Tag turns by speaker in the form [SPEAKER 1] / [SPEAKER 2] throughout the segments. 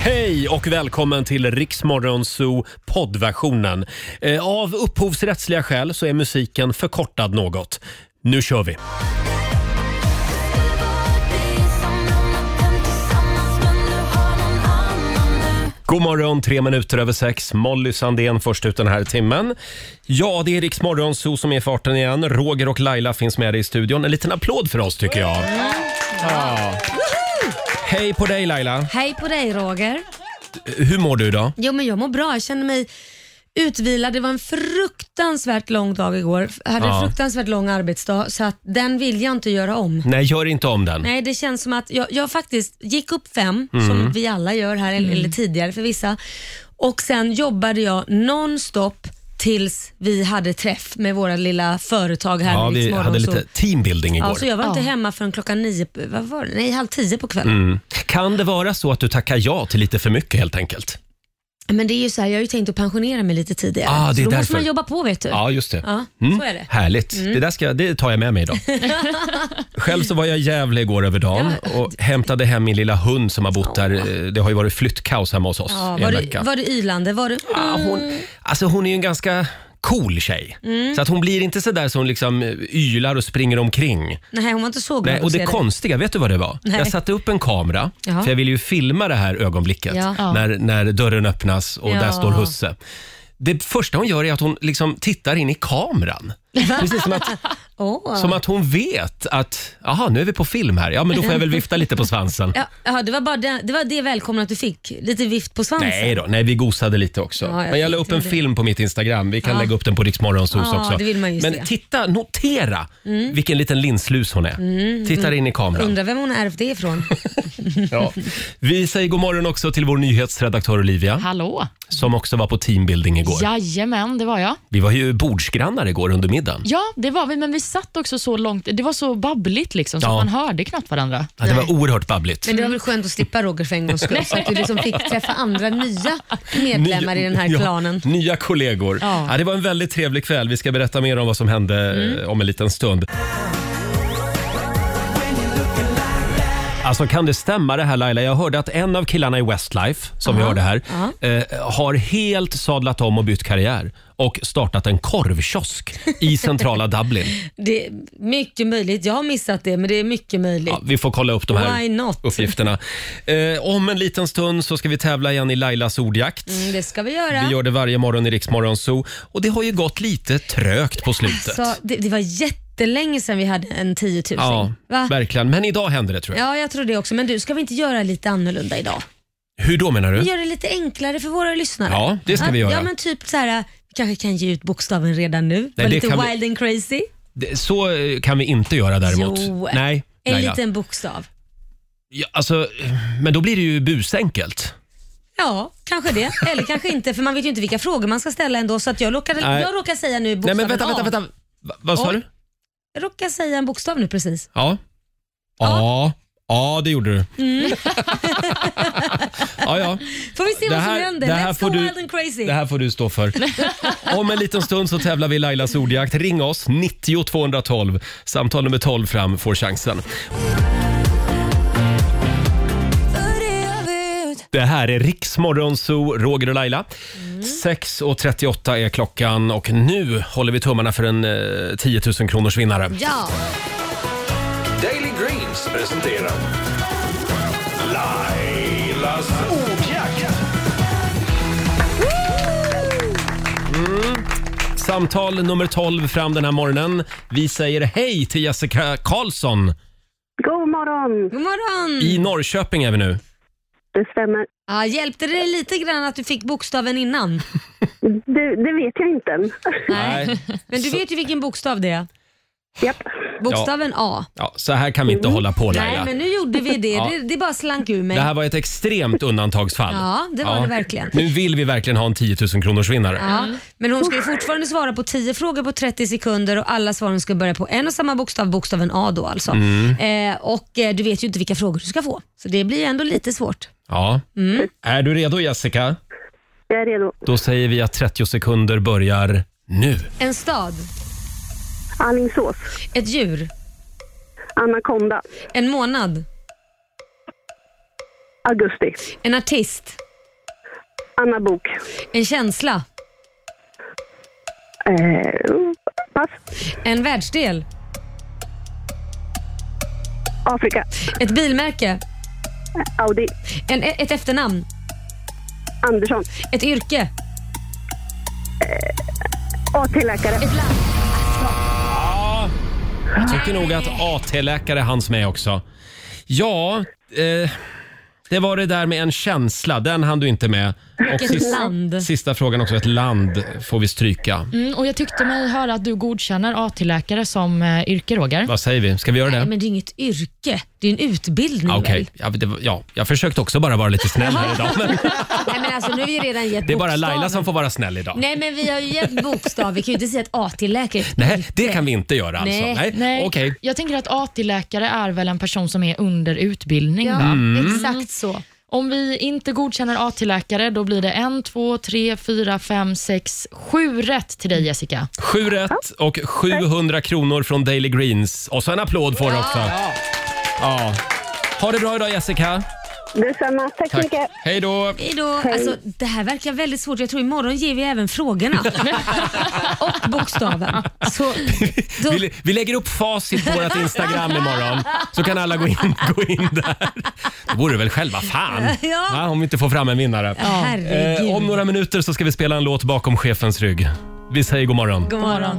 [SPEAKER 1] Hej och välkommen till Riksmorgon Zoo poddversionen. Eh, Av upphovsrättsliga skäl så är musiken förkortad något. Nu kör vi! God morgon, tre minuter över sex. Molly Sandén först ut den här timmen. Ja, det är Riksmorgon Zoo som är i farten igen. Roger och Laila finns med i studion. En liten applåd för oss tycker jag. Ja. Hej på dig Laila!
[SPEAKER 2] Hej på dig Roger.
[SPEAKER 1] Hur mår du idag?
[SPEAKER 2] Jo men jag mår bra, jag känner mig utvilad. Det var en fruktansvärt lång dag igår. Jag hade
[SPEAKER 1] Ja.
[SPEAKER 2] en fruktansvärt lång arbetsdag så att den vill jag inte göra om.
[SPEAKER 1] Nej, gör inte om den.
[SPEAKER 2] Nej, det känns som att jag, jag faktiskt gick upp fem, som
[SPEAKER 1] Mm.
[SPEAKER 2] vi alla gör här, eller, eller tidigare för vissa. Och sen jobbade jag nonstop tills vi hade träff med våra lilla företag här
[SPEAKER 1] Ja,
[SPEAKER 2] med
[SPEAKER 1] vi
[SPEAKER 2] Riksmorgon,
[SPEAKER 1] hade lite teambuilding igår.
[SPEAKER 2] Ja, så jag var inte hemma förrän klockan nio, vad var det? Nej, halv tio på kvällen.
[SPEAKER 1] Mm. Kan det vara så att du tackar ja till lite för mycket helt enkelt?
[SPEAKER 2] Men det är ju så här, jag har ju tänkt att pensionera mig lite tidigare.
[SPEAKER 1] Ah, det är
[SPEAKER 2] så då
[SPEAKER 1] därför.
[SPEAKER 2] måste man jobba på vet du.
[SPEAKER 1] Ja, just det.
[SPEAKER 2] Ja, så är det.
[SPEAKER 1] Härligt.
[SPEAKER 2] Mm.
[SPEAKER 1] Det, där ska, det tar jag med mig idag. Själv så var jag i Gävle igår över dagen och hämtade hem min lilla hund som har bott där. Eh, Det har ju varit flyttkaos hemma hos oss
[SPEAKER 2] Ja,
[SPEAKER 1] i
[SPEAKER 2] var,
[SPEAKER 1] en
[SPEAKER 2] det,
[SPEAKER 1] vecka.
[SPEAKER 2] var det ylande? Var det,
[SPEAKER 1] hon... Alltså hon är ju en ganska cool tjej.
[SPEAKER 2] Mm.
[SPEAKER 1] Så att hon blir inte sådär som liksom eh, ylar och springer omkring.
[SPEAKER 2] Nej, hon var inte så glad
[SPEAKER 1] Nej, och
[SPEAKER 2] att
[SPEAKER 1] det
[SPEAKER 2] se
[SPEAKER 1] konstiga, vet du vad det var?
[SPEAKER 2] Nej.
[SPEAKER 1] Jag satte upp en kamera,
[SPEAKER 2] Jaha.
[SPEAKER 1] för jag ville ju filma det här ögonblicket
[SPEAKER 2] Ja. Ja.
[SPEAKER 1] när, när dörren öppnas och där
[SPEAKER 2] Ja.
[SPEAKER 1] står husse. Det första hon gör är att hon liksom tittar in i kameran. Precis som att,
[SPEAKER 2] Åh.
[SPEAKER 1] som att hon vet att, jaha, nu är vi på film här. Ja, men då får jag väl vifta lite på svansen.
[SPEAKER 2] Ja, ja, det var bara det, det, var det välkomna du fick. Lite vift på svansen.
[SPEAKER 1] Nej då, nej vi gosade lite också.
[SPEAKER 2] Ja, jag
[SPEAKER 1] men jag la upp
[SPEAKER 2] tänkte
[SPEAKER 1] en
[SPEAKER 2] det.
[SPEAKER 1] film på mitt Instagram. Vi kan
[SPEAKER 2] Ja.
[SPEAKER 1] lägga upp den på Riksmorgonsos
[SPEAKER 2] Ja,
[SPEAKER 1] också.
[SPEAKER 2] det vill man ju
[SPEAKER 1] men
[SPEAKER 2] se.
[SPEAKER 1] titta, notera
[SPEAKER 2] Mm.
[SPEAKER 1] vilken liten linslus hon är.
[SPEAKER 2] Mm.
[SPEAKER 1] Tittar in i kameran.
[SPEAKER 2] Undrar vem hon har ärvt det ifrån.
[SPEAKER 1] Ja. Vi säger god morgon också till vår nyhetsredaktör Olivia.
[SPEAKER 3] Hallå.
[SPEAKER 1] Som också var på teambuilding igår.
[SPEAKER 3] Jajamän, det var jag.
[SPEAKER 1] Vi var ju bordsgrannar igår under middagen.
[SPEAKER 3] Ja, det var vi, men vi satt också så långt. Det var så babbligt liksom, så
[SPEAKER 1] Ja.
[SPEAKER 3] att man hörde knappt varandra.
[SPEAKER 1] Ja, det var oerhört babbligt.
[SPEAKER 2] Men det var väl skönt att slippa Roger för en gångs skull, så att du liksom fick träffa andra nya medlemmar i den här
[SPEAKER 1] Nya-
[SPEAKER 2] klanen.
[SPEAKER 1] Ja, nya kollegor. Ja.
[SPEAKER 2] Ja. Mm.
[SPEAKER 1] det var en väldigt trevlig kväll. Vi ska berätta mer om vad som hände eh, om en liten stund. Alltså kan det stämma det här Laila? Jag hörde att en av killarna i Westlife, som vi
[SPEAKER 2] Ja,
[SPEAKER 1] hörde här, eh, har helt sadlat om och bytt karriär och startat en korvkiosk i centrala Dublin.
[SPEAKER 2] Det är mycket möjligt. Jag har missat det, men det är mycket möjligt.
[SPEAKER 1] Vi får kolla upp de
[SPEAKER 2] Why
[SPEAKER 1] här
[SPEAKER 2] not?
[SPEAKER 1] uppgifterna. Eh, om en liten stund så ska vi tävla igen i Lailas ordjakt.
[SPEAKER 2] Mm, det ska vi göra.
[SPEAKER 1] Vi gör det varje morgon i Riksmorgon Zoo. Och det har ju gått lite trögt på slutet.
[SPEAKER 2] Så det, det var jättelänge sedan vi hade en 10 000.
[SPEAKER 1] ja,
[SPEAKER 2] Va?
[SPEAKER 1] verkligen. Men idag händer det tror jag.
[SPEAKER 2] Ja, jag tror det också. Men du, ska vi inte göra lite annorlunda idag?
[SPEAKER 1] Hur då menar
[SPEAKER 2] Vi
[SPEAKER 1] du?
[SPEAKER 2] gör det lite enklare för våra lyssnare.
[SPEAKER 1] Ja, det ska
[SPEAKER 2] Ja,
[SPEAKER 1] vi göra.
[SPEAKER 2] Ja, men typ så här, vi kanske kan ge ut bokstaven redan nu.
[SPEAKER 1] det
[SPEAKER 2] Var lite
[SPEAKER 1] kan vi-
[SPEAKER 2] wild and crazy.
[SPEAKER 1] Det- Så eh, kan vi inte göra däremot.
[SPEAKER 2] Jo,
[SPEAKER 1] Nej,
[SPEAKER 2] en
[SPEAKER 1] Laila.
[SPEAKER 2] liten bokstav.
[SPEAKER 1] Ja, alltså, men då blir det ju busenkelt.
[SPEAKER 2] Ja, kanske det. Eller kanske inte, för man vet ju inte vilka frågor man ska ställa ändå. Så att jag, råkar,
[SPEAKER 1] Nej.
[SPEAKER 2] jag råkar säga nu
[SPEAKER 1] Nej,
[SPEAKER 2] bokstaven
[SPEAKER 1] men vänta,
[SPEAKER 2] A.
[SPEAKER 1] vänta, vänta. Va, vad sa
[SPEAKER 2] Oj.
[SPEAKER 1] du?
[SPEAKER 2] Jag råkar säga en bokstav nu precis.
[SPEAKER 1] Ja. Ja. Ja, det gjorde du.
[SPEAKER 2] Mm.
[SPEAKER 1] Ja, ja.
[SPEAKER 2] Får vi se
[SPEAKER 1] Det
[SPEAKER 2] vad som
[SPEAKER 1] här-
[SPEAKER 2] händer.
[SPEAKER 1] det här
[SPEAKER 2] Let's
[SPEAKER 1] får
[SPEAKER 2] go
[SPEAKER 1] du-
[SPEAKER 2] wild and crazy.
[SPEAKER 1] Det här får du stå för. Om en liten stund så tävlar vi i Lailas ordjakt. Ring oss, 90 212. Samtal nummer 12 fram får chansen. Det här är Riksmorgon Zoo, Roger och Laila. 6.38 är klockan och nu håller vi tummarna för en eh, 10 000 kronors vinnare.
[SPEAKER 2] Ja.
[SPEAKER 4] Daily Greens presenterar Lailas ordjakt.
[SPEAKER 1] Mm. Samtal nummer 12 fram den här morgonen. Vi säger hej till Jessica Karlsson.
[SPEAKER 5] God morgon!
[SPEAKER 2] God morgon!
[SPEAKER 1] I Norrköping är vi nu.
[SPEAKER 5] Det stämmer.
[SPEAKER 2] Ja, hjälpte det dig lite grann att du fick bokstaven innan?
[SPEAKER 5] Det, det vet jag inte än.
[SPEAKER 1] Nej.
[SPEAKER 2] Men du
[SPEAKER 1] Så-
[SPEAKER 2] vet ju vilken bokstav det är.
[SPEAKER 5] Japp.
[SPEAKER 2] Bokstaven A.
[SPEAKER 1] Ja, så här kan vi inte hålla på Laila.
[SPEAKER 2] Mm. Nej, men nu gjorde vi det.
[SPEAKER 1] Ja.
[SPEAKER 2] Det, det bara slank ur mig.
[SPEAKER 1] Det här var ett extremt undantagsfall.
[SPEAKER 2] Ja, det var det verkligen.
[SPEAKER 1] Nu vill vi verkligen ha en 10 000 kronors vinnare.
[SPEAKER 2] Ja, men hon ska ju fortfarande svara på 10 frågor på 30 sekunder och alla svaren ska börja på en och samma bokstav, bokstaven A då alltså.
[SPEAKER 1] Mm.
[SPEAKER 2] Eh, och eh, du vet ju inte vilka frågor du ska få, så det blir ju ändå lite svårt.
[SPEAKER 1] Ja.
[SPEAKER 2] Mm.
[SPEAKER 1] Är du redo Jessica?
[SPEAKER 5] Jag är redo.
[SPEAKER 1] Då säger vi att 30 sekunder börjar nu.
[SPEAKER 2] En stad,
[SPEAKER 5] Alingsås.
[SPEAKER 2] ett djur,
[SPEAKER 5] Anakonda.
[SPEAKER 2] en månad,
[SPEAKER 5] Augusti.
[SPEAKER 2] En artist.
[SPEAKER 5] Anna Bok.
[SPEAKER 2] En känsla.
[SPEAKER 5] Eh, pass.
[SPEAKER 2] En världsdel.
[SPEAKER 5] Afrika.
[SPEAKER 2] Ett bilmärke.
[SPEAKER 5] Audi.
[SPEAKER 2] En, e, ett efternamn.
[SPEAKER 5] Andersson.
[SPEAKER 2] Ett yrke.
[SPEAKER 5] AT-läkare.
[SPEAKER 2] Ett land.
[SPEAKER 1] Jag tycker nog att AT-läkare hanns med också. Ja, eh, det var det där med en känsla. Den hann du inte med. Och
[SPEAKER 2] Vilket land.
[SPEAKER 1] sista frågan också. Ett land får vi stryka.
[SPEAKER 3] Mm, och jag tyckte mig höra att du godkänner AT-läkare som eh, yrke, Roger.
[SPEAKER 1] Vad säger vi? Ska vi göra
[SPEAKER 2] Nej,
[SPEAKER 1] det?
[SPEAKER 2] men det är inget yrke. Det är en utbildning
[SPEAKER 1] Ah, Okej,
[SPEAKER 2] väl?
[SPEAKER 1] ja, det var- ja, jag försökte också bara vara lite snäll här idag. Men
[SPEAKER 2] Nej, men alltså, nu har vi ju redan gett
[SPEAKER 1] det är bara
[SPEAKER 2] bokstaven.
[SPEAKER 1] Laila som får vara snäll idag.
[SPEAKER 2] Nej, men vi har ju gett bokstav. Vi kan ju inte säga att AT-läkare är ett
[SPEAKER 1] Nej, det kan vi inte göra alltså.
[SPEAKER 2] Nej,
[SPEAKER 1] Nej,
[SPEAKER 3] Nej,
[SPEAKER 1] okej.
[SPEAKER 3] Jag tänker att AT-läkare är väl en person som är under utbildning.
[SPEAKER 2] Ja,
[SPEAKER 3] Va?
[SPEAKER 1] Mm.
[SPEAKER 2] exakt så.
[SPEAKER 3] Om vi inte godkänner AT-läkare, då blir det en, två, tre, fyra, fem, sex, sju rätt till dig Jessica.
[SPEAKER 1] Sju rätt och 700 kronor från Daily Greens. Och så en applåd får du också. Ja. Ha det bra idag Jessica.
[SPEAKER 5] Detsamma. Tack så
[SPEAKER 1] Tack.
[SPEAKER 5] mycket.
[SPEAKER 1] Hej då.
[SPEAKER 2] Hej då. Alltså, det här verkar väldigt svårt. Jag tror imorgon ger vi även frågorna. Och bokstaven. Så, då,
[SPEAKER 1] Vi, vi lägger upp facit på vårt Instagram imorgon så kan alla gå in, gå in där. Det vore väl själva fan
[SPEAKER 2] Ja.
[SPEAKER 1] va, om vi inte får fram en vinnare.
[SPEAKER 2] herregud.
[SPEAKER 1] Eh, om några minuter så ska vi spela en låt bakom chefens rygg. Vi säger god morgon.
[SPEAKER 2] God morgon.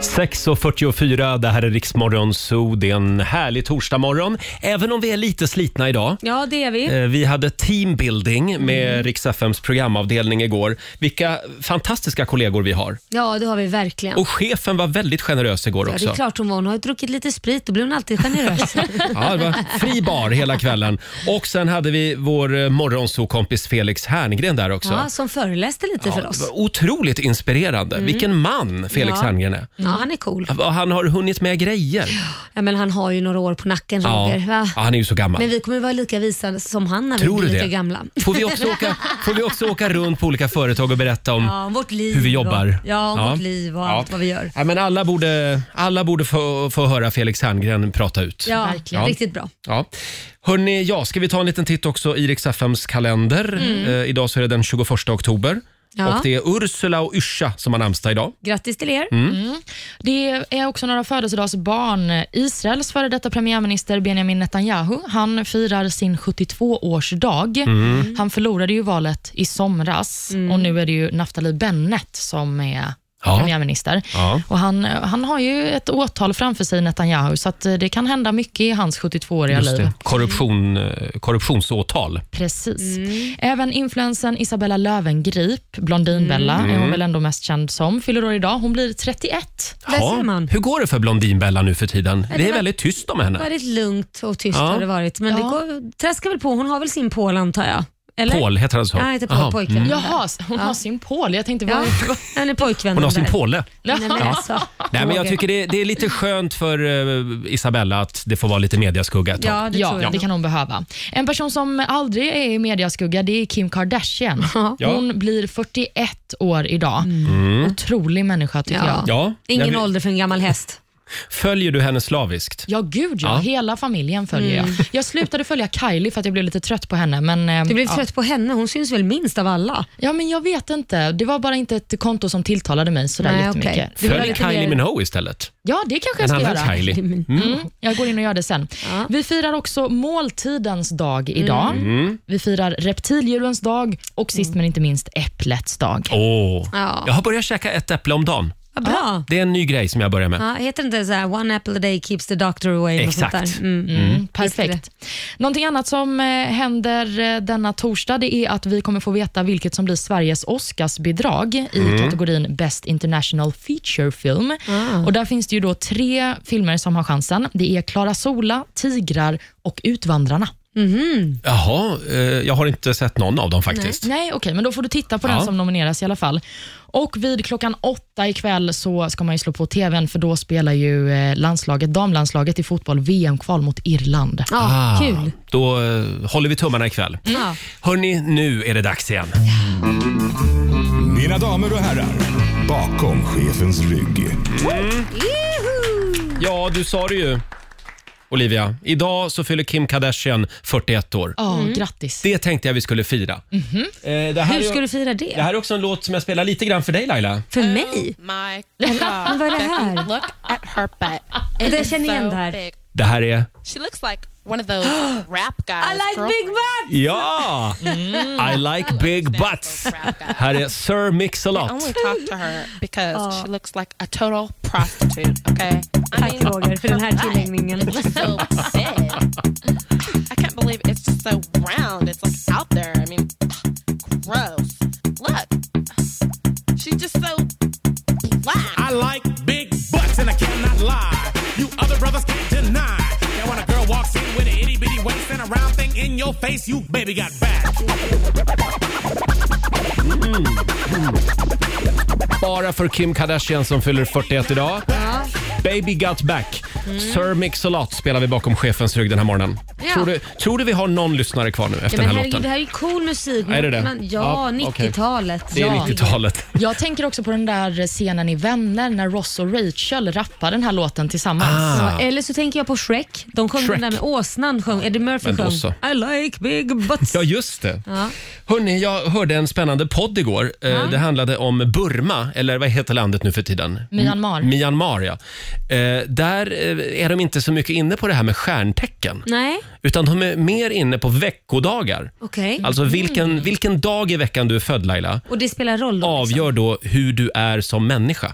[SPEAKER 1] 6.44, det här är Riksmorgon Zoo. Det är en härlig torsdagmorgon. Även om vi är lite slitna idag.
[SPEAKER 2] Ja, det är vi.
[SPEAKER 1] Eh, Vi hade teambuilding med
[SPEAKER 2] Mm.
[SPEAKER 1] Rix FMs programavdelning igår. Vilka fantastiska kollegor vi har.
[SPEAKER 2] Ja, det har vi verkligen.
[SPEAKER 1] Och chefen var väldigt generös igår
[SPEAKER 2] Ja,
[SPEAKER 1] också.
[SPEAKER 2] det är klart hon var. Hon har ju druckit lite sprit, då blir hon alltid generös.
[SPEAKER 1] Ja, det var fri bar hela kvällen. Och sen hade vi vår eh, morgonsokompis Felix Herngren där också.
[SPEAKER 2] ja, som föreläste lite
[SPEAKER 1] Ja,
[SPEAKER 2] för
[SPEAKER 1] det
[SPEAKER 2] oss. Mm.
[SPEAKER 1] var otroligt inspirerande. Vilken man Felix
[SPEAKER 2] Ja.
[SPEAKER 1] Herngren är.
[SPEAKER 2] Ja, han är cool.
[SPEAKER 1] Och Han har hunnit med grejer.
[SPEAKER 2] Ja, men han har ju några år på nacken,
[SPEAKER 1] Ja.
[SPEAKER 2] Roger.
[SPEAKER 1] Ja,
[SPEAKER 2] Va?
[SPEAKER 1] han är ju så gammal.
[SPEAKER 2] Men vi kommer vara lika visa som han när
[SPEAKER 1] Tror
[SPEAKER 2] vi
[SPEAKER 1] du
[SPEAKER 2] blir
[SPEAKER 1] det?
[SPEAKER 2] lika gamla.
[SPEAKER 1] Får vi, också åka, får vi också åka runt på olika företag och berätta om
[SPEAKER 2] Ja, om vårt liv.
[SPEAKER 1] hur vi jobbar.
[SPEAKER 2] Och, ja, om vårt liv och
[SPEAKER 1] Ja.
[SPEAKER 2] allt vad vi gör.
[SPEAKER 1] Ja, men alla borde, alla borde få, få höra Felix Herngren prata ut.
[SPEAKER 2] Ja,
[SPEAKER 3] Verkligen.
[SPEAKER 2] riktigt bra.
[SPEAKER 1] Ja. Hörrni, ja, ska vi ta en liten titt också i Rix FMs kalender? Eh, idag så är det den 21 oktober.
[SPEAKER 2] Mm. Ja.
[SPEAKER 1] Och Det är Ursula och Yrsa som har namnsdag idag.
[SPEAKER 2] Grattis till er.
[SPEAKER 1] Mm.
[SPEAKER 3] Det är också några födelsedagsbarn. Israels före detta premiärminister Benjamin Netanyahu, han firar sin 72-årsdag.
[SPEAKER 1] Mm.
[SPEAKER 3] Han förlorade ju valet i somras och nu är det ju Naftali Bennett som är
[SPEAKER 1] Ja.
[SPEAKER 3] premiärminister.
[SPEAKER 1] Ja.
[SPEAKER 3] Och han, han har ju ett åtal framför sig, Netanyahu, så att eh, det kan hända mycket i hans 72-åriga
[SPEAKER 1] Just
[SPEAKER 3] liv.
[SPEAKER 1] det. Korruption, eh, korruptionsåtal.
[SPEAKER 3] Precis. Även influensen Isabella Lövengrip, Blondinbella,
[SPEAKER 1] Mm.
[SPEAKER 3] är hon väl ändå mest känd som, fyller år idag. Hon blir 31.
[SPEAKER 2] Där
[SPEAKER 1] Ja.
[SPEAKER 2] ser man.
[SPEAKER 1] Hur går det för Blondinbella nu för tiden? Det är
[SPEAKER 2] var-
[SPEAKER 1] väldigt tyst om henne.
[SPEAKER 2] Väldigt lugnt och tyst
[SPEAKER 1] Ja.
[SPEAKER 2] har det varit. Men det
[SPEAKER 3] Ja.
[SPEAKER 2] går, traskar väl på. Hon har väl sin Paul antar jag? Eller?
[SPEAKER 1] Paul, heter han så?
[SPEAKER 2] Ja, han heter Paul,
[SPEAKER 1] Jaha.
[SPEAKER 2] pojkvännen. där.
[SPEAKER 3] Jaha, hon har sin Mm. Paul. Jag tänkte
[SPEAKER 2] Ja,
[SPEAKER 3] bara...
[SPEAKER 2] han är pojkvännen
[SPEAKER 1] Hon har sin
[SPEAKER 2] där.
[SPEAKER 1] påle.
[SPEAKER 2] Nej, men alltså,
[SPEAKER 1] Nej, men jag
[SPEAKER 2] Roger.
[SPEAKER 1] tycker det, det är lite skönt för eh, Isabella att det får vara lite mediaskugga ett tag.
[SPEAKER 2] Ja, det
[SPEAKER 3] ja,
[SPEAKER 2] tror jag.
[SPEAKER 3] det kan hon behöva. En person som aldrig är i mediaskugga det är Kim Kardashian.
[SPEAKER 1] Ja.
[SPEAKER 3] Hon blir 41 år idag. Otrolig människa tycker
[SPEAKER 2] Ja.
[SPEAKER 3] jag.
[SPEAKER 1] Ja.
[SPEAKER 2] Ingen
[SPEAKER 1] Jag-
[SPEAKER 2] ålder för en gammal häst.
[SPEAKER 1] Följer du henne slaviskt?
[SPEAKER 3] Ja, gud ja.
[SPEAKER 1] Ja.
[SPEAKER 3] Hela familjen följer jag. Jag slutade följa Kylie för att jag blev lite trött på henne. Men, eh,
[SPEAKER 2] Mm. Du blev
[SPEAKER 3] ja.
[SPEAKER 2] trött på henne. Hon syns väl minst av alla?
[SPEAKER 3] Ja, men jag vet inte. Det var bara inte ett konto som tilltalade mig sådär
[SPEAKER 2] Nej,
[SPEAKER 3] jättemycket.
[SPEAKER 2] okej. Det var
[SPEAKER 1] Följ
[SPEAKER 2] lite
[SPEAKER 1] Kylie
[SPEAKER 2] mer-
[SPEAKER 1] Minogue istället.
[SPEAKER 3] Ja, det kanske jag
[SPEAKER 1] En
[SPEAKER 3] ska
[SPEAKER 1] annan
[SPEAKER 3] göra.
[SPEAKER 1] Kylie.
[SPEAKER 3] Mm, jag går in och gör det sen. Vi firar också måltidens dag idag. Vi firar reptildjurens dag och sist men inte minst äpplets dag.
[SPEAKER 1] Åh.
[SPEAKER 2] Ja.
[SPEAKER 1] Jag har börjat käka ett äpple om dagen.
[SPEAKER 2] Vad bra.
[SPEAKER 1] Det är en ny grej som jag börjar med.
[SPEAKER 2] Ja, heter det inte så här, “One apple a day keeps the doctor away”? och
[SPEAKER 1] Exakt.
[SPEAKER 2] Sånt där. Mm.
[SPEAKER 3] Mm,
[SPEAKER 2] Visst
[SPEAKER 3] perfekt. Någonting annat som eh, händer eh, denna torsdag det är att vi kommer få veta vilket som blir Sveriges Oscarsbidrag i kategorin Best International Feature Film. Och där finns det ju då tre filmer som har chansen. Det är Klara Sola, Tigrar och Utvandrarna.
[SPEAKER 1] Jaha, eh, jag har inte sett någon av dem faktiskt.
[SPEAKER 3] Nej, okej, men då får du titta på
[SPEAKER 1] Ja.
[SPEAKER 3] den som nomineras i alla fall. Och vid klockan åtta ikväll så ska man ju slå på TVn för då spelar ju eh, landslaget, damlandslaget i fotboll VM-kval mot Irland.
[SPEAKER 2] Ja,
[SPEAKER 1] Ah,
[SPEAKER 2] Kul.
[SPEAKER 1] Då eh, håller vi tummarna ikväll.
[SPEAKER 2] Ja.
[SPEAKER 1] Hörni, nu är det dags igen.
[SPEAKER 6] Mina damer och herrar, bakom chefens rygg.
[SPEAKER 1] Ja, du sa det ju. Olivia. Idag så fyller Kim Kardashian 41 år.
[SPEAKER 3] Ja, grattis.
[SPEAKER 1] Mm. Det tänkte jag vi skulle fira. Eh, det, här
[SPEAKER 2] Mhm. Hur
[SPEAKER 1] är-
[SPEAKER 2] ska du fira det?
[SPEAKER 1] det här är också en låt som jag spelar lite grann för dig Laila.
[SPEAKER 2] För mig?
[SPEAKER 7] My
[SPEAKER 2] Men
[SPEAKER 7] God.
[SPEAKER 2] vad är det här?
[SPEAKER 7] Look at her butt. It
[SPEAKER 2] Det
[SPEAKER 7] is
[SPEAKER 2] känner igen
[SPEAKER 7] so
[SPEAKER 2] det här.
[SPEAKER 7] big.
[SPEAKER 1] Det här är...
[SPEAKER 7] She looks like one of those rap guys.
[SPEAKER 2] I like
[SPEAKER 7] girl.
[SPEAKER 2] big butt!
[SPEAKER 1] Ja!
[SPEAKER 2] Mm.
[SPEAKER 1] I like big butts. Här är Sir
[SPEAKER 7] I
[SPEAKER 1] Mix-a-Lot.
[SPEAKER 7] only talk to her because she looks like a total prostitute, okay? Oh. I
[SPEAKER 2] Tack
[SPEAKER 7] mean,
[SPEAKER 2] Roger för den här
[SPEAKER 7] her butt
[SPEAKER 2] tilläggningen.
[SPEAKER 7] is so big. I can't believe it's just so round. It's like out there. I mean, gross. Look, she's just so black.
[SPEAKER 8] I like big butts and I cannot lie. You other brothers can't deny. Now when a girl walks in with an itty bitty waist and a round thing in your face, you baby got back.
[SPEAKER 1] Bara för Kim Kardashian som fyller 41 idag. Baby Got Back. Sir Mix-a-Lot spelar vi bakom chefens rygg den här morgonen.
[SPEAKER 2] Mm. Ja.
[SPEAKER 1] Tror, du, tror du vi har någon lyssnare kvar nu efter
[SPEAKER 2] Ja, men
[SPEAKER 1] den här
[SPEAKER 2] herregud,
[SPEAKER 1] låten?
[SPEAKER 2] det här är ju cool musik.
[SPEAKER 1] Är det det?
[SPEAKER 2] Man,
[SPEAKER 1] Ja,
[SPEAKER 2] ja,
[SPEAKER 1] okej.
[SPEAKER 2] 90-talet.
[SPEAKER 1] Det är
[SPEAKER 2] ja.
[SPEAKER 1] 90-talet.
[SPEAKER 3] Jag tänker också på den där scenen i Vänner när Ross och Rachel rappar den här låten
[SPEAKER 1] Ah.
[SPEAKER 3] tillsammans.
[SPEAKER 2] Ja, Eller så tänker jag på Shrek. De sjöng
[SPEAKER 1] Shrek.
[SPEAKER 2] den där med åsnan. Sjöng. Eddie Murphy
[SPEAKER 1] Men då
[SPEAKER 2] sjöng I like big butts.
[SPEAKER 1] Ja, just det.
[SPEAKER 2] Ja.
[SPEAKER 1] Hörrni, jag hörde en spännande podd igår. Eh, Det handlade om Burma, eller vad heter landet nu för tiden?
[SPEAKER 3] Myanmar.
[SPEAKER 1] Myanmar, ja. Eh, Där eh, är de inte så mycket inne på det här med stjärntecken.
[SPEAKER 2] Nej,
[SPEAKER 1] Utan de är mer inne på veckodagar.
[SPEAKER 2] okej.
[SPEAKER 1] Alltså
[SPEAKER 2] Mm.
[SPEAKER 1] vilken, vilken dag i veckan du är född Laila
[SPEAKER 2] Och det spelar roll då? liksom.
[SPEAKER 1] avgör då hur du är som människa.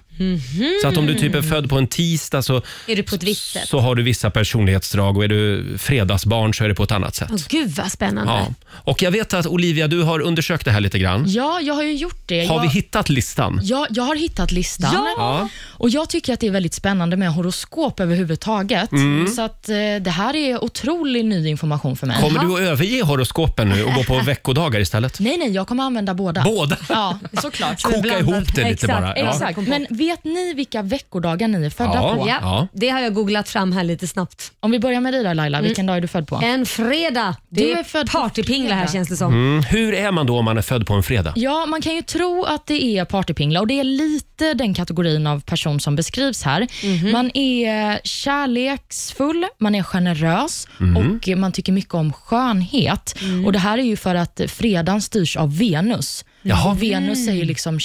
[SPEAKER 1] Så att om du typ är född på en tisdag så,
[SPEAKER 2] Mhm. Är du på ett visst sätt?
[SPEAKER 1] så har du vissa personlighetsdrag och är du fredagsbarn så är det på ett annat sätt.
[SPEAKER 2] Åh, Gud vad spännande.
[SPEAKER 1] Ja. Och jag vet att Olivia, du har undersökt det här lite grann.
[SPEAKER 3] Ja, jag har ju gjort det.
[SPEAKER 1] Har
[SPEAKER 3] jag,
[SPEAKER 1] vi hittat listan?
[SPEAKER 3] Ja, jag har hittat listan.
[SPEAKER 1] Ja.
[SPEAKER 3] Och Jag tycker att det är väldigt spännande med horoskop överhuvudtaget. Så att, eh, Det här är otrolig ny information för mig.
[SPEAKER 1] Kommer du att överge horoskopen nu och gå på veckodagar istället?
[SPEAKER 3] Nej, nej, jag kommer använda båda.
[SPEAKER 1] Båda?
[SPEAKER 3] Ja, såklart.
[SPEAKER 1] Koka ihop det lite
[SPEAKER 2] Exakt,
[SPEAKER 1] bara. Ja.
[SPEAKER 3] Exakt. Men vet ni vilka veckodagar ni är födda
[SPEAKER 1] Ja.
[SPEAKER 3] på?
[SPEAKER 2] Ja,
[SPEAKER 1] Ja.
[SPEAKER 2] det har jag googlat fram här lite snabbt.
[SPEAKER 3] Om vi börjar med dig då, Laila, vilken dag är du född på?
[SPEAKER 2] En fredag. Det
[SPEAKER 3] Du
[SPEAKER 2] är,
[SPEAKER 3] är född på
[SPEAKER 2] partypingla här
[SPEAKER 3] fredag.
[SPEAKER 2] känns det som.
[SPEAKER 1] Mm, Hur är man då om man är född på en fredag?
[SPEAKER 3] Ja, man kan ju tro att det är partypingla och det är lite den kategorin av person som beskrivs här.
[SPEAKER 1] Mm.
[SPEAKER 3] Man är eh, kärleksfull, man är generös
[SPEAKER 1] Mm.
[SPEAKER 3] och man tycker mycket om skönhet. Och Det här är ju för att fredagen styrs av Venus.
[SPEAKER 1] Jaha.
[SPEAKER 3] Och Venus är ju liksom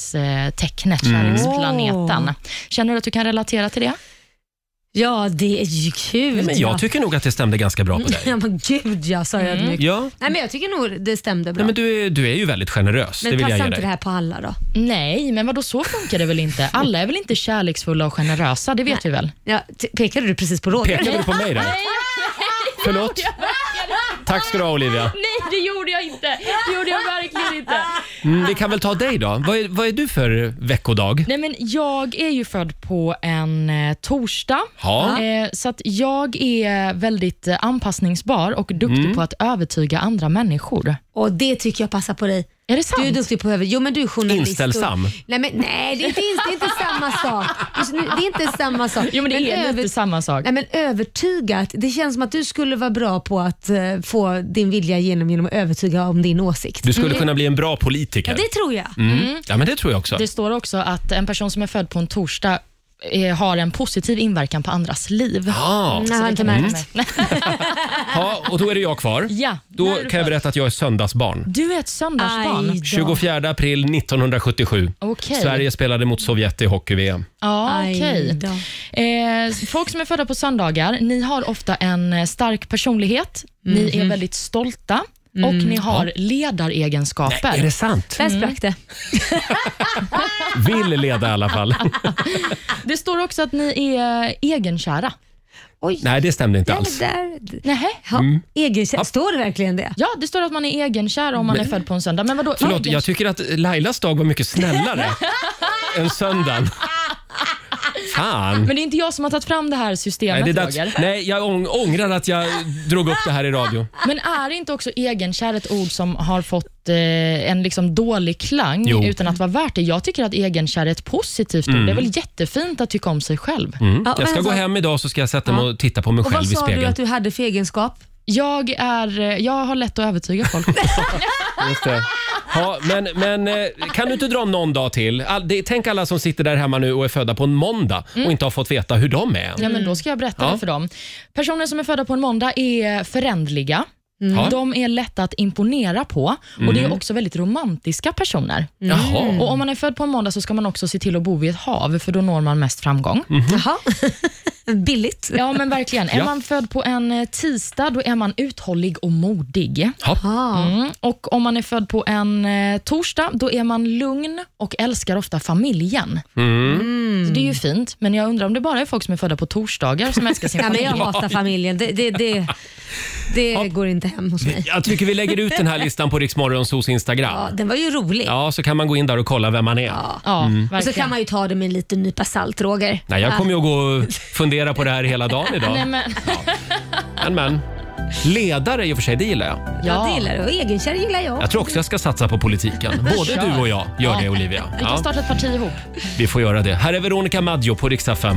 [SPEAKER 3] kärlekstecknet, kärleksplaneten. Känner du att du kan relatera till det?
[SPEAKER 2] Ja, det är ju kul.
[SPEAKER 1] Nej, men jag
[SPEAKER 2] ja.
[SPEAKER 1] tycker nog att det stämde ganska bra på dig.
[SPEAKER 2] Ja men gud ja, sa
[SPEAKER 3] Mm.
[SPEAKER 2] jag ödmjukt.
[SPEAKER 1] Ja,
[SPEAKER 2] Nej men jag tycker nog det stämde bra.
[SPEAKER 1] Nej, men du, är, du är ju väldigt generös.
[SPEAKER 2] men
[SPEAKER 1] det vill jag
[SPEAKER 2] passar
[SPEAKER 1] ge
[SPEAKER 2] inte
[SPEAKER 1] dig.
[SPEAKER 2] det här på alla då?
[SPEAKER 3] Nej, men vadå, så funkar det väl inte? Alla är väl inte kärleksfulla och generösa, det vet vi väl?
[SPEAKER 2] Ja, t- pekade du precis på Roger?
[SPEAKER 1] Pekade du på mig där? Förlåt. Tack ska du ha Olivia.
[SPEAKER 3] Nej, det gjorde jag inte. Det gjorde jag verkligen inte.
[SPEAKER 1] Mm, vi kan väl ta dig då. Vad är, vad är du för veckodag?
[SPEAKER 3] Nej, men jag är ju född på en eh, torsdag,
[SPEAKER 1] Ja.
[SPEAKER 3] eh, så att jag är väldigt eh, anpassningsbar och duktig på att övertyga andra människor.
[SPEAKER 2] Och det tycker jag passar på dig.
[SPEAKER 3] Är det
[SPEAKER 2] Du är
[SPEAKER 3] sant?
[SPEAKER 2] duktig på över... Jo men du är journalist.
[SPEAKER 1] Inställsam.
[SPEAKER 2] Och... Nej, men, nej det, är inte, det är inte samma sak. Det är inte samma sak.
[SPEAKER 3] jo, men det är lite samma sak.
[SPEAKER 2] Nej, men övertygat. Det känns som att du skulle vara bra på att eh, få din vilja igenom genom att övertyga om din åsikt.
[SPEAKER 1] Du skulle kunna bli en bra politiker.
[SPEAKER 2] Det tror jag.
[SPEAKER 1] Mm. Ja, men det tror jag också.
[SPEAKER 3] Det står också att en person som är född på en torsdag eh, har en positiv inverkan på andras liv. Mm.
[SPEAKER 1] Ah.
[SPEAKER 2] Nej, jag har inte märkt.
[SPEAKER 1] Ja, och då är det jag kvar.
[SPEAKER 3] Ja,
[SPEAKER 1] Då
[SPEAKER 3] när är du
[SPEAKER 1] kan jag
[SPEAKER 3] född?
[SPEAKER 1] berätta att jag är söndagsbarn.
[SPEAKER 3] Du är ett söndagsbarn.
[SPEAKER 2] Aj.
[SPEAKER 1] 24 april 1977.
[SPEAKER 3] Okej.
[SPEAKER 1] Sverige spelade mot Sovjet i hockey-VM.
[SPEAKER 3] Ja,
[SPEAKER 2] Aj
[SPEAKER 3] okej.
[SPEAKER 2] då.
[SPEAKER 3] Eh, folk som är födda på söndagar, ni har ofta en eh, stark personlighet, ni
[SPEAKER 2] Mhm.
[SPEAKER 3] är väldigt stolta och
[SPEAKER 2] Mm.
[SPEAKER 3] ni har ledaregenskaper.
[SPEAKER 1] Är det sant?
[SPEAKER 2] Där sprack
[SPEAKER 1] Mm.
[SPEAKER 2] det.
[SPEAKER 1] Vill leda i alla fall.
[SPEAKER 3] Det står också att ni är eh, egenkära.
[SPEAKER 2] Oj,
[SPEAKER 1] Nej, det stämde inte
[SPEAKER 2] där,
[SPEAKER 1] alls. Mm.
[SPEAKER 2] där.
[SPEAKER 3] Nähä.
[SPEAKER 2] Ja, egenkär- Står det verkligen det?
[SPEAKER 3] Ja, det står att man är egenkär om man är född på en söndag. Men vadå?
[SPEAKER 1] Förlåt,
[SPEAKER 3] egen-
[SPEAKER 1] jag tycker att Lailas dag var mycket snällare än söndagen. Fan.
[SPEAKER 3] Men det är inte jag som har tagit fram det här systemet,
[SPEAKER 1] Nej, det är
[SPEAKER 3] Roger.
[SPEAKER 1] dags. Nej, jag ång- ångrar att jag drog upp det här i radio.
[SPEAKER 3] Men är inte också egenkär ett ord som har fått eh, en liksom dålig klang
[SPEAKER 1] Jo. Mm.
[SPEAKER 3] utan att vara värt det? Jag tycker att egenkär är ett positivt ord. Det är väl jättefint att tycka om sig själv.
[SPEAKER 2] Ja,
[SPEAKER 1] Jag ska
[SPEAKER 2] men
[SPEAKER 1] gå
[SPEAKER 2] alltså-
[SPEAKER 1] hem idag så ska jag sätta mig och titta på mig
[SPEAKER 2] Och
[SPEAKER 1] själv
[SPEAKER 2] vad
[SPEAKER 1] i
[SPEAKER 2] sa du
[SPEAKER 1] spegeln.
[SPEAKER 2] att du hade för egenskap?
[SPEAKER 3] Jag, är, eh, jag har lätt att övertyga folk.
[SPEAKER 1] Just det. Ja, men, men eh, kan du inte dra om någon dag till? All, det, tänk alla som sitter där hemma nu och är födda på en måndag och inte har fått veta hur de är än.
[SPEAKER 3] Ja, men då ska jag berätta
[SPEAKER 1] Ja.
[SPEAKER 3] det för dem. Personer som är födda på en måndag är förändliga.
[SPEAKER 1] Ja. Mm.
[SPEAKER 3] De är lätta att imponera på och det är också väldigt romantiska personer.
[SPEAKER 1] Jaha.
[SPEAKER 3] Och Om man är född på en måndag så ska man också se till att bo vid ett hav, för då når man mest framgång.
[SPEAKER 2] Jaha. Billigt.
[SPEAKER 3] Ja, men verkligen. Är
[SPEAKER 1] Mhm. Ja.
[SPEAKER 3] man född på en eh, tisdag, då är man uthållig och modig.
[SPEAKER 1] Ja.
[SPEAKER 3] Mm. Och Om man är född på en eh, torsdag, då är man lugn och älskar ofta familjen.
[SPEAKER 1] Mm.
[SPEAKER 3] Så
[SPEAKER 2] Mm.
[SPEAKER 3] det är ju fint, men jag undrar om det bara är folk som är födda på torsdagar som älskar sin
[SPEAKER 2] Ja, men
[SPEAKER 3] familj.
[SPEAKER 2] jag hatar familjen. Det, det, det, det går inte hem hos mig.
[SPEAKER 1] Jag tycker vi lägger ut den här listan på Riksmorgonsos
[SPEAKER 2] Ja,
[SPEAKER 1] Instagram.
[SPEAKER 2] den var ju rolig.
[SPEAKER 1] Ja, så kan man gå in där och kolla vem man är.
[SPEAKER 3] Ja,
[SPEAKER 1] Mm.
[SPEAKER 2] Och så
[SPEAKER 3] verkligen.
[SPEAKER 2] kan man ju ta det med en liten nypa salt, Roger.
[SPEAKER 1] Nej, jag kommer ju att gå och fundera på det här hela dagen
[SPEAKER 3] Nej,
[SPEAKER 1] idag.
[SPEAKER 3] men,
[SPEAKER 1] Men, men. Ledare i och för sig, det gillar jag.
[SPEAKER 2] Ja. det gillar du. Och egenkär gillar jag.
[SPEAKER 1] Jag tror också jag ska satsa på politiken. Både du och jag gör det Olivia.
[SPEAKER 3] Vi kan
[SPEAKER 1] Ja,
[SPEAKER 3] starta ett parti ihop.
[SPEAKER 1] vi får göra det. Här är Veronica Maggio på riksdag 5.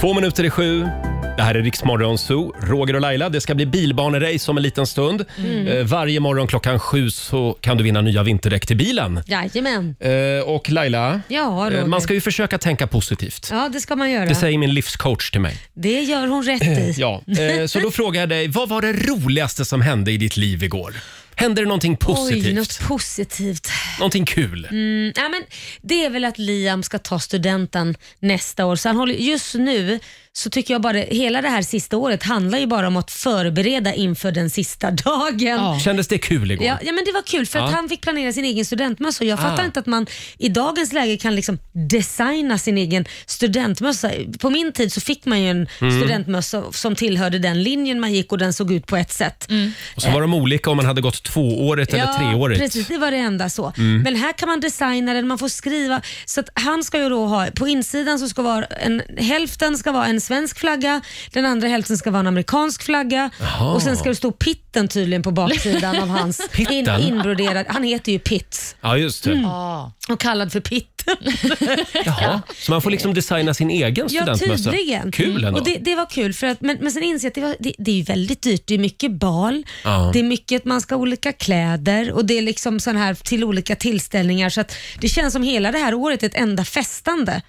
[SPEAKER 1] Två minuter i sju. Det här är Riksmorgon Zoo, Roger och Laila. Det ska bli bilbanerace om en liten stund.
[SPEAKER 2] Mm.
[SPEAKER 1] Eh, Varje morgon klockan sju så kan du vinna nya vinterdäck till bilen.
[SPEAKER 2] Jajamän.
[SPEAKER 1] Eh, Och Laila,
[SPEAKER 2] Ja,
[SPEAKER 1] eh,
[SPEAKER 2] Roger.
[SPEAKER 1] man ska ju försöka tänka positivt.
[SPEAKER 2] Ja, det ska man göra.
[SPEAKER 1] Det säger min livscoach till mig.
[SPEAKER 2] Det gör hon rätt i.
[SPEAKER 1] Ja, eh, så då frågar jag dig, vad var det roligaste som hände i ditt liv igår? Hände det någonting
[SPEAKER 2] Oj,
[SPEAKER 1] positivt?
[SPEAKER 2] något positivt.
[SPEAKER 1] Någonting kul?
[SPEAKER 2] Mm, ja, men det är väl att Liam ska ta studenten nästa år. Så han håller, just nu så tycker jag bara det, hela det här sista året handlar ju bara om att förbereda inför den sista dagen.
[SPEAKER 3] Ja.
[SPEAKER 1] Kändes det kul igår?
[SPEAKER 2] Ja, ja men det var kul för att
[SPEAKER 1] Ja.
[SPEAKER 2] han fick planera sin egen studentmössa och jag fattar
[SPEAKER 1] Ah.
[SPEAKER 2] inte att man i dagens läge kan liksom designa sin egen studentmössa. På min tid så fick man ju en
[SPEAKER 1] Mm.
[SPEAKER 2] studentmössa som tillhörde den linjen man gick och den såg ut på ett sätt.
[SPEAKER 1] Och så var de olika om man hade gått tvåårigt eller treårigt. Mm.
[SPEAKER 2] Precis, det var det enda så. Men här kan man designa den, man får skriva. Så att han ska ju då ha, på insidan så ska vara en, hälften ska vara en svensk flagga, den andra hälften ska vara en amerikansk flagga och sen ska det stå Pitten tydligen på baksidan av hans in,
[SPEAKER 1] Pitten?
[SPEAKER 2] inbroderad, han heter ju Pitt
[SPEAKER 1] Ja, just
[SPEAKER 2] Mm.
[SPEAKER 1] det.
[SPEAKER 3] Ja.
[SPEAKER 2] och kallad för Pitten.
[SPEAKER 1] Jaha. Så man får liksom designa sin egen
[SPEAKER 2] Ja,
[SPEAKER 1] studentmössa?
[SPEAKER 2] tydligen. Mm.
[SPEAKER 1] Kul ändå.
[SPEAKER 2] Och det, det var kul, för att, men, men sen inser jag att det, var, det, det är ju väldigt dyrt. Det är mycket bal,
[SPEAKER 1] Ja.
[SPEAKER 2] det är mycket att man ska ha olika kläder och det är liksom sån här till olika tillställningar. Så att det känns som hela det här året är ett enda festande.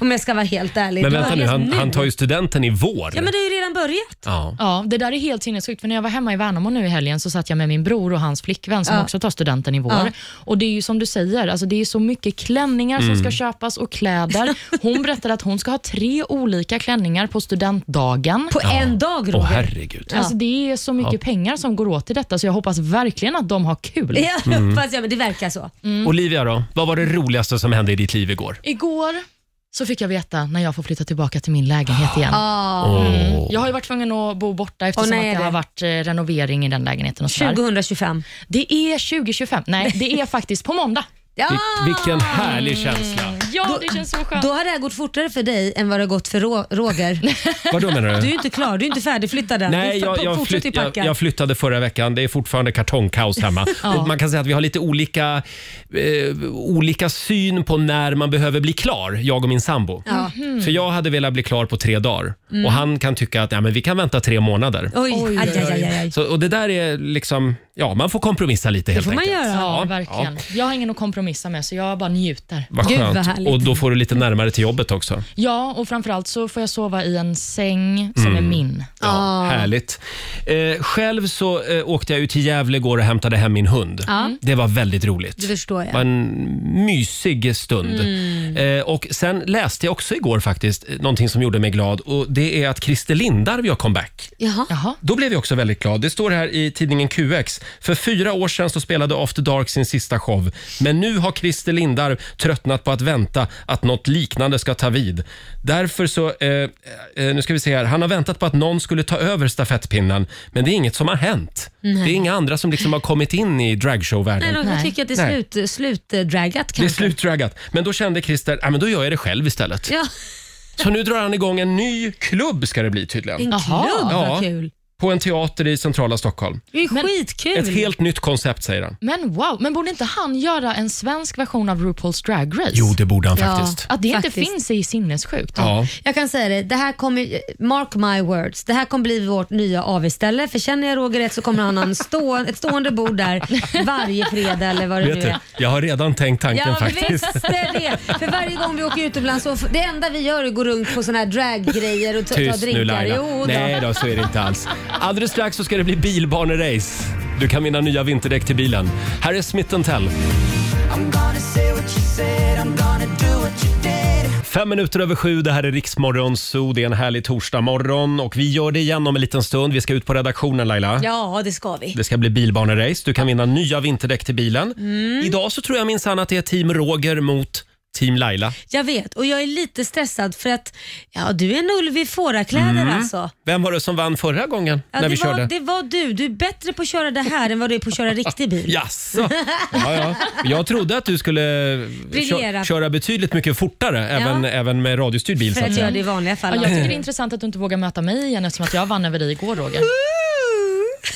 [SPEAKER 2] Om jag ska vara helt ärlig.
[SPEAKER 1] Men
[SPEAKER 2] Det
[SPEAKER 1] vänta
[SPEAKER 2] var
[SPEAKER 1] nu,
[SPEAKER 2] helt
[SPEAKER 1] han, han tar ju studenten i vår.
[SPEAKER 2] Ja, men det har ju redan börjat.
[SPEAKER 1] Ja.
[SPEAKER 3] Ja, det där är helt sinnessjukt. För när jag var hemma i Värnamo nu i helgen så satt jag med min bror och hans flickvän som
[SPEAKER 2] Ja.
[SPEAKER 3] också tar studenten i vår.
[SPEAKER 2] Ja.
[SPEAKER 3] Och det är ju som du säger, alltså det är så mycket klänningar som ska köpas och kläder. Hon berättade att hon ska ha tre olika klänningar på studentdagen.
[SPEAKER 2] På en dag
[SPEAKER 1] Åh
[SPEAKER 2] Roger.
[SPEAKER 1] herregud.
[SPEAKER 3] Alltså det är så mycket pengar som går åt till detta så jag hoppas verkligen att de har kul.
[SPEAKER 2] Ja,
[SPEAKER 1] Mm.
[SPEAKER 2] fast, ja, men det verkar så.
[SPEAKER 1] Olivia då, vad var det roligaste som hände i ditt liv igår?
[SPEAKER 3] Igår så fick jag veta när jag får flytta tillbaka till min lägenhet igen.
[SPEAKER 1] Åh.
[SPEAKER 3] Jag har ju varit tvungen att bo borta eftersom
[SPEAKER 2] Åh, nej,
[SPEAKER 3] att det
[SPEAKER 2] det-
[SPEAKER 3] har varit eh, renovering i den lägenheten. Och sådär.
[SPEAKER 2] 2025.
[SPEAKER 3] Det är 2025. Nej, det är faktiskt på måndag.
[SPEAKER 2] Ja!
[SPEAKER 1] Vil- vilken härlig
[SPEAKER 2] Mm.
[SPEAKER 1] känsla.
[SPEAKER 3] Ja, det känns så skönt.
[SPEAKER 2] Då har det här gått fortare för dig än vad det har gått för Ro- Roger.
[SPEAKER 1] Vad då menar
[SPEAKER 2] Du är inte klar, du är inte färdigflyttad än.
[SPEAKER 1] Nej,
[SPEAKER 2] du
[SPEAKER 1] jag, jag,
[SPEAKER 2] fortsätter
[SPEAKER 1] flytt,
[SPEAKER 2] ju
[SPEAKER 1] jag,
[SPEAKER 2] packa.
[SPEAKER 1] jag flyttade förra veckan. Det är fortfarande kartongkaos hemma. och man kan säga att vi har lite olika, eh, olika syn på när man behöver bli klar, jag och min sambo.
[SPEAKER 2] Ja. Mhm. Mm.
[SPEAKER 1] För jag hade velat bli klar på tre dagar och han kan tycka att ja, men vi kan vänta tre månader.
[SPEAKER 2] Oj, aj, aj, aj, aj, aj.
[SPEAKER 1] Så, och det där är liksom, ja man får kompromissa lite helt
[SPEAKER 2] får man
[SPEAKER 1] enkelt.
[SPEAKER 2] göra.
[SPEAKER 3] Ja,
[SPEAKER 1] Ja,
[SPEAKER 3] verkligen. Jag har ingen att kompromissa med, så jag bara njuter.
[SPEAKER 1] Vad
[SPEAKER 2] Gud, vad
[SPEAKER 1] skönt.
[SPEAKER 2] härligt.
[SPEAKER 1] och då får du lite närmare till jobbet också.
[SPEAKER 3] Ja, och framförallt så får jag sova i en säng som
[SPEAKER 1] Mm.
[SPEAKER 3] är min.
[SPEAKER 1] Ja, Härligt. Eh, själv så eh, åkte jag ut till Gävle igår och hämtade hem min hund. Det var väldigt roligt.
[SPEAKER 2] Det förstår jag.
[SPEAKER 1] var en mysig stund.
[SPEAKER 2] Mm.
[SPEAKER 1] Eh, och Sen läste jag också igår faktiskt eh, någonting som gjorde mig glad och det är att Christer Lindarw gör comeback.
[SPEAKER 2] Jaha.
[SPEAKER 3] Jaha.
[SPEAKER 1] Då blev jag också väldigt glad. Det står här i tidningen QX. För fyra år sedan så spelade After Dark sin sista show. Men nu har Christer Lindarw tröttnat på att vänta att något liknande ska ta vid. Därför så, eh, eh, nu ska vi se här. Han har väntat på att någon skulle ta över stafettpinnen. Men det är inget som har hänt. Det är inga andra som liksom har kommit in i dragshow-världen.
[SPEAKER 2] Nej, de
[SPEAKER 3] Nej.
[SPEAKER 2] tycker att det
[SPEAKER 1] Nej.
[SPEAKER 2] är slut, slutdragat kanske.
[SPEAKER 1] Det är slutdraggat. Men då kände Christer, ja men då gör jag det själv istället.
[SPEAKER 2] Ja,
[SPEAKER 1] Så nu drar han igång en ny klubb ska det bli tydligen.
[SPEAKER 2] en
[SPEAKER 3] Jaha.
[SPEAKER 2] klubb,
[SPEAKER 1] Ja.
[SPEAKER 2] vad kul.
[SPEAKER 1] på en teater i centrala Stockholm.
[SPEAKER 2] Det är ju
[SPEAKER 3] Men-
[SPEAKER 2] skitkul.
[SPEAKER 1] Ett helt nytt koncept säger han.
[SPEAKER 3] Men wow, men borde inte han göra en svensk version av RuPaul's Drag Race?
[SPEAKER 1] Jo, det borde han
[SPEAKER 2] Ja.
[SPEAKER 1] faktiskt.
[SPEAKER 3] Att det inte
[SPEAKER 2] Faktiskt.
[SPEAKER 3] finns är ju sinnessjukt.
[SPEAKER 1] Ja.
[SPEAKER 2] Jag kan säga det, det här kommer, mark my words, det här kommer bli vårt nya AV-ställe. För känner jag Roger rätt så kommer han ha en stå, ett stående bord där varje fredag eller vad det
[SPEAKER 1] Vet
[SPEAKER 2] nu
[SPEAKER 1] du,
[SPEAKER 2] är.
[SPEAKER 1] jag har redan tänkt tanken
[SPEAKER 2] Ja, men
[SPEAKER 1] faktiskt.
[SPEAKER 2] visst är det. För varje gång vi åker utomlands så det enda vi gör är att gå runt på såna här draggrejer och ta, ta
[SPEAKER 1] Tyst
[SPEAKER 2] drinkar.
[SPEAKER 1] nu Laila.
[SPEAKER 2] Jo, då.
[SPEAKER 1] Nej då, så är det inte alls. Alldeles strax så ska det bli bilbanerace. Du kan vinna nya vinterdäck till bilen. Här är Smith Tell. Fem minuter över sju, det här är Riksmorgon Zoo. Det är en härlig torsdagmorgon och vi gör det igen om en liten stund. Vi ska ut på redaktionen Laila.
[SPEAKER 2] Ja, det ska vi.
[SPEAKER 1] Det ska bli bilbanerace. Du kan vinna nya vinterdäck till bilen.
[SPEAKER 2] Mm.
[SPEAKER 1] Idag så tror jag minsann att det är team Roger mot team Laila.
[SPEAKER 2] Jag vet och jag är lite stressad för att ja, du är en ulv i fårakläder alltså.
[SPEAKER 1] Vem var det som vann förra gången
[SPEAKER 2] Ja,
[SPEAKER 1] Mm. när
[SPEAKER 2] det,
[SPEAKER 1] vi
[SPEAKER 2] var,
[SPEAKER 1] körde?
[SPEAKER 2] det var du. Du är bättre på att köra det här än vad du är på att köra riktig bil.
[SPEAKER 1] Jaså? Ja, ja. Jag trodde att du skulle eh, kö-
[SPEAKER 2] Briljera.
[SPEAKER 1] köra betydligt mycket fortare, även, även med radiostyrd bil. Så
[SPEAKER 2] För
[SPEAKER 1] att
[SPEAKER 2] att göra
[SPEAKER 1] säga.
[SPEAKER 2] det i vanliga
[SPEAKER 3] Ja,
[SPEAKER 2] fall.
[SPEAKER 3] jag tycker det är intressant att du inte vågar möta mig igen eftersom att jag vann över dig igår Roger.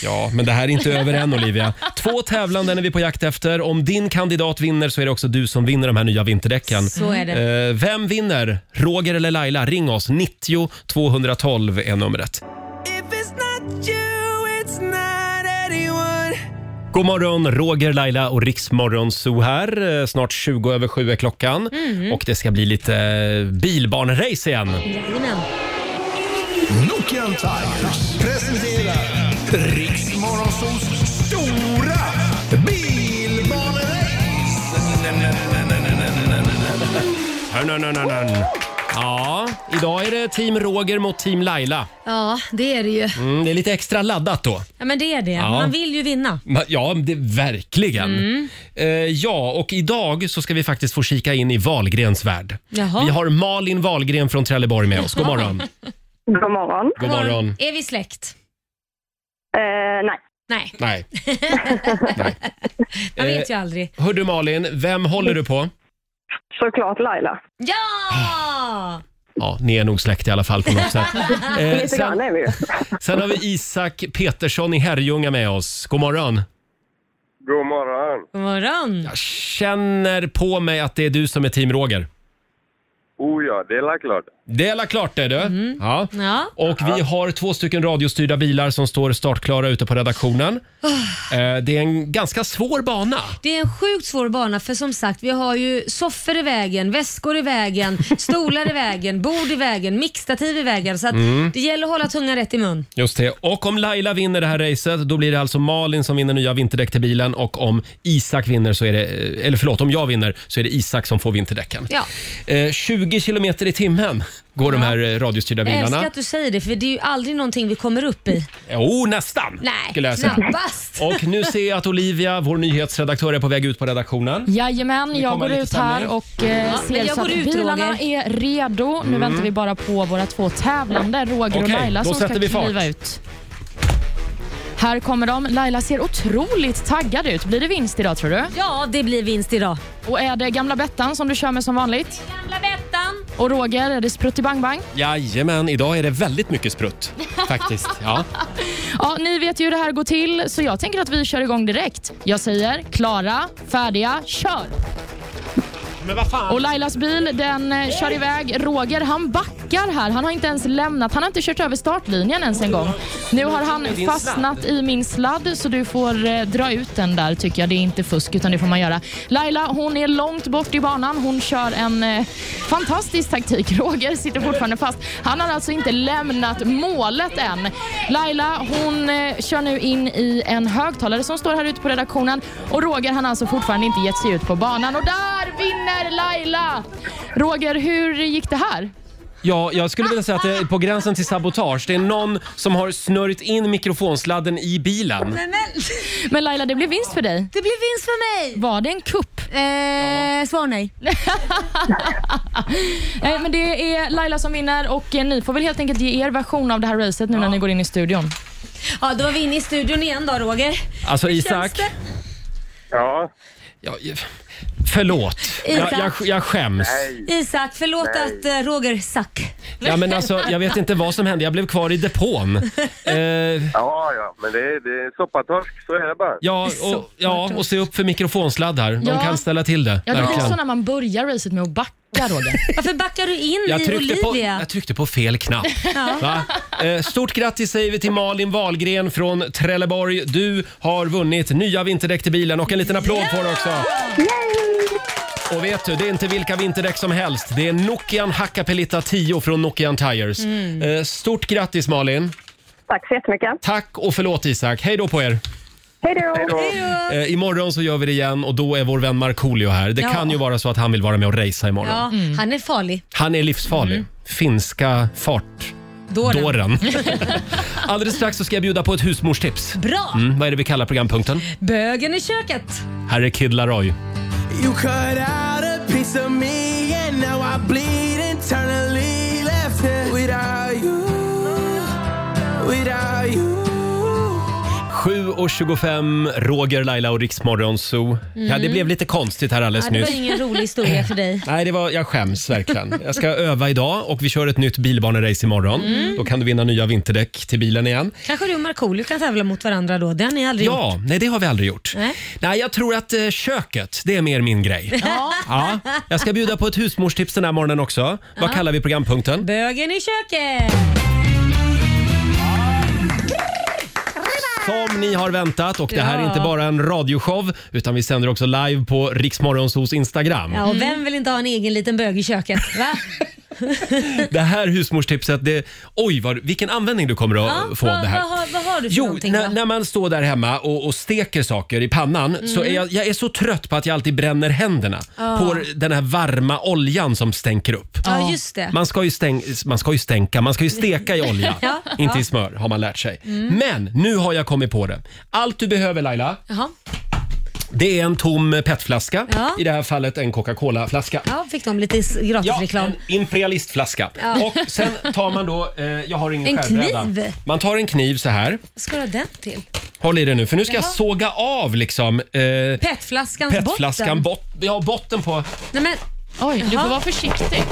[SPEAKER 1] Ja, men det här är inte över än, Olivia. Två tävlande är vi på jakt efter. Om din kandidat vinner så är det också du som vinner de här nya vinterdäcken.
[SPEAKER 2] Så är det.
[SPEAKER 1] Eh, Vem vinner? Roger eller Laila? Ring oss. 90 212 är numret. God morgon, Roger, Laila och Riksmorgon Zoo här. Eh, Snart 20 över 7 är klockan och det ska bli lite bilbanerace igen.
[SPEAKER 2] Jajamän.
[SPEAKER 6] Nokian Tigers presenterar Riksmorgonsols stora bilbanerace.
[SPEAKER 1] Hörnönönönön. Ja, idag är det team Roger mot team Laila.
[SPEAKER 2] Ja, det är det ju.
[SPEAKER 1] Mm, det är lite extra laddat då.
[SPEAKER 2] Ja, men det är det. Man vill ju vinna.
[SPEAKER 1] Ma- Ja, det, verkligen. Eh, ja, och idag så ska vi faktiskt få kika in i Wahlgrens värld.
[SPEAKER 2] Jaha.
[SPEAKER 1] Vi har Malin Wahlgren från Trelleborg med oss. God morgon.
[SPEAKER 5] God morgon.
[SPEAKER 1] God morgon.
[SPEAKER 2] Är vi släkt?
[SPEAKER 5] Eh, nej.
[SPEAKER 2] Nej,
[SPEAKER 1] Nej. Nej.
[SPEAKER 2] man
[SPEAKER 1] Eh,
[SPEAKER 2] vet ju aldrig.
[SPEAKER 1] Hör du Malin, vem håller du på?
[SPEAKER 5] Såklart Laila.
[SPEAKER 1] Ah.
[SPEAKER 2] Ja!
[SPEAKER 1] Ja, ni är nog släkt i alla fall på något sätt. Eh,
[SPEAKER 5] Lite grann
[SPEAKER 1] sen,
[SPEAKER 5] är vi ju.
[SPEAKER 1] sen har vi Isak Petersson i Herrljunga med oss. God morgon.
[SPEAKER 9] God morgon.
[SPEAKER 2] God morgon.
[SPEAKER 1] Jag känner på mig att det är du som är team Roger.
[SPEAKER 9] Oh ja, det är la klart.
[SPEAKER 1] Det är alla klart det du.
[SPEAKER 2] Mhm.
[SPEAKER 1] Ja.
[SPEAKER 2] Ja.
[SPEAKER 1] Och vi har två stycken radiostyrda bilar som står startklara ute på redaktionen.
[SPEAKER 2] Ah.
[SPEAKER 1] Eh, Det är en ganska svår bana.
[SPEAKER 2] Det är en sjukt svår bana för som sagt vi har ju soffor i vägen, väskor i vägen, stolar i vägen, bord i vägen, mickstativ i vägen. Så att
[SPEAKER 1] Mm.
[SPEAKER 2] det gäller att hålla tungan rätt i mun.
[SPEAKER 1] Just det. Och om Laila vinner det här racet, då blir det alltså Malin som vinner nya vinterdäck till bilen och om Isak vinner så är det, eh, eller förlåt, om jag vinner så är det Isak som får vinterdäcken.
[SPEAKER 2] Ja.
[SPEAKER 1] Eh, 20 kilometer i timmen går de här eh, radiostyrda
[SPEAKER 2] Jag älskar
[SPEAKER 1] bilarna.
[SPEAKER 2] att du säger det för det är ju aldrig någonting vi kommer upp i.
[SPEAKER 1] Jo, nästan
[SPEAKER 2] Nej,
[SPEAKER 1] skulle jag säga.
[SPEAKER 2] knappast.
[SPEAKER 1] Och nu ser jag att Olivia, vår nyhetsredaktör, är på väg ut på redaktionen.
[SPEAKER 3] Jajamän, jag
[SPEAKER 1] kommer lite
[SPEAKER 3] går
[SPEAKER 1] Mm.
[SPEAKER 3] ut
[SPEAKER 1] senare.
[SPEAKER 3] här och eh, ser
[SPEAKER 2] men jag
[SPEAKER 3] så att
[SPEAKER 2] går ut,
[SPEAKER 3] bilarna
[SPEAKER 2] Roger.
[SPEAKER 3] är redo. Nu väntar vi bara på våra två tävlande, Roger och
[SPEAKER 1] Mm. Okej,
[SPEAKER 3] Laila,
[SPEAKER 1] då
[SPEAKER 3] som ska
[SPEAKER 1] sätter vi fart.
[SPEAKER 3] kliva ut. Här kommer de. Laila ser otroligt taggad ut. Blir det vinst idag tror du?
[SPEAKER 2] Ja, det blir vinst idag.
[SPEAKER 3] Och är det gamla Bettan som du kör med som vanligt?
[SPEAKER 2] Gamla Bettan.
[SPEAKER 3] Och Roger, är det sprutt i bang bang?
[SPEAKER 1] Jajamän, idag är det väldigt mycket sprutt faktiskt. Ja.
[SPEAKER 3] Ja, ni vet ju hur det här går till, så jag tänker att vi kör igång direkt. Jag säger klara, färdiga, kör!
[SPEAKER 1] Men vad fan?
[SPEAKER 3] Och Lailas bil, den eh, kör iväg. Roger, han backar här. Han har inte ens lämnat. Han har inte kört över startlinjen ens en gång. Nu har han fastnat i min sladd, så du får eh, dra ut den där tycker jag. Det är inte fusk, utan det får man göra. Laila, hon är långt bort i banan. Hon kör en eh, fantastisk taktik. Roger sitter fortfarande fast. Han har alltså inte lämnat målet än. Laila, hon eh, kör nu in i en högtalare som står här ute på redaktionen. Och Roger, han har alltså fortfarande inte gett sig ut på banan. Och där vinner Laila! Roger, hur gick det här?
[SPEAKER 1] Ja, jag skulle vilja säga att det är på gränsen till sabotage. Det är någon som har snurrit in mikrofonsladden i bilen.
[SPEAKER 2] Men, men,
[SPEAKER 3] Men Laila, det blev vinst för dig.
[SPEAKER 2] det blir vinst för mig.
[SPEAKER 3] Var det en kupp?
[SPEAKER 2] Eh, svar nej.
[SPEAKER 3] Nej, men det är Laila som vinner och eh, ni får väl helt enkelt ge er version av det här racet nu när ni går in i studion.
[SPEAKER 2] Ja, då var vi inne i studion igen då Roger.
[SPEAKER 1] Alltså
[SPEAKER 2] Känns
[SPEAKER 1] Isak,
[SPEAKER 2] det?
[SPEAKER 9] Ja,
[SPEAKER 1] ja, Förlåt. Jag,
[SPEAKER 2] Isak.
[SPEAKER 1] jag, jag skäms.
[SPEAKER 2] Isak, förlåt att eh, Roger sack.
[SPEAKER 1] Ja, men alltså, jag vet inte vad som hände. Jag blev kvar i depån. Eh,
[SPEAKER 9] Ja, ja, men det är, det är soppatorsk, så är det bara.
[SPEAKER 1] ja, och, ja, och se upp för mikrofonsladdar. De
[SPEAKER 3] Ja.
[SPEAKER 1] kan ställa till det.
[SPEAKER 3] Ja, det blir
[SPEAKER 1] verkligen.
[SPEAKER 3] så när man börjar racet med att backa, Roger.
[SPEAKER 2] Varför backar du in
[SPEAKER 1] Jag
[SPEAKER 2] i
[SPEAKER 1] tryckte, på,
[SPEAKER 2] Olivia?
[SPEAKER 1] jag tryckte på fel knapp.
[SPEAKER 2] Ja.
[SPEAKER 1] Va? Eh, Stort grattis säger vi till Malin Wahlgren från Trelleborg. Du har vunnit nya vinterdäck till bilen och en liten applåd får du också. Och vet du, det är inte vilka vinterdäck som helst. Det är Nokian Hakkapeliitta 10 från Nokian Tires.
[SPEAKER 5] Mm.
[SPEAKER 1] Eh, Stort grattis Malin!
[SPEAKER 5] Tack så jättemycket.
[SPEAKER 1] Tack och förlåt Isak. Hej då på er!
[SPEAKER 5] Hej då!
[SPEAKER 1] Eh, imorgon så gör vi det igen och då är vår vän Markoolio här. Det
[SPEAKER 2] Ja.
[SPEAKER 1] kan ju vara så att han vill vara med och racea imorgon.
[SPEAKER 2] Ja, Mm. Han är farlig.
[SPEAKER 1] Han är livsfarlig. Finska fart.
[SPEAKER 2] Dåren.
[SPEAKER 1] Dåren. Alldeles strax så ska jag bjuda på ett husmorstips.
[SPEAKER 2] Bra.
[SPEAKER 1] Mm, vad är det vi kallar programpunkten?
[SPEAKER 2] Bögen i köket.
[SPEAKER 1] Här är Kid Laroi.
[SPEAKER 6] You cut out a piece of me and now I bleed internally left it without you, without you
[SPEAKER 1] 7.25, Roger, Laila och Riksmorgon Zoo.
[SPEAKER 2] Mm.
[SPEAKER 1] Ja, det blev lite konstigt här alldeles
[SPEAKER 2] Ja, det var
[SPEAKER 1] nyss.
[SPEAKER 2] ingen rolig historia för dig.
[SPEAKER 1] Nej, det var, jag skäms verkligen. Jag ska öva idag och vi kör ett nytt bilbanerace imorgon.
[SPEAKER 2] Mm.
[SPEAKER 1] Då kan du vinna nya vinterdäck till bilen igen.
[SPEAKER 2] Kanske du och Markoolio kan tävla mot varandra då? Det har ni aldrig gjort.
[SPEAKER 1] Ja, nej det har vi aldrig gjort.
[SPEAKER 2] Nej.
[SPEAKER 1] Nej, jag tror att eh, köket, det är mer min grej.
[SPEAKER 2] Ja.
[SPEAKER 1] Ja, jag ska bjuda på ett husmorstips den här morgonen också. Vad
[SPEAKER 2] Ja.
[SPEAKER 1] kallar vi programpunkten?
[SPEAKER 2] Bögen i köket.
[SPEAKER 1] Som ni har väntat och det här är
[SPEAKER 2] Ja.
[SPEAKER 1] inte bara en radioshow utan vi sänder också live på Riksmorgonsos Instagram.
[SPEAKER 2] Ja, och vem vill inte ha en egen liten bög i köket? Va?
[SPEAKER 1] Det här husmorstipset, det, oj vad, vilken användning du kommer att
[SPEAKER 2] Ja,
[SPEAKER 1] få
[SPEAKER 2] vad,
[SPEAKER 1] av det här.
[SPEAKER 2] Vad, har, vad har du för
[SPEAKER 1] Jo,
[SPEAKER 2] någonting?
[SPEAKER 1] när,
[SPEAKER 2] då?
[SPEAKER 1] när man står där hemma och, och steker saker i pannan så
[SPEAKER 2] Mm.
[SPEAKER 1] är jag, jag är så trött på att jag alltid bränner händerna
[SPEAKER 2] Ja.
[SPEAKER 1] på den här varma oljan som stänker upp.
[SPEAKER 2] Ja, just det.
[SPEAKER 1] Man ska, ju stäng, man ska ju stänka, man ska ju steka i olja,
[SPEAKER 2] Ja,
[SPEAKER 1] inte
[SPEAKER 2] ja.
[SPEAKER 1] i smör har man lärt sig.
[SPEAKER 2] Mm.
[SPEAKER 1] Men nu har jag kommit på det. Allt du behöver Laila,
[SPEAKER 2] Jaha.
[SPEAKER 1] det är en tom petflaska,
[SPEAKER 2] Ja.
[SPEAKER 1] i det här fallet en Coca-Cola-flaska.
[SPEAKER 2] Ja, fick de lite s- gratisreklam.
[SPEAKER 1] Imperialistflaska.
[SPEAKER 2] Ja.
[SPEAKER 1] Och sen tar man då, eh, jag har ingen
[SPEAKER 2] En
[SPEAKER 1] skärbräda.
[SPEAKER 2] kniv?
[SPEAKER 1] Man tar en kniv så här.
[SPEAKER 2] Vad ska du ha den till?
[SPEAKER 1] Håll i det nu för nu ska jag
[SPEAKER 2] Jaha.
[SPEAKER 1] såga av liksom eh,
[SPEAKER 2] Petflaskans
[SPEAKER 1] petflaskan,
[SPEAKER 2] botten?
[SPEAKER 1] bot, ja, botten på.
[SPEAKER 2] Nej, men, Oj,
[SPEAKER 3] du får vara försiktig.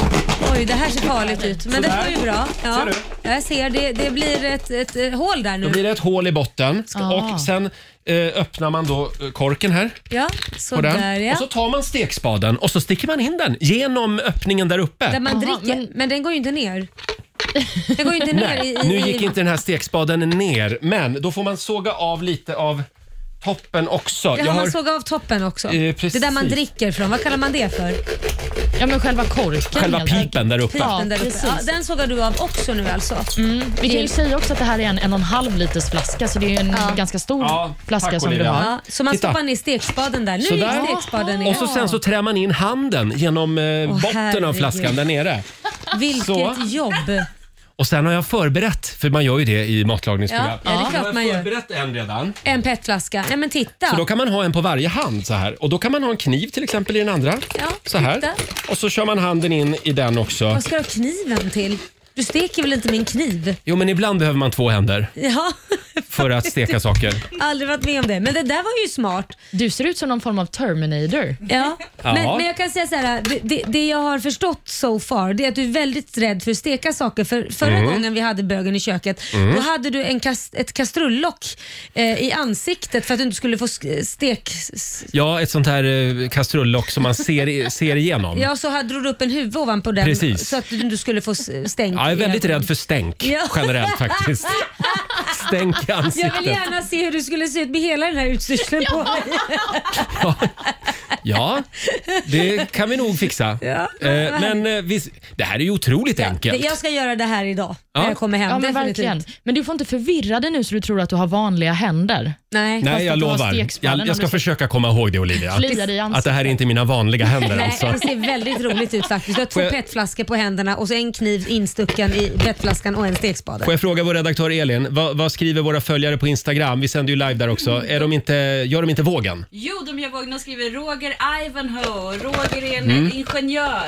[SPEAKER 2] Oj, det här ser farligt ut. Men det
[SPEAKER 1] Sådär.
[SPEAKER 2] var ju bra. Ja.
[SPEAKER 1] Ser du?
[SPEAKER 2] Jag ser, det, det blir ett, ett, eh, hål där
[SPEAKER 1] Då
[SPEAKER 2] nu.
[SPEAKER 1] blir det ett hål i botten
[SPEAKER 2] Ah.
[SPEAKER 1] och sen eh, öppnar man då eh, korken här.
[SPEAKER 2] Ja,
[SPEAKER 1] på den.
[SPEAKER 2] sådär ja.
[SPEAKER 1] Och så tar man stekspaden och så sticker man in den genom öppningen där uppe.
[SPEAKER 2] Där man dricker. Men... den går ju inte ner. Den går ju inte ner i...
[SPEAKER 1] Nej,
[SPEAKER 2] i
[SPEAKER 1] nu gick inte den här stekspaden ner, men då får man såga av lite av toppen också.
[SPEAKER 2] Jaha,
[SPEAKER 1] Jag
[SPEAKER 2] man
[SPEAKER 1] har-
[SPEAKER 2] såg av toppen också.
[SPEAKER 1] Eh, precis.
[SPEAKER 2] det där man dricker från, vad kallar man det för?
[SPEAKER 3] Ja, men själva korken.
[SPEAKER 1] Själva
[SPEAKER 3] helt enkelt.
[SPEAKER 1] pipen där uppe.
[SPEAKER 2] Pipen
[SPEAKER 3] Ja,
[SPEAKER 2] där uppe.
[SPEAKER 3] precis.
[SPEAKER 2] Ja, den sågar du av också nu alltså?
[SPEAKER 3] Vi kan ju säga också att det här är en en och en halv liters flaska, så det är ju en
[SPEAKER 2] Ja.
[SPEAKER 3] ganska stor
[SPEAKER 1] Ja,
[SPEAKER 3] flaska
[SPEAKER 1] tack,
[SPEAKER 3] som
[SPEAKER 1] Olivia.
[SPEAKER 3] du har.
[SPEAKER 1] Ja.
[SPEAKER 2] Så man
[SPEAKER 1] Titta.
[SPEAKER 2] stoppar ner stekspaden där. Nu
[SPEAKER 1] Sådär.
[SPEAKER 2] gick stekspaden ner.
[SPEAKER 1] Och så sen så trär man in handen genom eh, botten av
[SPEAKER 2] herregud.
[SPEAKER 1] flaskan där nere.
[SPEAKER 2] Vilket
[SPEAKER 1] Så.
[SPEAKER 2] jobb!
[SPEAKER 1] Och sen har jag förberett, för man gör ju det i matlagningsprogram.
[SPEAKER 2] Ja, ja, det är klart man
[SPEAKER 1] Jag
[SPEAKER 2] gör.
[SPEAKER 1] har förberett en redan.
[SPEAKER 2] En petflaska. Nej men titta!
[SPEAKER 1] Så då kan man ha en på varje hand så här. Och då kan man ha en kniv till exempel i den andra.
[SPEAKER 2] Ja,
[SPEAKER 1] Så här.
[SPEAKER 2] titta.
[SPEAKER 1] Och så kör man handen in i den också.
[SPEAKER 2] Vad ska du ha kniven till? Du steker väl inte med en kniv?
[SPEAKER 1] Jo men ibland behöver man två händer
[SPEAKER 2] Ja,
[SPEAKER 1] för att steka saker.
[SPEAKER 2] aldrig varit med om det. Men det där var ju smart.
[SPEAKER 3] Du ser ut som någon form av Terminator.
[SPEAKER 2] Ja.
[SPEAKER 1] Ja.
[SPEAKER 2] Men, men jag kan säga så här, det- det, det jag har förstått so far det är att du är väldigt rädd för att steka saker. För förra
[SPEAKER 10] Mm.
[SPEAKER 2] gången vi hade bögen i köket,
[SPEAKER 10] Mm.
[SPEAKER 2] då hade du en kast, ett kastrullock eh, i ansiktet för att du inte skulle få sk- stek... s-
[SPEAKER 1] Ja, ett sånt här eh, kastrullock som man ser, i- ser igenom.
[SPEAKER 2] Ja, så hade du upp en huvud ovanpå den
[SPEAKER 1] Precis.
[SPEAKER 2] så att du inte skulle få s- stänk.
[SPEAKER 1] Ja, jag är
[SPEAKER 2] i
[SPEAKER 1] väldigt
[SPEAKER 2] ögonen.
[SPEAKER 1] rädd för stänk
[SPEAKER 2] Ja.
[SPEAKER 1] generellt faktiskt. Stänk i ansiktet.
[SPEAKER 2] Jag vill gärna se hur du skulle se ut med hela den här utstyrseln på dig.
[SPEAKER 1] Ja, det kan vi nog fixa. Eh, Men eh, vi, det här är ju otroligt enkelt.
[SPEAKER 2] Jag ska göra det här idag
[SPEAKER 1] Ja.
[SPEAKER 2] när jag kommer hem.
[SPEAKER 3] Ja, men,
[SPEAKER 2] definitivt.
[SPEAKER 3] verkligen. men du får inte förvirra dig nu så du tror att du har vanliga händer.
[SPEAKER 2] Nej.
[SPEAKER 1] Nej, jag
[SPEAKER 3] att du har
[SPEAKER 1] lovar.
[SPEAKER 3] stekspallen
[SPEAKER 1] Jag, jag ska
[SPEAKER 3] om du-
[SPEAKER 1] försöka komma ihåg det, Olivia.
[SPEAKER 3] Kliar i
[SPEAKER 1] Att det här är inte mina vanliga händer.
[SPEAKER 2] Nej,
[SPEAKER 1] Alltså.
[SPEAKER 2] det ser väldigt roligt ut faktiskt. Du har två
[SPEAKER 1] Får jag-
[SPEAKER 2] petflaskor på händerna och så en kniv instucken i petflaskan och en stekspade.
[SPEAKER 1] Får jag fråga vår redaktör Elin, vad, vad skriver våra följare på Instagram? Vi sänder ju live där också. Är de inte, gör de inte vågen?
[SPEAKER 11] Jo, de gör vågen. De skriver Roger Ivanhoe. Roger är en
[SPEAKER 1] Mm.
[SPEAKER 11] ingenjör.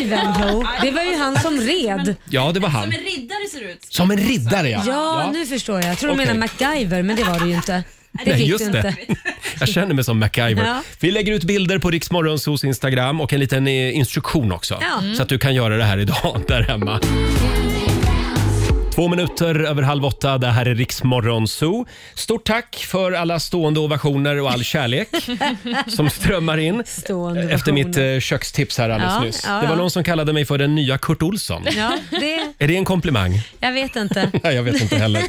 [SPEAKER 2] Ivanhoe, det var ju han som red.
[SPEAKER 1] Ja, det var han.
[SPEAKER 11] Som en riddare ser det ut.
[SPEAKER 1] Som en riddare, ja.
[SPEAKER 2] Ja, nu förstår jag. Jag tror
[SPEAKER 1] Okej.
[SPEAKER 2] du menar MacGyver, men det var det ju inte. det
[SPEAKER 1] Nej,
[SPEAKER 2] fick
[SPEAKER 1] just
[SPEAKER 2] du
[SPEAKER 1] det.
[SPEAKER 2] inte.
[SPEAKER 1] Jag känner mig som MacGyver.
[SPEAKER 2] Ja.
[SPEAKER 1] Vi lägger ut bilder på Riksmorgonsos Instagram och en liten eh, instruktion också.
[SPEAKER 2] Ja. Mm.
[SPEAKER 1] Så att du kan göra det här idag där hemma. Två minuter över halv åtta, det här är Riksmorgonso. Stort tack för alla stående ovationer och all kärlek som strömmar in
[SPEAKER 2] Stående
[SPEAKER 1] efter
[SPEAKER 2] ovationer.
[SPEAKER 1] mitt eh, kökstips här alldeles
[SPEAKER 2] Ja,
[SPEAKER 1] nyss.
[SPEAKER 2] ja,
[SPEAKER 1] Det var
[SPEAKER 2] ja.
[SPEAKER 1] någon som kallade mig för den nya Kurt Olsson.
[SPEAKER 2] Ja, det,
[SPEAKER 1] Är det en komplimang?
[SPEAKER 2] jag vet inte.
[SPEAKER 1] Nej, jag vet inte heller.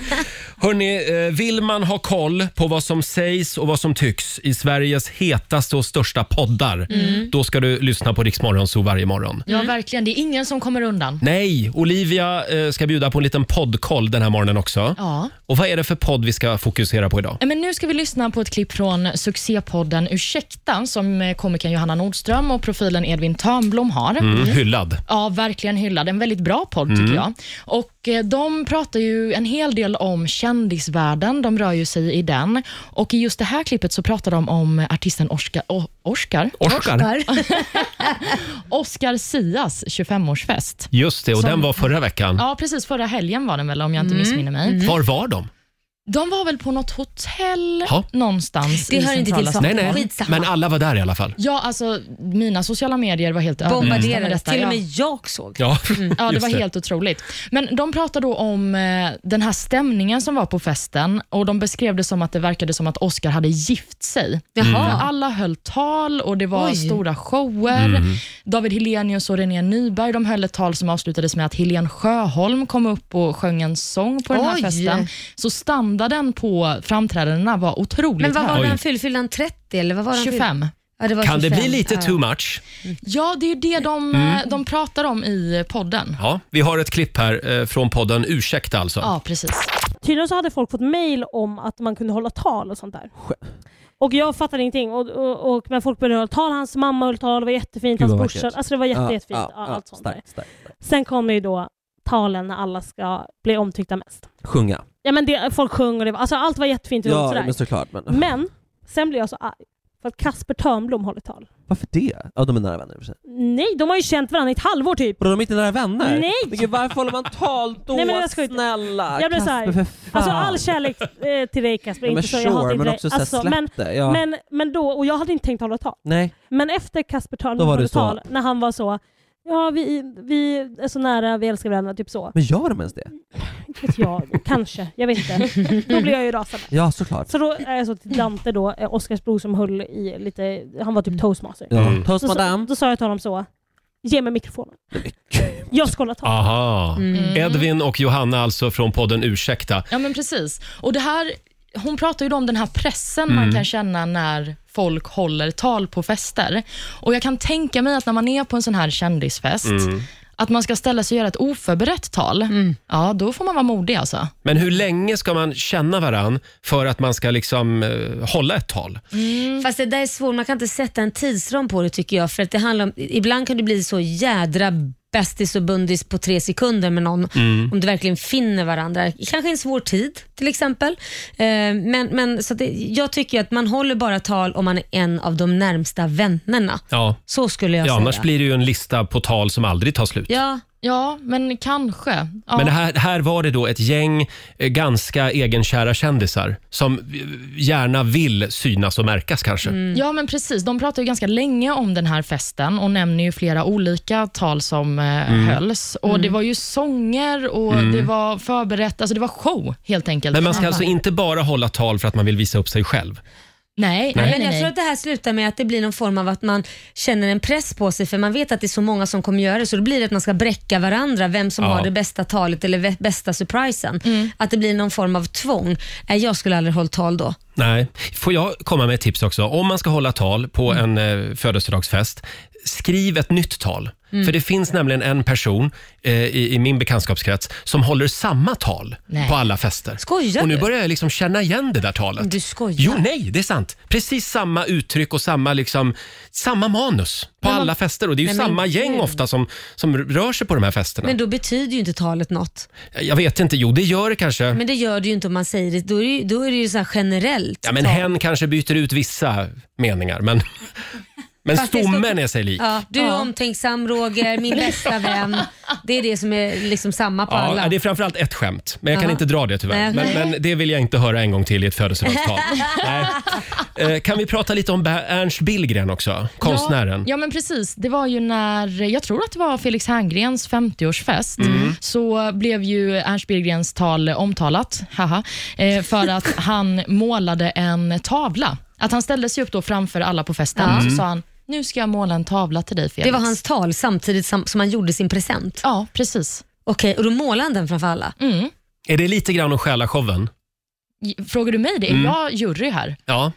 [SPEAKER 1] Hörrni, eh, vill man ha koll på vad som sägs och vad som tycks i Sveriges hetaste och största poddar,
[SPEAKER 3] Mm.
[SPEAKER 1] då ska du lyssna på Riksmorgonso varje morgon.
[SPEAKER 3] Ja, verkligen. Det är ingen som kommer undan.
[SPEAKER 1] Nej, Olivia eh, ska bjuda på en liten poddkoll den här morgonen också.
[SPEAKER 3] Ja.
[SPEAKER 1] Och vad är det för podd vi ska fokusera på idag?
[SPEAKER 3] Ja, Men nu ska vi lyssna på ett klipp från succépodden Ursäkta som eh, komikern Johanna Nordström och profilen Edvin Törnblom har.
[SPEAKER 1] Mm, hyllad.
[SPEAKER 3] Ja, verkligen hyllad. En väldigt bra podd tycker
[SPEAKER 1] Mm.
[SPEAKER 3] jag. Och eh, De pratar ju en hel del om kändisvärlden, de rör ju sig i den. Och I just det här klippet så pratar de om artisten Orska, o, Orskar.
[SPEAKER 1] Orskar.
[SPEAKER 3] Oscar Sias 25-årsfest.
[SPEAKER 1] Just det, och
[SPEAKER 3] Som-
[SPEAKER 1] den var förra veckan.
[SPEAKER 3] Ja, precis. Förra helgen var den väl, om jag inte
[SPEAKER 1] Mm.
[SPEAKER 3] missminner mig.
[SPEAKER 1] Var var de?
[SPEAKER 3] De var väl på något hotell
[SPEAKER 1] Ja.
[SPEAKER 3] någonstans i centrala
[SPEAKER 1] Nej,
[SPEAKER 3] Stockholm.
[SPEAKER 1] nej. Men alla var där i alla fall.
[SPEAKER 3] Ja, alltså mina sociala medier var helt
[SPEAKER 1] Bombarderade.
[SPEAKER 3] överväldigade med detta.
[SPEAKER 2] Till och med
[SPEAKER 3] Mm. ja.
[SPEAKER 2] jag såg.
[SPEAKER 1] Ja,
[SPEAKER 3] Mm. Ja, det
[SPEAKER 1] just
[SPEAKER 3] var helt otroligt. Men de pratade då om eh, den här stämningen som var på festen och de beskrev det som att det verkade som att Oscar hade gift sig. Mm.
[SPEAKER 2] Jaha.
[SPEAKER 3] För Alla höll tal och det var
[SPEAKER 2] Oj.
[SPEAKER 3] stora shower.
[SPEAKER 2] Mm.
[SPEAKER 3] David Hellenius och René Nyberg de höll ett tal som avslutades med att Helen Sjöholm kom upp och sjöng en sång på den här
[SPEAKER 2] Oj.
[SPEAKER 3] festen. Så standarden på framträdandena var otroligt
[SPEAKER 2] Men vad var
[SPEAKER 3] hög.
[SPEAKER 2] den fylld? Fyllde han 30 eller vad var den fylld?
[SPEAKER 3] 25.
[SPEAKER 2] Ja, det var
[SPEAKER 1] Kan det
[SPEAKER 2] 25.
[SPEAKER 1] bli lite
[SPEAKER 2] Ja.
[SPEAKER 1] too much?
[SPEAKER 3] Ja, det är ju det de,
[SPEAKER 1] Mm.
[SPEAKER 3] eh, de pratar om i podden.
[SPEAKER 1] Ja, vi har ett klipp här eh, från podden Ursäkta alltså.
[SPEAKER 3] Ja, precis.
[SPEAKER 10] Tydligen så hade folk fått mail om att man kunde hålla tal och sånt där. Och jag fattade ingenting. Och, och, och, men folk började hålla tal. Hans mamma höll tal, det var jättefint.
[SPEAKER 12] Gud,
[SPEAKER 10] Hans
[SPEAKER 12] vad
[SPEAKER 10] brorsa.
[SPEAKER 12] vackert.
[SPEAKER 10] Alltså det var jätte,
[SPEAKER 12] Ja,
[SPEAKER 10] jättefint.
[SPEAKER 12] ja,
[SPEAKER 10] Ja,
[SPEAKER 12] ja,
[SPEAKER 10] allt sånt
[SPEAKER 12] starkt,
[SPEAKER 10] där. Sen kom ju då talen när alla ska bli omtyckta mest.
[SPEAKER 12] Sjunga.
[SPEAKER 10] Ja men det, folk sjöng och det var, alltså allt var jättefint och
[SPEAKER 12] Ja,
[SPEAKER 10] sådär.
[SPEAKER 12] men såklart, men-
[SPEAKER 10] men sen blev jag så arg. För att Kasper Törnblom håller tal.
[SPEAKER 12] Varför det? Ja, de är nära vänner i och för sig.
[SPEAKER 10] Nej, de har ju känt varandra i ett halvår typ.
[SPEAKER 12] Bro, de är inte nära vänner?
[SPEAKER 10] Nej!
[SPEAKER 12] Men gud, varför håller man tal då?
[SPEAKER 10] Nej, men jag ska inte.
[SPEAKER 12] Snälla!
[SPEAKER 10] Jag blir så
[SPEAKER 12] Kasper,
[SPEAKER 10] här,
[SPEAKER 12] för fan.
[SPEAKER 10] alltså all kärlek eh, till dig Kasper,
[SPEAKER 12] Ja, men
[SPEAKER 10] inte så, jag
[SPEAKER 12] sure,
[SPEAKER 10] hatar inte
[SPEAKER 12] men
[SPEAKER 10] dig.
[SPEAKER 12] också så här,
[SPEAKER 10] alltså,
[SPEAKER 12] släpp
[SPEAKER 10] men,
[SPEAKER 12] det, ja.
[SPEAKER 10] men, men då, och jag hade inte tänkt hålla tal.
[SPEAKER 12] Nej.
[SPEAKER 10] Men efter Kasper
[SPEAKER 12] Då
[SPEAKER 10] Törnblom
[SPEAKER 12] var du
[SPEAKER 10] höll
[SPEAKER 12] så.
[SPEAKER 10] tal, när han var så Ja, vi, vi är så nära, vi älskar varandra, typ så.
[SPEAKER 12] Men gör de ens det?
[SPEAKER 10] Vet jag, kanske, jag vet inte. Då blir jag ju rasande.
[SPEAKER 12] Ja, såklart.
[SPEAKER 10] Så då är jag så till Dante då, eh, Oskars bror som höll i lite, han var typ toastmaster.
[SPEAKER 12] Ja. Mm.
[SPEAKER 10] Då, sa- då sa jag till honom så, ge mig mikrofonen. Jag ska hålla tal.
[SPEAKER 1] Aha.
[SPEAKER 3] Mm.
[SPEAKER 1] Edvin och Johanna alltså från podden Ursäkta.
[SPEAKER 3] Ja, men precis. Och det här, hon pratar ju då om den här pressen
[SPEAKER 1] Mm.
[SPEAKER 3] man kan känna när folk håller tal på fester. Och Jag kan tänka mig att när man är på en sån här kändisfest,
[SPEAKER 1] Mm.
[SPEAKER 3] att man ska ställa sig och göra ett oförberett tal. Ja, då får man vara modig alltså.
[SPEAKER 1] Men hur länge ska man känna varann för att man ska liksom eh, hålla ett tal?
[SPEAKER 2] Fast det där är svårt, man kan inte sätta en tidsram på det tycker jag. För att det handlar om, ibland kan du bli så jädra bästis och bundis på tre sekunder med någon.
[SPEAKER 13] Mm.
[SPEAKER 2] Om du verkligen finner varandra. Kanske i en svår tid till exempel. Eh, Men, men så att det, jag tycker ju att man håller bara tal om man är en av de närmsta vännerna.
[SPEAKER 1] Ja.
[SPEAKER 2] Så skulle jag
[SPEAKER 1] ja,
[SPEAKER 2] säga.
[SPEAKER 1] annars blir det ju en lista på tal som aldrig tar slut.
[SPEAKER 2] Ja.
[SPEAKER 3] ja, men kanske. Ja.
[SPEAKER 1] Men det här, här var det då ett gäng eh, ganska egenkära kändisar som eh, gärna vill synas och märkas kanske.
[SPEAKER 3] Ja, men precis. De pratar ju ganska länge om den här festen och nämner ju flera olika tal som eh,
[SPEAKER 1] Mm.
[SPEAKER 3] hölls. Och Det var ju sånger och
[SPEAKER 1] Mm.
[SPEAKER 3] det var förberett, alltså det var show helt enkelt.
[SPEAKER 1] Men man ska
[SPEAKER 3] Alla.
[SPEAKER 1] alltså inte bara hålla tal för att man vill visa upp sig själv.
[SPEAKER 3] Nej, nej,
[SPEAKER 2] Men
[SPEAKER 3] nej.
[SPEAKER 2] jag tror att det här slutar med att det blir någon form av att man känner en press på sig för man vet att det är så många som kommer göra det så då blir det att man ska bräcka varandra vem som
[SPEAKER 1] Ja.
[SPEAKER 2] har det bästa talet eller vä- bästa surprisen.
[SPEAKER 3] Mm.
[SPEAKER 2] Att det blir någon form av tvång. Nej, jag skulle aldrig hållit tal då.
[SPEAKER 1] Nej. Får jag komma med ett tips också? Om man ska hålla tal på
[SPEAKER 2] Mm.
[SPEAKER 1] en eh, födelsedagsfest, skriv ett nytt tal.
[SPEAKER 3] Mm.
[SPEAKER 1] För det finns nämligen en person eh, i, i min bekantskapskrets som håller samma tal
[SPEAKER 3] Nej.
[SPEAKER 1] på alla fester.
[SPEAKER 2] Skojar
[SPEAKER 1] Och nu
[SPEAKER 2] du?
[SPEAKER 1] börjar jag liksom känna igen det där talet.
[SPEAKER 2] Du skojar.
[SPEAKER 1] Jo, nej, det är sant. Precis samma uttryck och samma, liksom, samma manus på
[SPEAKER 2] Men vad-
[SPEAKER 1] alla fester. Och det är ju
[SPEAKER 2] Nej, men
[SPEAKER 1] samma gäng
[SPEAKER 2] gud.
[SPEAKER 1] ofta som, som rör sig på de här festerna.
[SPEAKER 2] Men då betyder ju inte talet något.
[SPEAKER 1] Jag vet inte, jo det gör det kanske.
[SPEAKER 2] Men det gör det ju inte om man säger det. Då är det ju, då är det ju så här generellt.
[SPEAKER 1] Ja, men
[SPEAKER 2] tal.
[SPEAKER 1] hen kanske byter ut vissa meningar, men Men
[SPEAKER 2] Faktiskt.
[SPEAKER 1] stommen är sig lik.
[SPEAKER 2] Ja, du är omtänksam Roger, min bästa vän. Det är det som är liksom samma på
[SPEAKER 1] Ja,
[SPEAKER 2] alla.
[SPEAKER 1] det är framförallt ett skämt, men jag kan
[SPEAKER 2] Ja.
[SPEAKER 1] inte dra det tyvärr.
[SPEAKER 2] Nej.
[SPEAKER 1] Men, men det vill jag inte höra en gång till i ett födelsedagstal. Nej. Eh, Kan vi prata lite om Ba- Ernst Billgren också, konstnären?
[SPEAKER 3] Ja, ja, men precis. Det var ju när, jag tror att det var Felix Herngrens 50-årsfest,
[SPEAKER 1] Mm.
[SPEAKER 3] så blev ju Ernst Billgrens tal omtalat, haha, eh, för att han målade en tavla. Att han ställde sig upp då framför alla på festen
[SPEAKER 2] Ja.
[SPEAKER 3] och så
[SPEAKER 2] Mm.
[SPEAKER 3] sa han, nu ska jag måla en tavla till dig Felix.
[SPEAKER 2] Det var hans tal samtidigt som, som han gjorde sin present.
[SPEAKER 3] Ja, precis.
[SPEAKER 2] Okej, och då målade han den framför alla?
[SPEAKER 3] Mm.
[SPEAKER 1] Är det lite grann om själashowen?
[SPEAKER 3] Frågar du mig det? Är
[SPEAKER 1] Mm.
[SPEAKER 3] jag jury här?
[SPEAKER 1] Ja.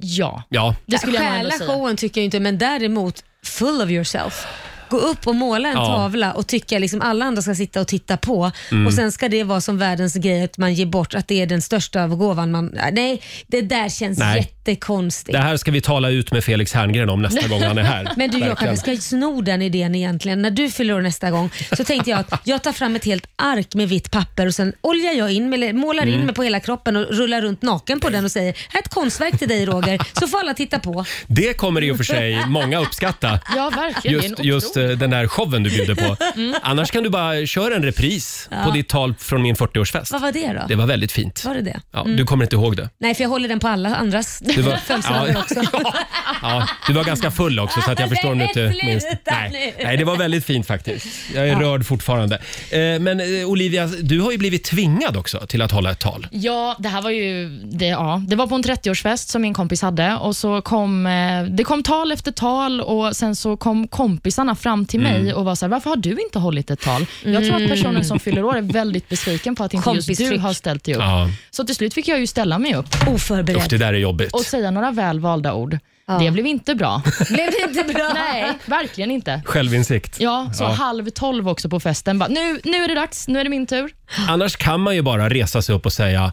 [SPEAKER 3] Ja.
[SPEAKER 1] Ja.
[SPEAKER 3] Det skulle jag nog ändå
[SPEAKER 2] Stjäla
[SPEAKER 3] säga.
[SPEAKER 2] showen tycker jag inte, men däremot full of yourself. Gå upp och måla en
[SPEAKER 1] Ja.
[SPEAKER 2] tavla och tycka liksom alla andra ska sitta och titta på
[SPEAKER 1] Mm.
[SPEAKER 2] och sen ska det vara som världens grej att man ger bort, att det är den största gåvan man... äh, Nej, det där känns
[SPEAKER 1] Nej.
[SPEAKER 2] jättekonstigt.
[SPEAKER 1] Det här ska vi tala ut med Felix Herngren om nästa gång han är här.
[SPEAKER 2] Men du, jag
[SPEAKER 1] Verkligen.
[SPEAKER 2] kanske ska sno den idén egentligen. När du fyller år nästa gång så tänkte jag att jag tar fram ett helt ark med vitt papper och sen oljar jag in mig, eller målar in
[SPEAKER 1] Mm.
[SPEAKER 2] mig på hela kroppen och rullar runt naken på den och säger här är ett konstverk till dig Roger, så får alla titta på.
[SPEAKER 1] Det kommer i och för sig många uppskatta.
[SPEAKER 2] Ja, verkligen.
[SPEAKER 1] Just, just eh, den där showen du bjuder på.
[SPEAKER 2] Mm.
[SPEAKER 1] Annars kan du bara köra en repris
[SPEAKER 2] Ja.
[SPEAKER 1] på ditt tal från min 40-årsfest.
[SPEAKER 2] Vad var det då?
[SPEAKER 1] Det var väldigt fint.
[SPEAKER 2] Var det det?
[SPEAKER 1] Ja,
[SPEAKER 2] Mm.
[SPEAKER 1] Du kommer inte ihåg det?
[SPEAKER 2] Nej, för jag håller den på alla andras
[SPEAKER 1] Du var-
[SPEAKER 2] födelsedagar
[SPEAKER 1] Ja.
[SPEAKER 2] också.
[SPEAKER 1] Ja, du var ganska full också så att jag förstår om du inte
[SPEAKER 2] Nej,
[SPEAKER 1] minns.
[SPEAKER 2] sluta
[SPEAKER 1] Nej,
[SPEAKER 2] nu.
[SPEAKER 1] nej, det var väldigt fint faktiskt. Jag är
[SPEAKER 3] Ja.
[SPEAKER 1] rörd fortfarande. Eh, Men eh, Olivia, du har ju blivit tvingad också till att hålla ett tal.
[SPEAKER 3] Ja, det här var ju... Det, ja. det var på en 30-årsfest som min kompis hade och så kom eh, det kom tal efter tal och sen så kom kompisarna fram till
[SPEAKER 2] Mm.
[SPEAKER 3] mig och var så här, varför har du inte hållit ett tal? Jag tror att personen som fyller år är väldigt besviken på att inte just du
[SPEAKER 2] Kompistryck.
[SPEAKER 3] har ställt dig upp.
[SPEAKER 1] Ja.
[SPEAKER 3] Så till slut fick jag ju ställa mig upp.
[SPEAKER 2] Oförberedd.
[SPEAKER 1] Usch, det där är jobbigt.
[SPEAKER 3] Och säga några välvalda ord. Det blev inte bra.
[SPEAKER 2] Blev det inte bra?
[SPEAKER 3] Nej, verkligen inte.
[SPEAKER 1] Självinsikt.
[SPEAKER 3] Ja, så
[SPEAKER 1] Ja.
[SPEAKER 3] halv tolv också på festen. Bara, nu, nu är det dags, nu är det min tur.
[SPEAKER 1] Annars kan man ju bara resa sig upp och säga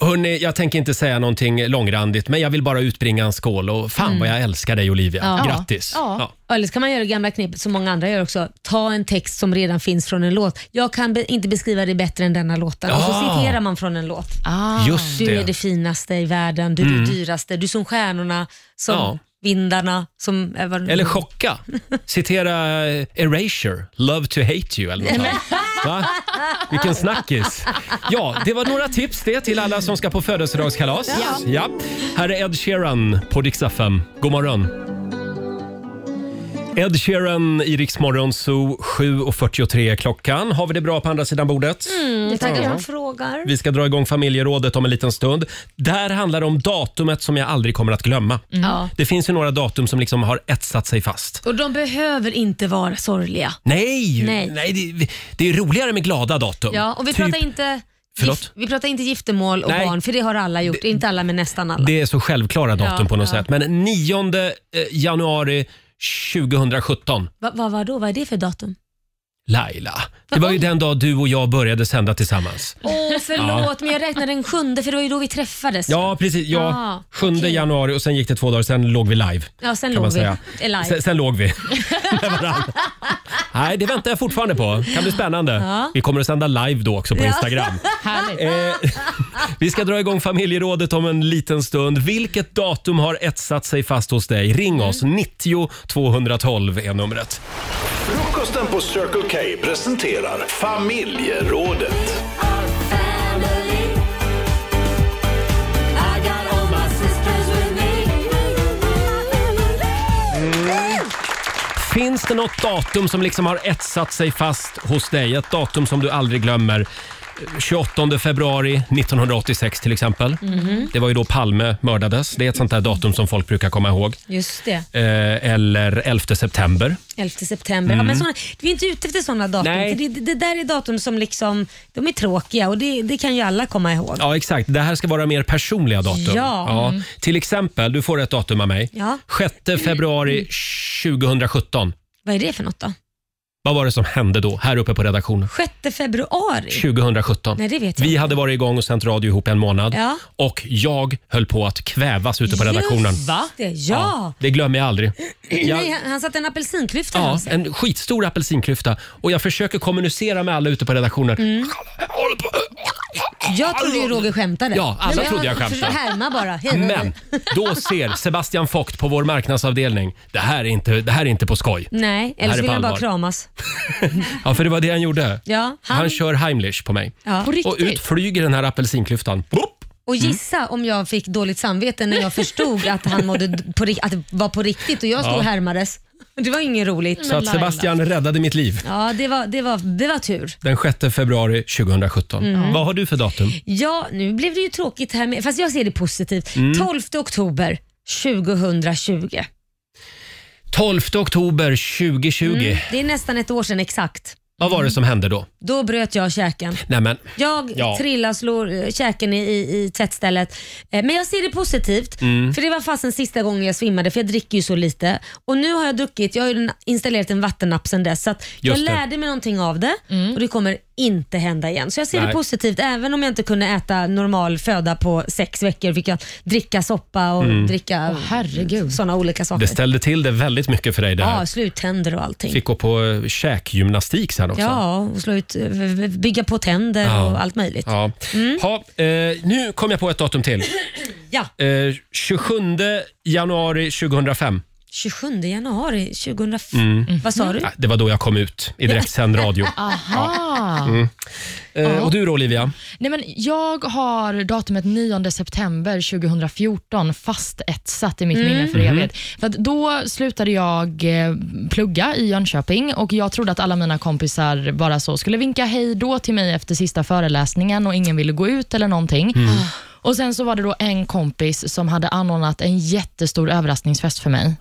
[SPEAKER 1] Hörni, jag tänker inte säga någonting långrandigt, men jag vill bara utbringa en skål och fan
[SPEAKER 2] Mm.
[SPEAKER 1] vad jag älskar dig Olivia.
[SPEAKER 2] Ja.
[SPEAKER 1] Grattis! Ja.
[SPEAKER 2] Eller så kan man göra det gamla knepet som många andra gör också. Ta en text som redan finns från en låt. Jag kan be inte beskriva det bättre än denna låten. Och så
[SPEAKER 1] Ah.
[SPEAKER 2] citerar man från en låt.
[SPEAKER 3] Ah,
[SPEAKER 1] Just
[SPEAKER 2] du
[SPEAKER 1] det.
[SPEAKER 2] är det finaste i världen, du är
[SPEAKER 1] Mm.
[SPEAKER 2] det dyraste, du är som stjärnorna, som
[SPEAKER 1] Ja.
[SPEAKER 2] vindarna, som... eh, vad-
[SPEAKER 1] Eller chocka. Citera eh, Erasure, Love to hate you eller något sånt. Va? Vilken snackis. Ja, det var några tips det till alla som ska på födelsedagskalas.
[SPEAKER 4] Ja.
[SPEAKER 1] Ja. Här är Ed Sheeran på Dix FM. God morgon. Ed Sheeran i Rix Morgon Zoo, 7.43 är klockan. Har vi det bra på andra sidan bordet?
[SPEAKER 2] Mm, jag tackar
[SPEAKER 1] Ja.
[SPEAKER 2] för att du frågar.
[SPEAKER 1] Vi ska dra igång familjerådet om en liten stund. Där handlar det om datumet som jag aldrig kommer att glömma.
[SPEAKER 2] Mm. Ja.
[SPEAKER 1] Det finns ju några datum som liksom har etsat sig fast.
[SPEAKER 2] Och de behöver inte vara sorgliga.
[SPEAKER 1] Nej, nej.
[SPEAKER 2] Nej.
[SPEAKER 1] det, det är roligare med glada datum.
[SPEAKER 2] Ja, och vi
[SPEAKER 1] Typ,
[SPEAKER 2] pratar inte...
[SPEAKER 1] Förlåt?
[SPEAKER 2] Gift, vi pratar inte giftermål och
[SPEAKER 1] Nej.
[SPEAKER 2] barn, för det har alla gjort. inte alla, men nästan alla.
[SPEAKER 1] Det är så självklara datum
[SPEAKER 2] Ja,
[SPEAKER 1] på något
[SPEAKER 2] ja.
[SPEAKER 1] sätt. Men 9 eh, januari 2017,
[SPEAKER 2] Vad va, vadå? Vad är det för datum?
[SPEAKER 1] Laila. Det var ju den dag du och jag började sända tillsammans.
[SPEAKER 2] Åh, förlåt, men jag räknade den sjunde, för det var ju då vi träffades.
[SPEAKER 1] Ja, precis. Ja,
[SPEAKER 2] Ah,
[SPEAKER 1] 7 januari och sen gick det två dagar, sen låg vi live.
[SPEAKER 2] Ja, sen
[SPEAKER 1] kan
[SPEAKER 2] låg
[SPEAKER 1] man
[SPEAKER 2] vi.
[SPEAKER 1] säga.
[SPEAKER 2] Alive.
[SPEAKER 1] Sen, sen låg vi. Med varandra. Nej, det väntar jag fortfarande på. kan bli spännande.
[SPEAKER 2] Ja.
[SPEAKER 1] Vi kommer att sända live då också på
[SPEAKER 2] Ja.
[SPEAKER 1] Instagram.
[SPEAKER 3] Härligt.
[SPEAKER 1] Eh, vi ska dra igång familjerådet om en liten stund. Vilket datum har etsat sig fast hos dig? Ring oss. 90 212 är numret.
[SPEAKER 4] Frukosten på Circle K presenterar familjerådet.
[SPEAKER 1] Finns det något datum som liksom har etsat sig fast hos dig? Ett datum som du aldrig glömmer? 28 februari 1986 till exempel.
[SPEAKER 2] Mhm.
[SPEAKER 1] Det var ju då Palme mördades. Det är ett sånt där datum som folk brukar komma ihåg.
[SPEAKER 2] Just det.
[SPEAKER 1] Eh, eller 11 september.
[SPEAKER 2] 11 september.
[SPEAKER 1] Mm.
[SPEAKER 2] Ja, men såna, vi är inte ute efter sådana datum.
[SPEAKER 1] Nej.
[SPEAKER 2] För det, det där är datum som liksom, de är tråkiga och det, det kan ju alla komma ihåg.
[SPEAKER 1] Ja, exakt. Det här ska vara mer personliga datum.
[SPEAKER 2] Ja.
[SPEAKER 1] Ja. Till exempel, du får ett datum av mig.
[SPEAKER 2] Ja.
[SPEAKER 1] 6 februari 2017.
[SPEAKER 2] Vad är det för något då?
[SPEAKER 1] Vad var det som hände då, här uppe på redaktionen?
[SPEAKER 2] 6 februari?
[SPEAKER 1] 2017.
[SPEAKER 2] Nej, det vet jag
[SPEAKER 1] Vi
[SPEAKER 2] inte.
[SPEAKER 1] hade varit igång och sänt radio ihop en månad
[SPEAKER 2] Ja.
[SPEAKER 1] och jag höll på att kvävas ute på redaktionen.
[SPEAKER 2] Just det, ja.
[SPEAKER 1] Det glömmer jag aldrig. Jag,
[SPEAKER 2] Nej, han, han satte en apelsinklyfta i
[SPEAKER 1] ja,
[SPEAKER 2] halsen.
[SPEAKER 1] en skitstor apelsinklyfta och jag försöker kommunicera med alla ute på redaktionen.
[SPEAKER 2] Mm. Jag trodde ju Roger skämtade.
[SPEAKER 1] Ja, alla
[SPEAKER 2] Men
[SPEAKER 1] trodde jag
[SPEAKER 2] försökte
[SPEAKER 1] skämtade.
[SPEAKER 2] härma bara. Hej, hej,
[SPEAKER 1] Men då ser Sebastian Vogt på vår marknadsavdelning, det här är inte, det här är inte på skoj.
[SPEAKER 2] Nej,
[SPEAKER 1] Det här
[SPEAKER 2] eller
[SPEAKER 1] är
[SPEAKER 2] så vill
[SPEAKER 1] på
[SPEAKER 2] han bara
[SPEAKER 1] allvar.
[SPEAKER 2] kramas.
[SPEAKER 1] Ja, för det var det han gjorde.
[SPEAKER 2] Ja,
[SPEAKER 1] han...
[SPEAKER 2] han-
[SPEAKER 1] kör Heimlich på mig.
[SPEAKER 2] Ja. På
[SPEAKER 1] Och
[SPEAKER 2] riktigt?
[SPEAKER 1] ut flyger den här apelsinklyftan. Boop!
[SPEAKER 2] Och gissa om jag fick dåligt samvete när jag förstod att han mådde d- på, ri- att det var på riktigt och jag stod
[SPEAKER 1] Ja.
[SPEAKER 2] och härmades. Det var inget roligt.
[SPEAKER 1] Så att Sebastian räddade mitt liv
[SPEAKER 2] Ja, det var, det var, det var tur.
[SPEAKER 1] den 6 februari 2017.
[SPEAKER 2] Mm.
[SPEAKER 1] Vad har du för datum?
[SPEAKER 2] Ja, nu blev det ju tråkigt här med, fast jag ser det positivt.
[SPEAKER 1] Mm.
[SPEAKER 2] 12 oktober 2020.
[SPEAKER 1] 12 oktober 2020.
[SPEAKER 2] Mm, det är nästan ett år sedan exakt.
[SPEAKER 1] Vad var det som hände då?
[SPEAKER 2] Då bröt jag käken.
[SPEAKER 1] Nej, men,
[SPEAKER 2] Jag
[SPEAKER 1] Ja.
[SPEAKER 2] trillar och slår eh, käken i, i, i tvättstället. Eh, Men jag ser det positivt,
[SPEAKER 1] Mm.
[SPEAKER 2] för det var fasen sista gången jag svimmade, för jag dricker ju så lite. Och nu har jag druckit, jag har ju den- installerat en vattenapp sedan dess, så att jag
[SPEAKER 13] Just det.
[SPEAKER 2] lärde mig någonting av det och det kommer inte hända igen. Så jag ser
[SPEAKER 13] Nej.
[SPEAKER 2] det positivt, även om jag inte kunde äta normal föda på sex veckor, fick jag dricka soppa och
[SPEAKER 1] Mm.
[SPEAKER 2] dricka sådana olika saker.
[SPEAKER 1] det ställde till det väldigt mycket för dig det
[SPEAKER 2] Ja,
[SPEAKER 1] här.
[SPEAKER 2] sluttänder och allting.
[SPEAKER 1] Fick gå på eh, käkgymnastik sen också.
[SPEAKER 2] Ja, och slå ut, bygga på tänder
[SPEAKER 1] Ja.
[SPEAKER 2] och allt möjligt.
[SPEAKER 1] Ja.
[SPEAKER 2] Mm.
[SPEAKER 1] Ha, eh, nu kom jag på ett datum till.
[SPEAKER 2] Ja.
[SPEAKER 1] Eh, 27 januari 2005.
[SPEAKER 2] 27 januari 2005.
[SPEAKER 1] Mm.
[SPEAKER 2] Vad sa du?
[SPEAKER 1] Ja, Det var då jag kom ut i direktsänd radio.
[SPEAKER 3] Aha.
[SPEAKER 1] Mm. Eh, och du då Olivia?
[SPEAKER 3] Nej, men jag har datumet 9 september 2014 fastetsat i mitt
[SPEAKER 13] Mm.
[SPEAKER 3] minne för
[SPEAKER 13] Mhm.
[SPEAKER 3] evigt. För att då slutade jag eh, plugga i Jönköping och jag trodde att alla mina kompisar bara så skulle vinka hej då till mig efter sista föreläsningen och ingen ville gå ut eller någonting.
[SPEAKER 13] Mm.
[SPEAKER 3] Och Sen så var det då en kompis som hade anordnat en jättestor överraskningsfest för mig.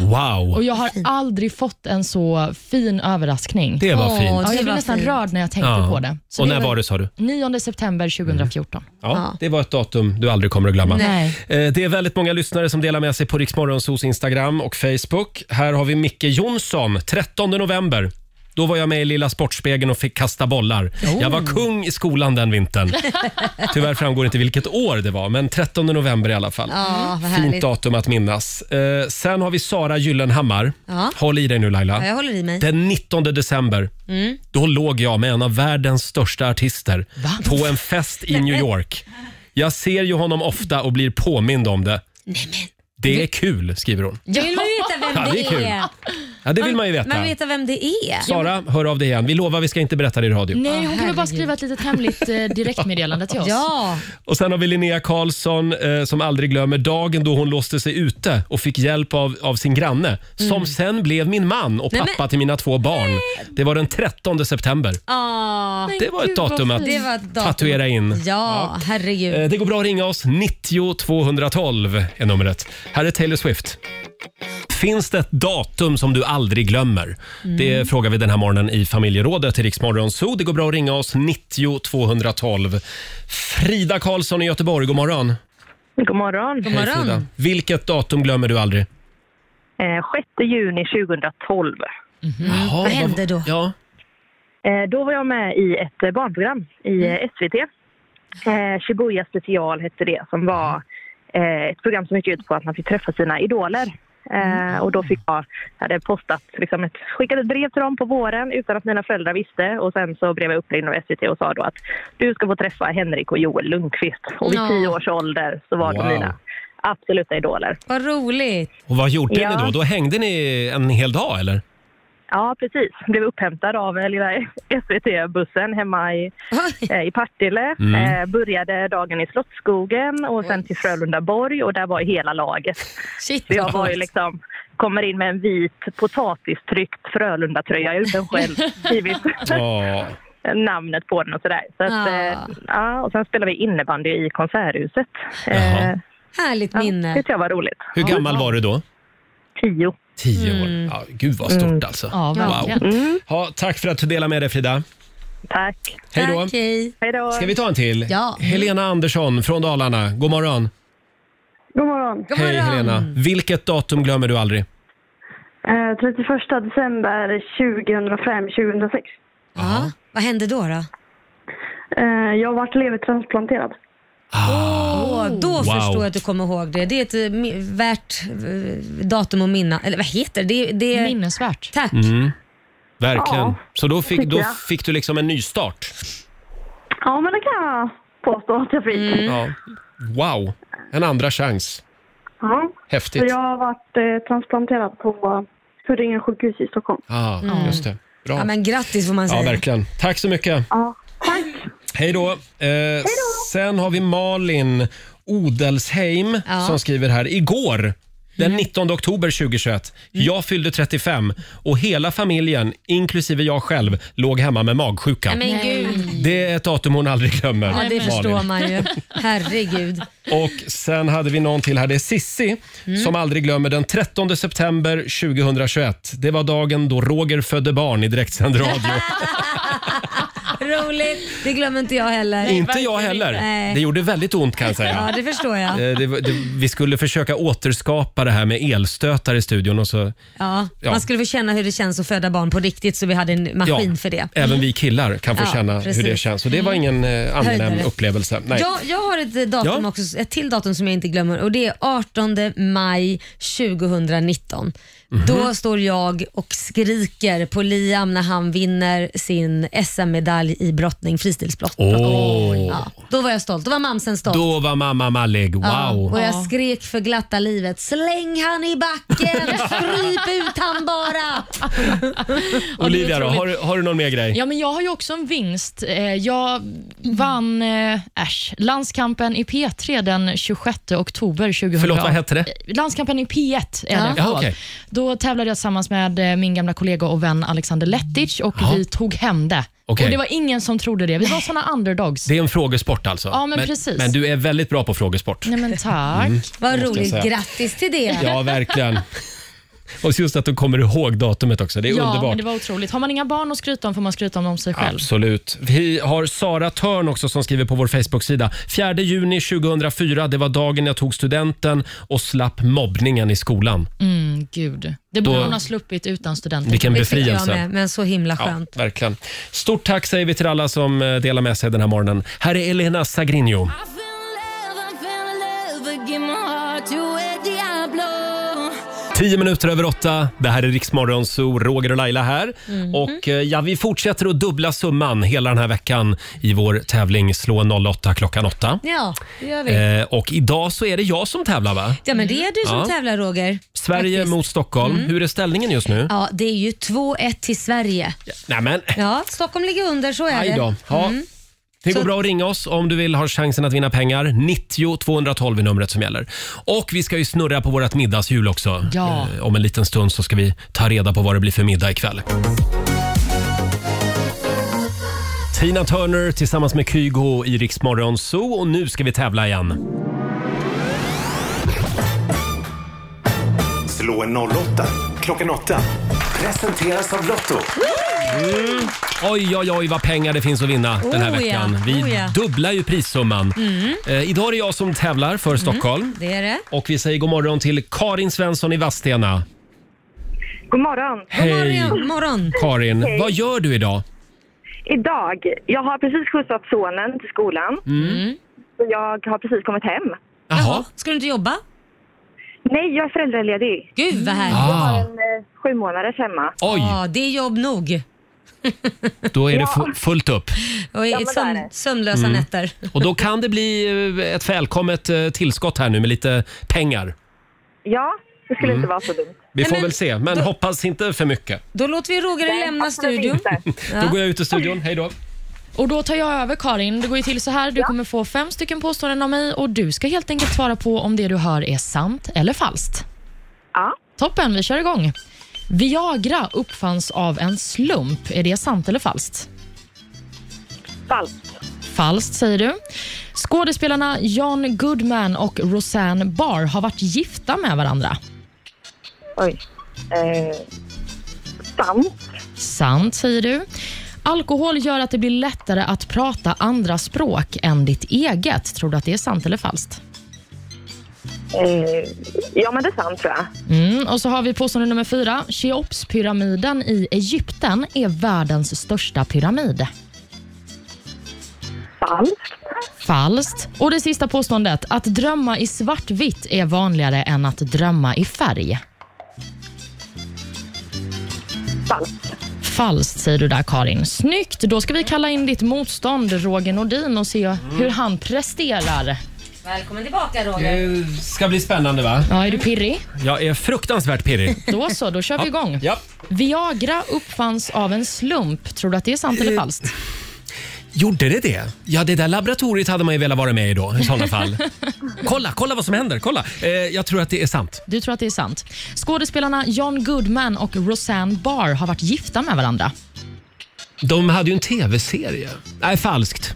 [SPEAKER 1] Wow.
[SPEAKER 3] Och Jag har aldrig fått en så fin överraskning.
[SPEAKER 1] Det var Åh, fint. det
[SPEAKER 3] Ja, jag
[SPEAKER 1] var
[SPEAKER 3] blev nästan
[SPEAKER 1] fint.
[SPEAKER 3] rörd när jag tänkte
[SPEAKER 1] Ja.
[SPEAKER 3] på det. Så
[SPEAKER 1] och
[SPEAKER 3] det
[SPEAKER 1] när var det sa du?
[SPEAKER 3] 9 september 2014.
[SPEAKER 1] Ja, Det var ett datum du aldrig kommer att glömma.
[SPEAKER 3] Nej.
[SPEAKER 1] Eh, Det är väldigt många lyssnare som delar med sig på Riksmorgonsos Instagram och Facebook. Här har vi Micke Jonsson, 13 november. Då var jag med i Lilla Sportspegeln och fick kasta bollar. Jag var kung i skolan den vintern. Tyvärr framgår inte vilket år det var, men 13 november i alla fall.
[SPEAKER 2] Ja, vad
[SPEAKER 1] Fint
[SPEAKER 2] härligt.
[SPEAKER 1] datum att minnas. Eh, sen har vi Sara Gyllenhammar.
[SPEAKER 2] Ja.
[SPEAKER 1] Håll i dig nu Laila.
[SPEAKER 2] Ja, jag håller i mig.
[SPEAKER 1] Den 19 december,
[SPEAKER 2] Mm.
[SPEAKER 1] då låg jag med en av världens största artister på en fest i New York. Jag ser ju honom ofta och blir påmind om det. Det är kul, skriver hon.
[SPEAKER 2] Jag vill man veta vem
[SPEAKER 1] Ja, det
[SPEAKER 2] det
[SPEAKER 1] är kul.
[SPEAKER 2] är.
[SPEAKER 1] Ja, det vill man ju
[SPEAKER 2] Man
[SPEAKER 1] veta.
[SPEAKER 2] vill veta vem det är.
[SPEAKER 1] Sara, hör av dig igen. Vi lovar vi ska inte berätta det i radio.
[SPEAKER 2] Mm.
[SPEAKER 3] Nej, hon kan väl bara skriva ett litet hemligt eh, direktmeddelande till oss.
[SPEAKER 2] Ja.
[SPEAKER 1] Och sen har vi Linnea Karlsson eh, som aldrig glömmer dagen då hon låste sig ute och fick hjälp av, av sin granne som
[SPEAKER 2] Mm.
[SPEAKER 1] sen blev min man och
[SPEAKER 2] Nej,
[SPEAKER 1] pappa till mina två barn. Det var den 13 september.
[SPEAKER 2] Ah,
[SPEAKER 1] Det var ett gud, vad datum att fint.
[SPEAKER 2] Det var ett datum.
[SPEAKER 1] tatuera in.
[SPEAKER 2] Ja, herregud.
[SPEAKER 1] Eh, Det går bra att ringa oss. 90 212 är numret. Här är Taylor Swift. Finns det ett datum som du aldrig glömmer?
[SPEAKER 4] Mm.
[SPEAKER 1] Det frågar vi den här morgonen i familjerådet i Riksmorgon Zoo. Det går bra att ringa oss. 90 212. Frida Karlsson i Göteborg, god morgon.
[SPEAKER 5] God morgon. God
[SPEAKER 1] Hej, Frida. Vilket datum glömmer du aldrig?
[SPEAKER 5] Eh, 6 juni 2012.
[SPEAKER 1] Jaha, vad hände
[SPEAKER 2] då?
[SPEAKER 1] Ja.
[SPEAKER 5] Eh, då var jag med i ett eh, barnprogram i eh, SVT. Eh, Shibuya special hette det, som var eh, ett program som gick ut på att man fick träffa sina idoler. Eh, och då fick jag, jag hade postat, liksom ett, skickade ett brev till dem på våren utan att mina föräldrar visste och sen så blev jag uppringd av SVT och sa då att du ska få träffa Henrik och Joel Lundqvist. Och vid
[SPEAKER 2] Ja.
[SPEAKER 5] tio års ålder så var
[SPEAKER 1] Wow.
[SPEAKER 5] de mina absoluta idoler.
[SPEAKER 2] Vad roligt.
[SPEAKER 1] Och vad gjorde
[SPEAKER 5] Ja.
[SPEAKER 1] ni då? Då hängde ni en hel dag eller?
[SPEAKER 5] Ja, precis. Blev upphämtad av eh, lilla SVT-bussen hemma i, eh, i Partille.
[SPEAKER 1] Mm.
[SPEAKER 5] Eh, började dagen i Slottsskogen och sen till Frölundaborg och där var ju hela laget.
[SPEAKER 2] Shit,
[SPEAKER 5] Så jag
[SPEAKER 2] vad
[SPEAKER 5] var ju
[SPEAKER 2] coolt.
[SPEAKER 5] liksom, kommer in med en vit potatistryckt Frölunda-tröja utan själv skrivit
[SPEAKER 1] Ja.
[SPEAKER 5] namnet på den och sådär. Så att, eh, ja, och sen spelade vi innebandy i Konserthuset. Eh,
[SPEAKER 2] Härligt minne.
[SPEAKER 5] det tyckte jag var roligt.
[SPEAKER 1] Hur gammal var du då?
[SPEAKER 5] Tio.
[SPEAKER 1] Tio år. Ja, gud vad stort
[SPEAKER 5] Mm.
[SPEAKER 1] alltså.
[SPEAKER 5] Ja,
[SPEAKER 1] wow.
[SPEAKER 5] verkligen. Mm.
[SPEAKER 1] ja, tack för att du delade med dig Frida.
[SPEAKER 5] Tack.
[SPEAKER 1] Hej då.
[SPEAKER 2] Tack, hej.
[SPEAKER 5] Hej då.
[SPEAKER 1] Ska vi ta en till?
[SPEAKER 2] Ja.
[SPEAKER 1] Helena Andersson från Dalarna. God morgon.
[SPEAKER 14] God morgon.
[SPEAKER 1] Hej Helena. Vilket datum glömmer du aldrig?
[SPEAKER 14] Eh, 31 december 2005, 2006.
[SPEAKER 2] Ja. Vad hände då? då?
[SPEAKER 14] Eh, jag vart levertransplanterad.
[SPEAKER 2] Åh,
[SPEAKER 1] Oh,
[SPEAKER 2] då
[SPEAKER 14] Wow.
[SPEAKER 2] förstår jag att du kommer ihåg det. Det är ett eh, mi- värt eh, datum att minna. Eller vad heter det? det, det är...
[SPEAKER 3] Minnesvärt.
[SPEAKER 2] Tack.
[SPEAKER 1] Mm. Verkligen.
[SPEAKER 14] Ja,
[SPEAKER 1] Så då fick,
[SPEAKER 14] tycker
[SPEAKER 1] då
[SPEAKER 14] jag.
[SPEAKER 1] fick du liksom en ny start.
[SPEAKER 14] Ja, men det kan jag påstå att jag fick.
[SPEAKER 3] Mm.
[SPEAKER 1] Ja. Wow, en andra chans.
[SPEAKER 14] Ja.
[SPEAKER 1] Häftigt.
[SPEAKER 14] Så jag har varit eh, transplanterad på Huddinge sjukhus i Stockholm.
[SPEAKER 1] Ah,
[SPEAKER 14] Mm.
[SPEAKER 1] Just det. Bra.
[SPEAKER 2] Ja, men grattis får man
[SPEAKER 1] Ja,
[SPEAKER 2] säga.
[SPEAKER 1] verkligen. Tack så mycket. Hej då. Eh, Sen har vi Malin Odelsheim
[SPEAKER 2] Ja. Mm.
[SPEAKER 1] som skriver här. Igår, den 19 oktober 2021, jag fyllde 35 och hela familjen, inklusive jag själv, låg hemma med magsjuka.
[SPEAKER 2] Nej, men gud.
[SPEAKER 1] Det är ett datum hon aldrig glömmer.
[SPEAKER 2] Ja, det
[SPEAKER 1] Malin.
[SPEAKER 2] förstår man ju. Herregud.
[SPEAKER 1] Och sen hade vi någon till här. Det är Sissi
[SPEAKER 2] Mm.
[SPEAKER 1] som aldrig glömmer den 13 september 2021. Det var dagen då Roger födde barn i direktsänd radio.
[SPEAKER 2] Roligt. Det glömmer inte jag heller.
[SPEAKER 1] Inte jag heller.
[SPEAKER 2] Nej.
[SPEAKER 1] Det gjorde väldigt ont kan jag säga.
[SPEAKER 2] Ja, det förstår jag.
[SPEAKER 1] Eh, det var- det, vi skulle försöka återskapa det här med elstötar i studion och så...
[SPEAKER 2] Ja,
[SPEAKER 1] Ja.
[SPEAKER 2] Man skulle få känna hur det känns att föda barn på riktigt så vi hade en maskin för det. Mm.
[SPEAKER 1] Även vi killar kan få
[SPEAKER 2] Ja,
[SPEAKER 1] känna
[SPEAKER 2] precis. Mm.
[SPEAKER 1] hur det känns. Och det var ingen eh, angenäm
[SPEAKER 2] Höjdare.
[SPEAKER 1] upplevelse. Nej.
[SPEAKER 2] Jag, jag har ett, datum
[SPEAKER 1] Ja.
[SPEAKER 2] också, ett till datum som jag inte glömmer och det är 18 maj 2019.
[SPEAKER 1] Mhm.
[SPEAKER 2] Då står jag och skriker på Liam när han vinner sin SM-medalj i brottning, fristilsbrott.
[SPEAKER 1] Åh.
[SPEAKER 2] Ja, då var jag stolt. Då var mamsen stolt.
[SPEAKER 1] Då var mamma mallig. Wow.
[SPEAKER 2] Ja, och jag
[SPEAKER 1] Ja.
[SPEAKER 2] skrek för glatta livet. Släng han i backen! Stryp ut han bara!
[SPEAKER 1] Olivia då, har, du- har du någon mer grej?
[SPEAKER 3] Ja, men jag har ju också en vinst. Eh, Jag vann eh, äsch, landskampen i P3 den 26 oktober 2000.
[SPEAKER 1] Förlåt, vad hette det?
[SPEAKER 3] Eh, Landskampen i P1 är
[SPEAKER 1] Ja.
[SPEAKER 3] det.
[SPEAKER 1] Ja,
[SPEAKER 3] förlåt.
[SPEAKER 1] okej.
[SPEAKER 3] Då tävlade jag tillsammans med eh, min gamla kollega och vän Alexander Lettic och
[SPEAKER 1] Ja.
[SPEAKER 3] vi tog hem det.
[SPEAKER 1] Okej.
[SPEAKER 3] Och Det var ingen som trodde det. Vi var såna underdogs.
[SPEAKER 1] Det är en frågesport alltså?
[SPEAKER 3] Ja, men precis.
[SPEAKER 1] men du är väldigt bra på frågesport.
[SPEAKER 3] Nej, men tack.
[SPEAKER 1] Mm, måste
[SPEAKER 2] Vad
[SPEAKER 1] jag
[SPEAKER 2] roligt.
[SPEAKER 1] säga.
[SPEAKER 2] Grattis till det.
[SPEAKER 1] Ja, verkligen. Och just att du kommer ihåg datumet också. Det är
[SPEAKER 3] ja,
[SPEAKER 1] underbart.
[SPEAKER 3] Men det var otroligt. Har man inga barn att skryta om får man skryta om, om sig själv.
[SPEAKER 1] Absolut. Vi har Sara Törn också som skriver på vår Facebook-sida. 4 juni 2004, det var dagen jag tog studenten och slapp mobbningen i skolan.
[SPEAKER 3] Mm, gud. Det borde
[SPEAKER 1] Då-
[SPEAKER 3] hon ha sluppit utan studenten.
[SPEAKER 1] Vilken Det tycker jag befrielse. med,
[SPEAKER 2] men så himla
[SPEAKER 1] Ja, verkligen. Stort tack säger vi till alla som eh, delar med sig den här morgonen. Här är Elena Sagrinho. Tio minuter över åtta. Det här är Riksmorgon, så Roger och Laila här. Och eh, ja, vi fortsätter att dubbla summan hela den här veckan i vår tävling Slå 08 klockan åtta.
[SPEAKER 2] Ja, det gör vi.
[SPEAKER 1] Eh, och idag så är det jag som tävlar va?
[SPEAKER 2] Ja, men det är du som
[SPEAKER 1] Ja.
[SPEAKER 2] tävlar Roger.
[SPEAKER 1] Sverige mot Stockholm.
[SPEAKER 2] Mm.
[SPEAKER 1] Hur är ställningen just nu?
[SPEAKER 2] Ja, det är ju 2-1 till Sverige.
[SPEAKER 1] Nej, men,
[SPEAKER 2] Ja, Stockholm ligger under, så är
[SPEAKER 1] aj då.
[SPEAKER 2] det.
[SPEAKER 1] Ja.
[SPEAKER 2] Mm.
[SPEAKER 1] Det går
[SPEAKER 2] Så-
[SPEAKER 1] bra att ringa oss om du vill ha chansen att vinna pengar. 90 212 är numret som gäller. Och vi ska ju snurra på vårt middagshjul också.
[SPEAKER 3] Ja.
[SPEAKER 1] Eh, Om en liten stund så ska vi ta reda på vad det blir för middag ikväll. Tina Turner tillsammans med Kygo i Rix Morgon Zoo och nu ska vi tävla igen.
[SPEAKER 4] Slå en 08 klockan åtta. Presenteras av Lotto.
[SPEAKER 1] Mm. Oj, oj, oj vad pengar det finns att vinna den här
[SPEAKER 2] Oh ja,
[SPEAKER 1] veckan. Vi
[SPEAKER 2] oh ja.
[SPEAKER 1] dubblar ju prissumman.
[SPEAKER 2] Mm.
[SPEAKER 1] Eh, idag är det jag som tävlar för Stockholm.
[SPEAKER 2] Det är det.
[SPEAKER 1] Och vi säger god morgon till Karin Svensson i Vadstena.
[SPEAKER 5] God morgon.
[SPEAKER 1] Hej.
[SPEAKER 5] God
[SPEAKER 2] morgon.
[SPEAKER 1] Karin,
[SPEAKER 5] Hej.
[SPEAKER 1] vad gör du idag?
[SPEAKER 5] Idag, jag har precis skjutsat sonen till skolan.
[SPEAKER 1] Mm.
[SPEAKER 5] Så jag har precis kommit hem.
[SPEAKER 1] Jaha.
[SPEAKER 2] Ska du inte jobba?
[SPEAKER 5] Nej, jag är föräldraledig.
[SPEAKER 2] Gud vad härligt.
[SPEAKER 5] Jag har
[SPEAKER 1] Ah.
[SPEAKER 5] en eh, sju månaders hemma.
[SPEAKER 1] Oj.
[SPEAKER 2] Ja, det är jobb nog.
[SPEAKER 1] Då är det
[SPEAKER 2] Ja.
[SPEAKER 1] fu- fullt upp.
[SPEAKER 2] Och
[SPEAKER 5] Ja, men det är
[SPEAKER 2] sömn,
[SPEAKER 5] det.
[SPEAKER 2] sömnlösa
[SPEAKER 1] Mm.
[SPEAKER 2] nätter.
[SPEAKER 1] Och då kan det bli eh, ett välkommet eh, tillskott här nu med lite pengar.
[SPEAKER 5] Ja, det skulle
[SPEAKER 1] Mm.
[SPEAKER 5] inte vara så dumt.
[SPEAKER 1] Vi
[SPEAKER 2] Nej,
[SPEAKER 1] får
[SPEAKER 2] men
[SPEAKER 1] väl se, men
[SPEAKER 2] då-
[SPEAKER 1] hoppas inte för mycket.
[SPEAKER 2] Då låter vi Roger
[SPEAKER 5] Nej, alltså,
[SPEAKER 2] lämna
[SPEAKER 5] absolut
[SPEAKER 2] studion.
[SPEAKER 5] inte.
[SPEAKER 1] Då går jag ut ur studion. Hej då.
[SPEAKER 3] Och Då tar jag över, Karin. Det går ju till så här. Du kommer få fem stycken påståenden av mig och du ska helt enkelt svara på om det du hör är sant eller falskt.
[SPEAKER 5] Ja.
[SPEAKER 3] Toppen, vi kör igång. Viagra uppfanns av en slump. Är det sant eller falskt?
[SPEAKER 5] Falskt.
[SPEAKER 3] Falskt, säger du. Skådespelarna John Goodman och Roseanne Barr har varit gifta med varandra.
[SPEAKER 5] Oj. Eh, sant.
[SPEAKER 3] Sant, säger du. Alkohol gör att det blir lättare att prata andra språk än ditt eget. Tror du att det är sant eller falskt?
[SPEAKER 5] Eh, ja, men det är sant tror jag.
[SPEAKER 3] Mm, och så har vi påstående nummer fyra. Cheopspyramiden i Egypten är världens största pyramid.
[SPEAKER 5] Falskt.
[SPEAKER 3] Falskt. Och det sista påståendet. Att drömma i svartvitt är vanligare än att drömma i färg.
[SPEAKER 5] Falskt.
[SPEAKER 3] Falskt säger du där Karin. Snyggt! Då ska vi kalla in ditt motstånd Roger Nordin och se hur han presterar.
[SPEAKER 2] Välkommen tillbaka Roger.
[SPEAKER 1] Det Eh, ska bli spännande va?
[SPEAKER 3] Ja, är du pirrig?
[SPEAKER 1] Jag är fruktansvärt pirrig.
[SPEAKER 3] Då så, då kör vi
[SPEAKER 1] Ja.
[SPEAKER 3] igång.
[SPEAKER 1] Ja.
[SPEAKER 3] Viagra uppfanns av en slump. Tror du att det är sant eller
[SPEAKER 1] Eh,
[SPEAKER 3] falskt?
[SPEAKER 1] Gjorde det det? Ja, det där laboratoriet hade man ju velat vara med i då i sådana fall. kolla, kolla vad som händer. Kolla. Eh, jag tror att det är sant.
[SPEAKER 3] Du tror att det är sant. Skådespelarna John Goodman och Roseanne Barr har varit gifta med varandra.
[SPEAKER 1] De hade ju en tv-serie. Nej, falskt.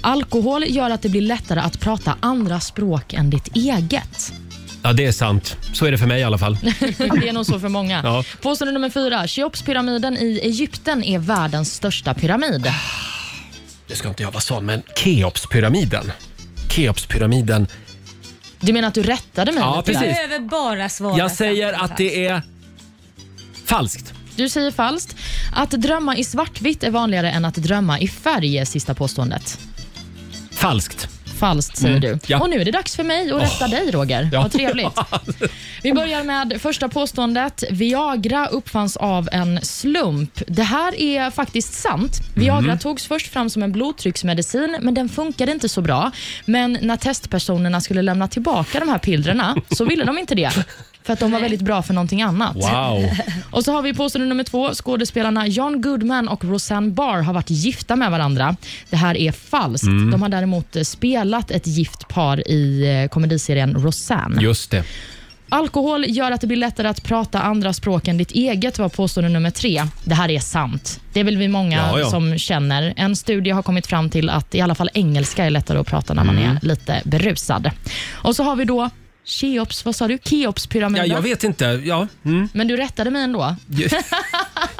[SPEAKER 3] Alkohol gör att det blir lättare att prata andra språk än ditt eget.
[SPEAKER 1] Ja, det är sant. Så är det för mig i alla fall.
[SPEAKER 3] det är nog så för många.
[SPEAKER 1] Ja.
[SPEAKER 3] Påstående nummer fyra. Cheopspyramiden i Egypten är världens största pyramid.
[SPEAKER 1] Det ska inte jag vara sån, men Keopspyramiden. Keopspyramiden.
[SPEAKER 3] Du menar att du rättade mig
[SPEAKER 1] Ja,
[SPEAKER 3] lite
[SPEAKER 1] precis.
[SPEAKER 3] där?
[SPEAKER 2] Jag behöver bara svara.
[SPEAKER 1] Jag säger
[SPEAKER 2] sant och
[SPEAKER 1] att det är falskt.
[SPEAKER 3] Du säger falskt. Att drömma i svartvitt är vanligare än att drömma i färg, är sista påståendet.
[SPEAKER 1] Falskt.
[SPEAKER 3] Falskt säger
[SPEAKER 1] Mm,
[SPEAKER 3] du.
[SPEAKER 1] ja.
[SPEAKER 3] Och nu är det dags för mig att rätta
[SPEAKER 1] Åh.
[SPEAKER 3] dig Roger.
[SPEAKER 1] Ja.
[SPEAKER 3] Vad trevligt. Vi börjar med första påståendet. Viagra uppfanns av en slump. Det här är faktiskt sant. Viagra
[SPEAKER 1] Mhm.
[SPEAKER 13] Mm.
[SPEAKER 3] togs först fram som en blodtrycksmedicin, men den funkade inte så bra. Men när testpersonerna skulle lämna tillbaka de här pillren så ville de inte det. För att de var väldigt bra för någonting annat.
[SPEAKER 1] Wow.
[SPEAKER 3] Och så har vi påstående nummer två. Skådespelarna John Goodman och Roseanne Barr har varit gifta med varandra. Det här är falskt.
[SPEAKER 1] Mm.
[SPEAKER 3] De har däremot eh, spelat ett gift par i eh, komediserien Roseanne.
[SPEAKER 1] Just det.
[SPEAKER 3] Alkohol gör att det blir lättare att prata andra språk än ditt eget var påstående nummer tre. Det här är sant. Det är väl vi många
[SPEAKER 1] Ja, ja.
[SPEAKER 3] som känner. En studie har kommit fram till att i alla fall engelska är lättare att prata när man
[SPEAKER 1] Mm.
[SPEAKER 3] är lite berusad. Och så har vi då Cheops, vad sa du?
[SPEAKER 1] Ja,
[SPEAKER 3] Keopspyramiden.
[SPEAKER 1] jag vet inte. Ja, mm.
[SPEAKER 3] Men du rättade mig ändå.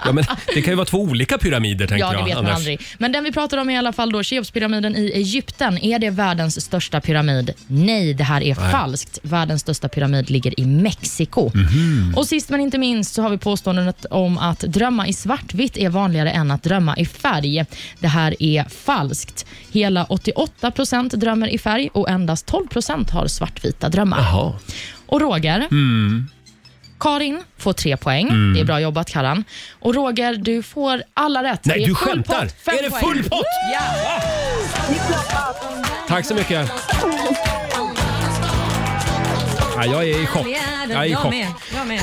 [SPEAKER 1] ja, men det kan ju vara två olika pyramider tänker
[SPEAKER 3] Ja,
[SPEAKER 1] jag.
[SPEAKER 3] det vet man
[SPEAKER 1] annars.
[SPEAKER 3] aldrig. Men den vi pratar om är i alla fall då Cheopspyramiden i Egypten. Är det världens största pyramid? Nej, det här är
[SPEAKER 13] Nej.
[SPEAKER 3] falskt. Världens största pyramid ligger i Mexiko.
[SPEAKER 1] Mhm.
[SPEAKER 3] Och sist men inte minst så har vi påståendet om att drömma i svartvitt är vanligare än att drömma i färg. Det här är falskt. Hela 88 procent drömmer i färg och endast 12 procent har svartvita drömmar. Och Roger,
[SPEAKER 1] Mm.
[SPEAKER 3] Karin får tre poäng.
[SPEAKER 1] Mm.
[SPEAKER 3] Det är bra jobbat Karan. Och Roger, du får alla rätt.
[SPEAKER 1] Nej,
[SPEAKER 3] Det är
[SPEAKER 1] du
[SPEAKER 3] full
[SPEAKER 1] skämtar.
[SPEAKER 3] pott. Fem
[SPEAKER 1] Är det
[SPEAKER 3] poäng.
[SPEAKER 1] full pott?
[SPEAKER 3] Ja.
[SPEAKER 1] Tack så mycket. Ja, jag är i chock. Jag är i chock.
[SPEAKER 2] Jag med.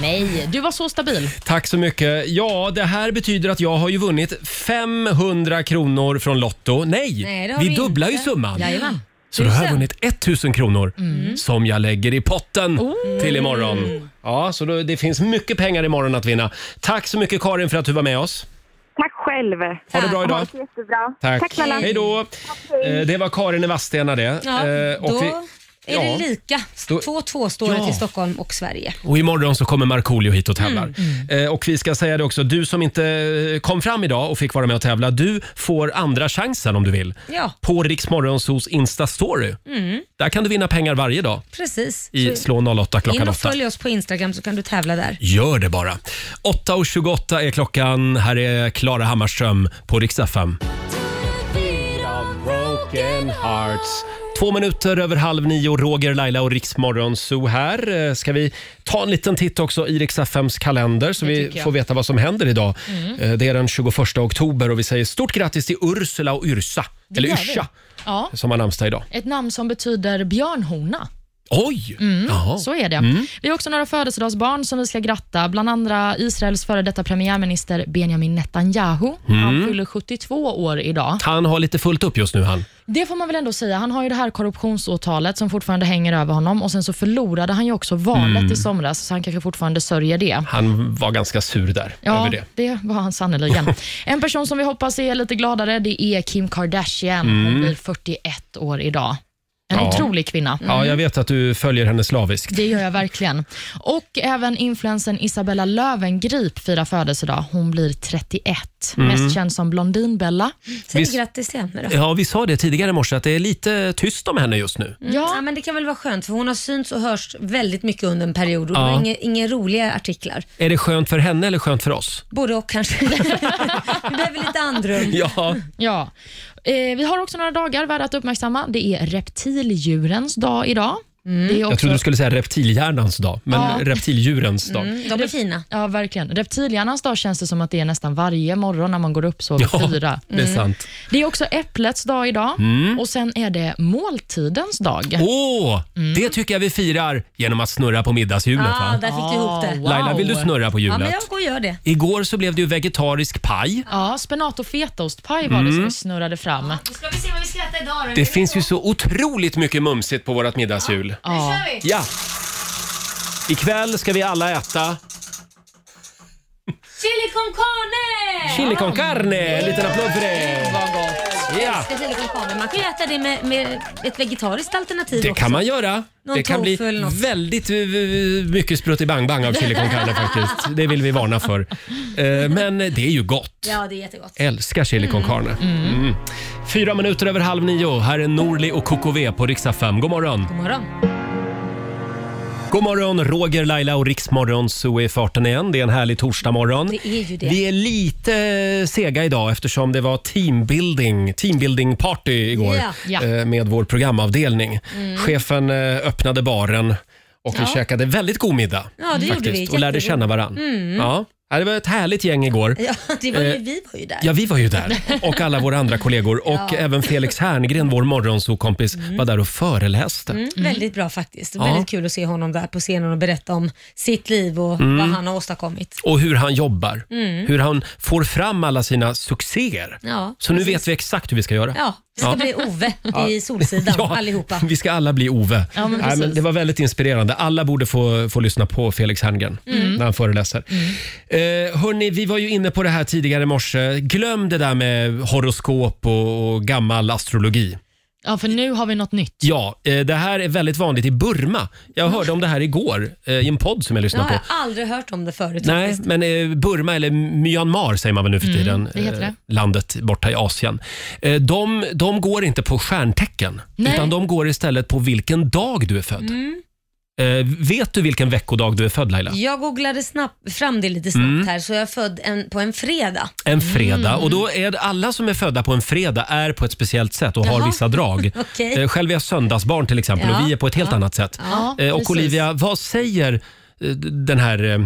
[SPEAKER 3] Nej, du var så stabil.
[SPEAKER 1] Tack så mycket. Ja, det här betyder att jag har ju vunnit 500 kronor från Lotto. Nej,
[SPEAKER 2] Nej, det har
[SPEAKER 1] vi,
[SPEAKER 2] vi
[SPEAKER 1] dubblar ju
[SPEAKER 2] inte.
[SPEAKER 1] summan.
[SPEAKER 2] Jajamän.
[SPEAKER 1] Så då har jag
[SPEAKER 2] Tusen. Mm.
[SPEAKER 1] vunnit 1000 kronor som jag lägger i potten till imorgon. Ja, så då, det finns mycket pengar imorgon att vinna. Tack så mycket Karin för att du var med oss.
[SPEAKER 5] Tack själv.
[SPEAKER 1] Ha det bra idag.
[SPEAKER 5] det jättebra.
[SPEAKER 1] Tack.
[SPEAKER 5] Tack snälla.
[SPEAKER 1] Hej då. Eh, Det var Karin i Vadstena det.
[SPEAKER 2] Ja,
[SPEAKER 1] Eh,
[SPEAKER 2] då är
[SPEAKER 1] ja.
[SPEAKER 2] det lika.
[SPEAKER 1] Då-
[SPEAKER 2] 2-2 står det
[SPEAKER 1] Ja.
[SPEAKER 2] till Stockholm och Sverige.
[SPEAKER 1] Och imorgon så kommer Markoolio hit och tävlar.
[SPEAKER 2] Mm.
[SPEAKER 1] Eh, och vi ska säga det också, du som inte eh, kom fram idag och fick vara med och tävla, du får andra chansen om du vill.
[SPEAKER 2] Ja,
[SPEAKER 1] På Rix Morgonzos Insta-story.
[SPEAKER 2] mm,
[SPEAKER 1] Där kan du vinna pengar varje dag
[SPEAKER 2] precis.
[SPEAKER 1] i
[SPEAKER 2] Så-
[SPEAKER 1] Slå 08
[SPEAKER 2] in
[SPEAKER 1] klockan
[SPEAKER 2] och
[SPEAKER 1] 8.
[SPEAKER 2] följ oss på Instagram så kan du tävla där.
[SPEAKER 1] Gör det bara. 8.28 är klockan. Här är Klara Hammarström på Rix FM. Broken hearts. Två minuter över halv nio, Roger, Laila och Riksmorgon Zoo här. Eh, Ska vi ta en liten titt också i Rix FMs kalender så
[SPEAKER 15] Det
[SPEAKER 1] vi
[SPEAKER 15] tycker jag.
[SPEAKER 1] får veta vad som händer idag.
[SPEAKER 3] Mm.
[SPEAKER 1] Eh, Det är den 21 oktober och vi säger stort grattis till Ursula och Yrsa,
[SPEAKER 3] Det
[SPEAKER 1] eller
[SPEAKER 3] gör vi.
[SPEAKER 1] Yrsa,
[SPEAKER 3] Ja,
[SPEAKER 1] som har namnsdag idag.
[SPEAKER 3] ett namn som betyder björnhona.
[SPEAKER 1] Oj!
[SPEAKER 3] Mm,
[SPEAKER 1] Jaha.
[SPEAKER 3] så är det.
[SPEAKER 1] Mm.
[SPEAKER 3] Vi har också några födelsedagsbarn som vi ska gratta. Bland andra Israels före detta premiärminister Benjamin Netanyahu. Han
[SPEAKER 1] Mm.
[SPEAKER 3] fyller 72 år idag.
[SPEAKER 1] Han har lite fullt upp just nu han.
[SPEAKER 3] Det får man väl ändå säga. Han har ju det här korruptionsåtalet som fortfarande hänger över honom och sen så förlorade han ju också valet
[SPEAKER 1] Mm.
[SPEAKER 3] i somras så han kanske fortfarande sörjer det.
[SPEAKER 1] Han var ganska sur där
[SPEAKER 3] Ja,
[SPEAKER 1] över det.
[SPEAKER 3] var han sannerligen. En person som vi hoppas är lite gladare det är Kim Kardashian. Hon
[SPEAKER 1] Mm.
[SPEAKER 3] blir 41 år idag. En
[SPEAKER 1] Ja.
[SPEAKER 3] otrolig kvinna.
[SPEAKER 1] Ja, jag vet att du följer henne slaviskt.
[SPEAKER 3] Det gör jag verkligen. Och även influensen Isabella Löwengrip firar födelsedag. Hon blir 31.
[SPEAKER 1] Mm.
[SPEAKER 3] Mest känd som Blondinbella.
[SPEAKER 2] Mm-hmm.
[SPEAKER 1] Säg Visst-
[SPEAKER 2] grattis till henne
[SPEAKER 1] Ja, vi sa det tidigare i morse att det är lite tyst om henne just nu.
[SPEAKER 2] Mm. Ja. men det kan väl vara skönt för hon har synts och hörts väldigt mycket under en period och det
[SPEAKER 1] Ja.
[SPEAKER 2] var inga, inga roliga artiklar.
[SPEAKER 1] Är det skönt för henne eller skönt för oss?
[SPEAKER 2] Både och kanske. Vi behöver lite andrum.
[SPEAKER 1] Ja.
[SPEAKER 3] Ja. Eh, vi har också några dagar värda att uppmärksamma. Det är reptildjurens dag idag. Det är också...
[SPEAKER 1] Jag trodde du skulle säga reptilhjärnans dag, men
[SPEAKER 3] Ja.
[SPEAKER 1] reptildjurens dag.
[SPEAKER 2] Mm.
[SPEAKER 3] de är fina. Ja, verkligen. Reptilhjärnans dag känns det som att det är nästan varje morgon när man går upp så vid
[SPEAKER 1] Ja,
[SPEAKER 3] fyra.
[SPEAKER 1] det är sant.
[SPEAKER 3] Det är också äpplets dag idag
[SPEAKER 1] Mm.
[SPEAKER 3] och sen är det måltidens dag.
[SPEAKER 1] Åh, det tycker jag vi firar genom att snurra på middagshjulet.
[SPEAKER 2] Ah,
[SPEAKER 1] va?
[SPEAKER 2] där fick du ihop det.
[SPEAKER 1] Laila, vill du snurra på
[SPEAKER 2] Ja,
[SPEAKER 1] hjulet?
[SPEAKER 2] men jag går och gör det.
[SPEAKER 1] Igår så blev det ju vegetarisk paj.
[SPEAKER 3] Ja, spenat och fetaostpaj var det som
[SPEAKER 1] Mm.
[SPEAKER 3] vi snurrade fram.
[SPEAKER 11] Då ska vi se vad vi skrattar idag då.
[SPEAKER 1] Det finns ju så otroligt mycket mumsigt på vårt middagshjul.
[SPEAKER 11] Nu kör vi!
[SPEAKER 1] Ja. Ikväll ska vi alla äta
[SPEAKER 11] Chili con carne!
[SPEAKER 1] chili con carne. En liten applåd för det. Ja,
[SPEAKER 2] Jag älskar chili con carne. Man kan ju äta det med, med ett vegetariskt alternativ
[SPEAKER 1] det
[SPEAKER 2] också.
[SPEAKER 1] kan man göra.
[SPEAKER 2] Någon
[SPEAKER 1] Det kan bli
[SPEAKER 2] tofu eller något.
[SPEAKER 1] väldigt eh, mycket sprutt i bang av chili con carne faktiskt. Det vill vi varna för. Eh, Men det är ju gott.
[SPEAKER 2] Ja, det är jättegott.
[SPEAKER 1] Älskar chili con carne. Mm. Fyra minuter över halv nio. Här är Norli och KKV på riksdag 5. God morgon!
[SPEAKER 2] God morgon.
[SPEAKER 1] God morgon, Roger, Laila och Riksmorgon så är farten igen. Det är en härlig torsdagmorgon.
[SPEAKER 2] Det är ju det.
[SPEAKER 1] Vi är lite sega idag eftersom det var teambuilding, teambuilding party igår
[SPEAKER 2] Ja. Ja.
[SPEAKER 1] eh, med vår programavdelning.
[SPEAKER 2] Mm.
[SPEAKER 1] Chefen eh, öppnade baren och vi
[SPEAKER 2] Ja.
[SPEAKER 1] käkade väldigt god middag
[SPEAKER 2] Ja, det gjorde vi.
[SPEAKER 1] faktiskt, och lärde
[SPEAKER 2] Jättegod.
[SPEAKER 1] känna varann.
[SPEAKER 2] Mm.
[SPEAKER 1] Ja. Ja, det var ett härligt gäng igår.
[SPEAKER 2] Ja, det var ju,
[SPEAKER 1] Eh,
[SPEAKER 2] vi var ju där.
[SPEAKER 1] Ja, vi var ju där. Och alla våra andra kollegor. Och
[SPEAKER 2] Ja.
[SPEAKER 1] även Felix Herngren, vår morgonsokompis, var där och föreläste.
[SPEAKER 2] Mm, Väldigt bra faktiskt.
[SPEAKER 1] Ja.
[SPEAKER 2] Väldigt kul att se honom där på scenen och berätta om sitt liv och
[SPEAKER 1] Mm.
[SPEAKER 2] vad han har åstadkommit.
[SPEAKER 1] Och hur han jobbar.
[SPEAKER 2] Mm.
[SPEAKER 1] Hur han får fram alla sina succéer.
[SPEAKER 2] Ja,
[SPEAKER 1] Så nu
[SPEAKER 2] precis.
[SPEAKER 1] vet vi exakt hur vi ska göra.
[SPEAKER 2] Ja, vi ska
[SPEAKER 1] Ja.
[SPEAKER 2] bli Ove
[SPEAKER 1] Ja.
[SPEAKER 2] i Solsidan
[SPEAKER 1] Ja.
[SPEAKER 2] allihopa.
[SPEAKER 1] Vi ska alla bli Ove.
[SPEAKER 2] Ja, men precis.
[SPEAKER 1] det var väldigt inspirerande. Alla borde få, få lyssna på Felix Herngren
[SPEAKER 2] Mm.
[SPEAKER 1] när han föreläser. Eh, hörni, vi var ju inne på det här tidigare i morse. Glöm det där med horoskop och, och gammal astrologi.
[SPEAKER 3] Ja, för nu har vi något nytt.
[SPEAKER 1] Ja, eh, det här är väldigt vanligt i Burma. Jag hörde om det här igår eh, i en podd som jag
[SPEAKER 2] Jag
[SPEAKER 1] lyssnade
[SPEAKER 2] har
[SPEAKER 1] på.
[SPEAKER 2] jag aldrig hört om det förut
[SPEAKER 1] Nej,
[SPEAKER 2] faktiskt.
[SPEAKER 1] men eh, Burma eller Myanmar säger man väl nu för
[SPEAKER 2] Mm,
[SPEAKER 1] tiden.
[SPEAKER 2] det heter det.
[SPEAKER 1] eh, Landet borta i Asien. Eh, De, de går inte på stjärntecken,
[SPEAKER 3] Nej.
[SPEAKER 1] utan de går istället på vilken dag du är född.
[SPEAKER 2] Mm.
[SPEAKER 1] Eh, Vet du vilken veckodag du är född Laila?
[SPEAKER 2] Jag googlade snabbt, fram det lite snabbt
[SPEAKER 1] Mm.
[SPEAKER 2] här, så jag är född en, på en fredag.
[SPEAKER 1] En fredag.
[SPEAKER 2] Mm.
[SPEAKER 1] Och då är det alla som är födda på en fredag är på ett speciellt sätt och har
[SPEAKER 2] Jaha.
[SPEAKER 1] vissa drag.
[SPEAKER 2] Okej.
[SPEAKER 1] Eh, Själv är jag söndagsbarn till exempel
[SPEAKER 2] Ja.
[SPEAKER 1] och vi är på ett helt
[SPEAKER 2] Ja.
[SPEAKER 1] annat sätt.
[SPEAKER 2] Ja,
[SPEAKER 1] Eh, och
[SPEAKER 2] precis.
[SPEAKER 1] Olivia, vad säger eh, den här eh,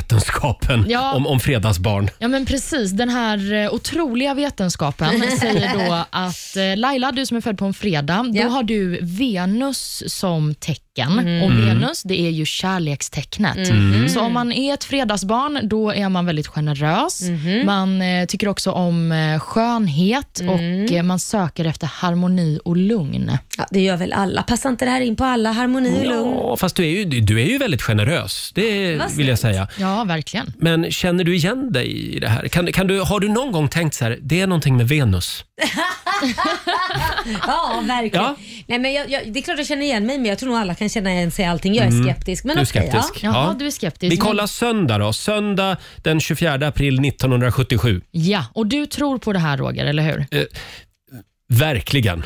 [SPEAKER 1] vetenskapen
[SPEAKER 3] Ja.
[SPEAKER 1] om, om fredagsbarn?
[SPEAKER 3] Ja, men precis. Den här eh, otroliga vetenskapen säger då att eh, Laila, du som är född på en fredag, då har du Venus som tecken.
[SPEAKER 11] Mm.
[SPEAKER 3] Och
[SPEAKER 11] Mm.
[SPEAKER 3] Venus, det är ju kärlekstecknet.
[SPEAKER 11] Mhm.
[SPEAKER 3] Så om man är ett fredagsbarn, då är man väldigt generös. Man eh, tycker också om eh, skönhet och eh, man söker efter harmoni och lugn.
[SPEAKER 2] Ja, det gör väl alla. Passar inte det här in på alla? Harmoni och lugn?
[SPEAKER 1] Ja, fast du är ju, du är ju väldigt generös, det
[SPEAKER 2] Vad
[SPEAKER 1] vill jag säga.
[SPEAKER 3] Ja, verkligen.
[SPEAKER 1] Men känner du igen dig i det här? Kan, kan du, har du någon gång tänkt så här, det är någonting med Venus?
[SPEAKER 2] ja, verkligen.
[SPEAKER 1] Ja.
[SPEAKER 2] Nej, men jag, jag, det är klart jag känner igen mig, men jag tror nog alla kan känna igen sig i allting. Jag är
[SPEAKER 1] Mm.
[SPEAKER 2] skeptisk. Men
[SPEAKER 1] du är
[SPEAKER 2] okej,
[SPEAKER 1] skeptisk.
[SPEAKER 2] ja.
[SPEAKER 1] Ja.
[SPEAKER 3] liksom
[SPEAKER 1] Vi kollar söndag då. Söndag den 24 april 1977.
[SPEAKER 3] Ja, och du tror på det här Roger, eller hur?
[SPEAKER 1] Eh, verkligen.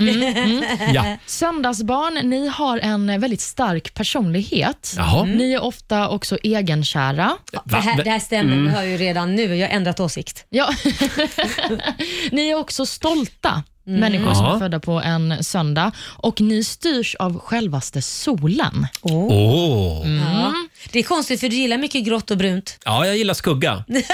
[SPEAKER 1] Ja.
[SPEAKER 3] Söndagsbarn, ni har en eh, väldigt stark personlighet.
[SPEAKER 1] Jaha.
[SPEAKER 3] Ni är ofta också egenkära.
[SPEAKER 2] Det här, det här stämmer,
[SPEAKER 1] Mm.
[SPEAKER 2] vi hör ju redan nu. Jag har ändrat åsikt.
[SPEAKER 3] Ja. ni är också stolta
[SPEAKER 2] Mm.
[SPEAKER 3] människor som
[SPEAKER 2] Ja.
[SPEAKER 3] är födda på en söndag och ni styrs av självaste solen.
[SPEAKER 1] Åh.
[SPEAKER 2] Ja. Det är konstigt för du gillar mycket grått och brunt.
[SPEAKER 1] Ja, jag gillar skugga. Nej,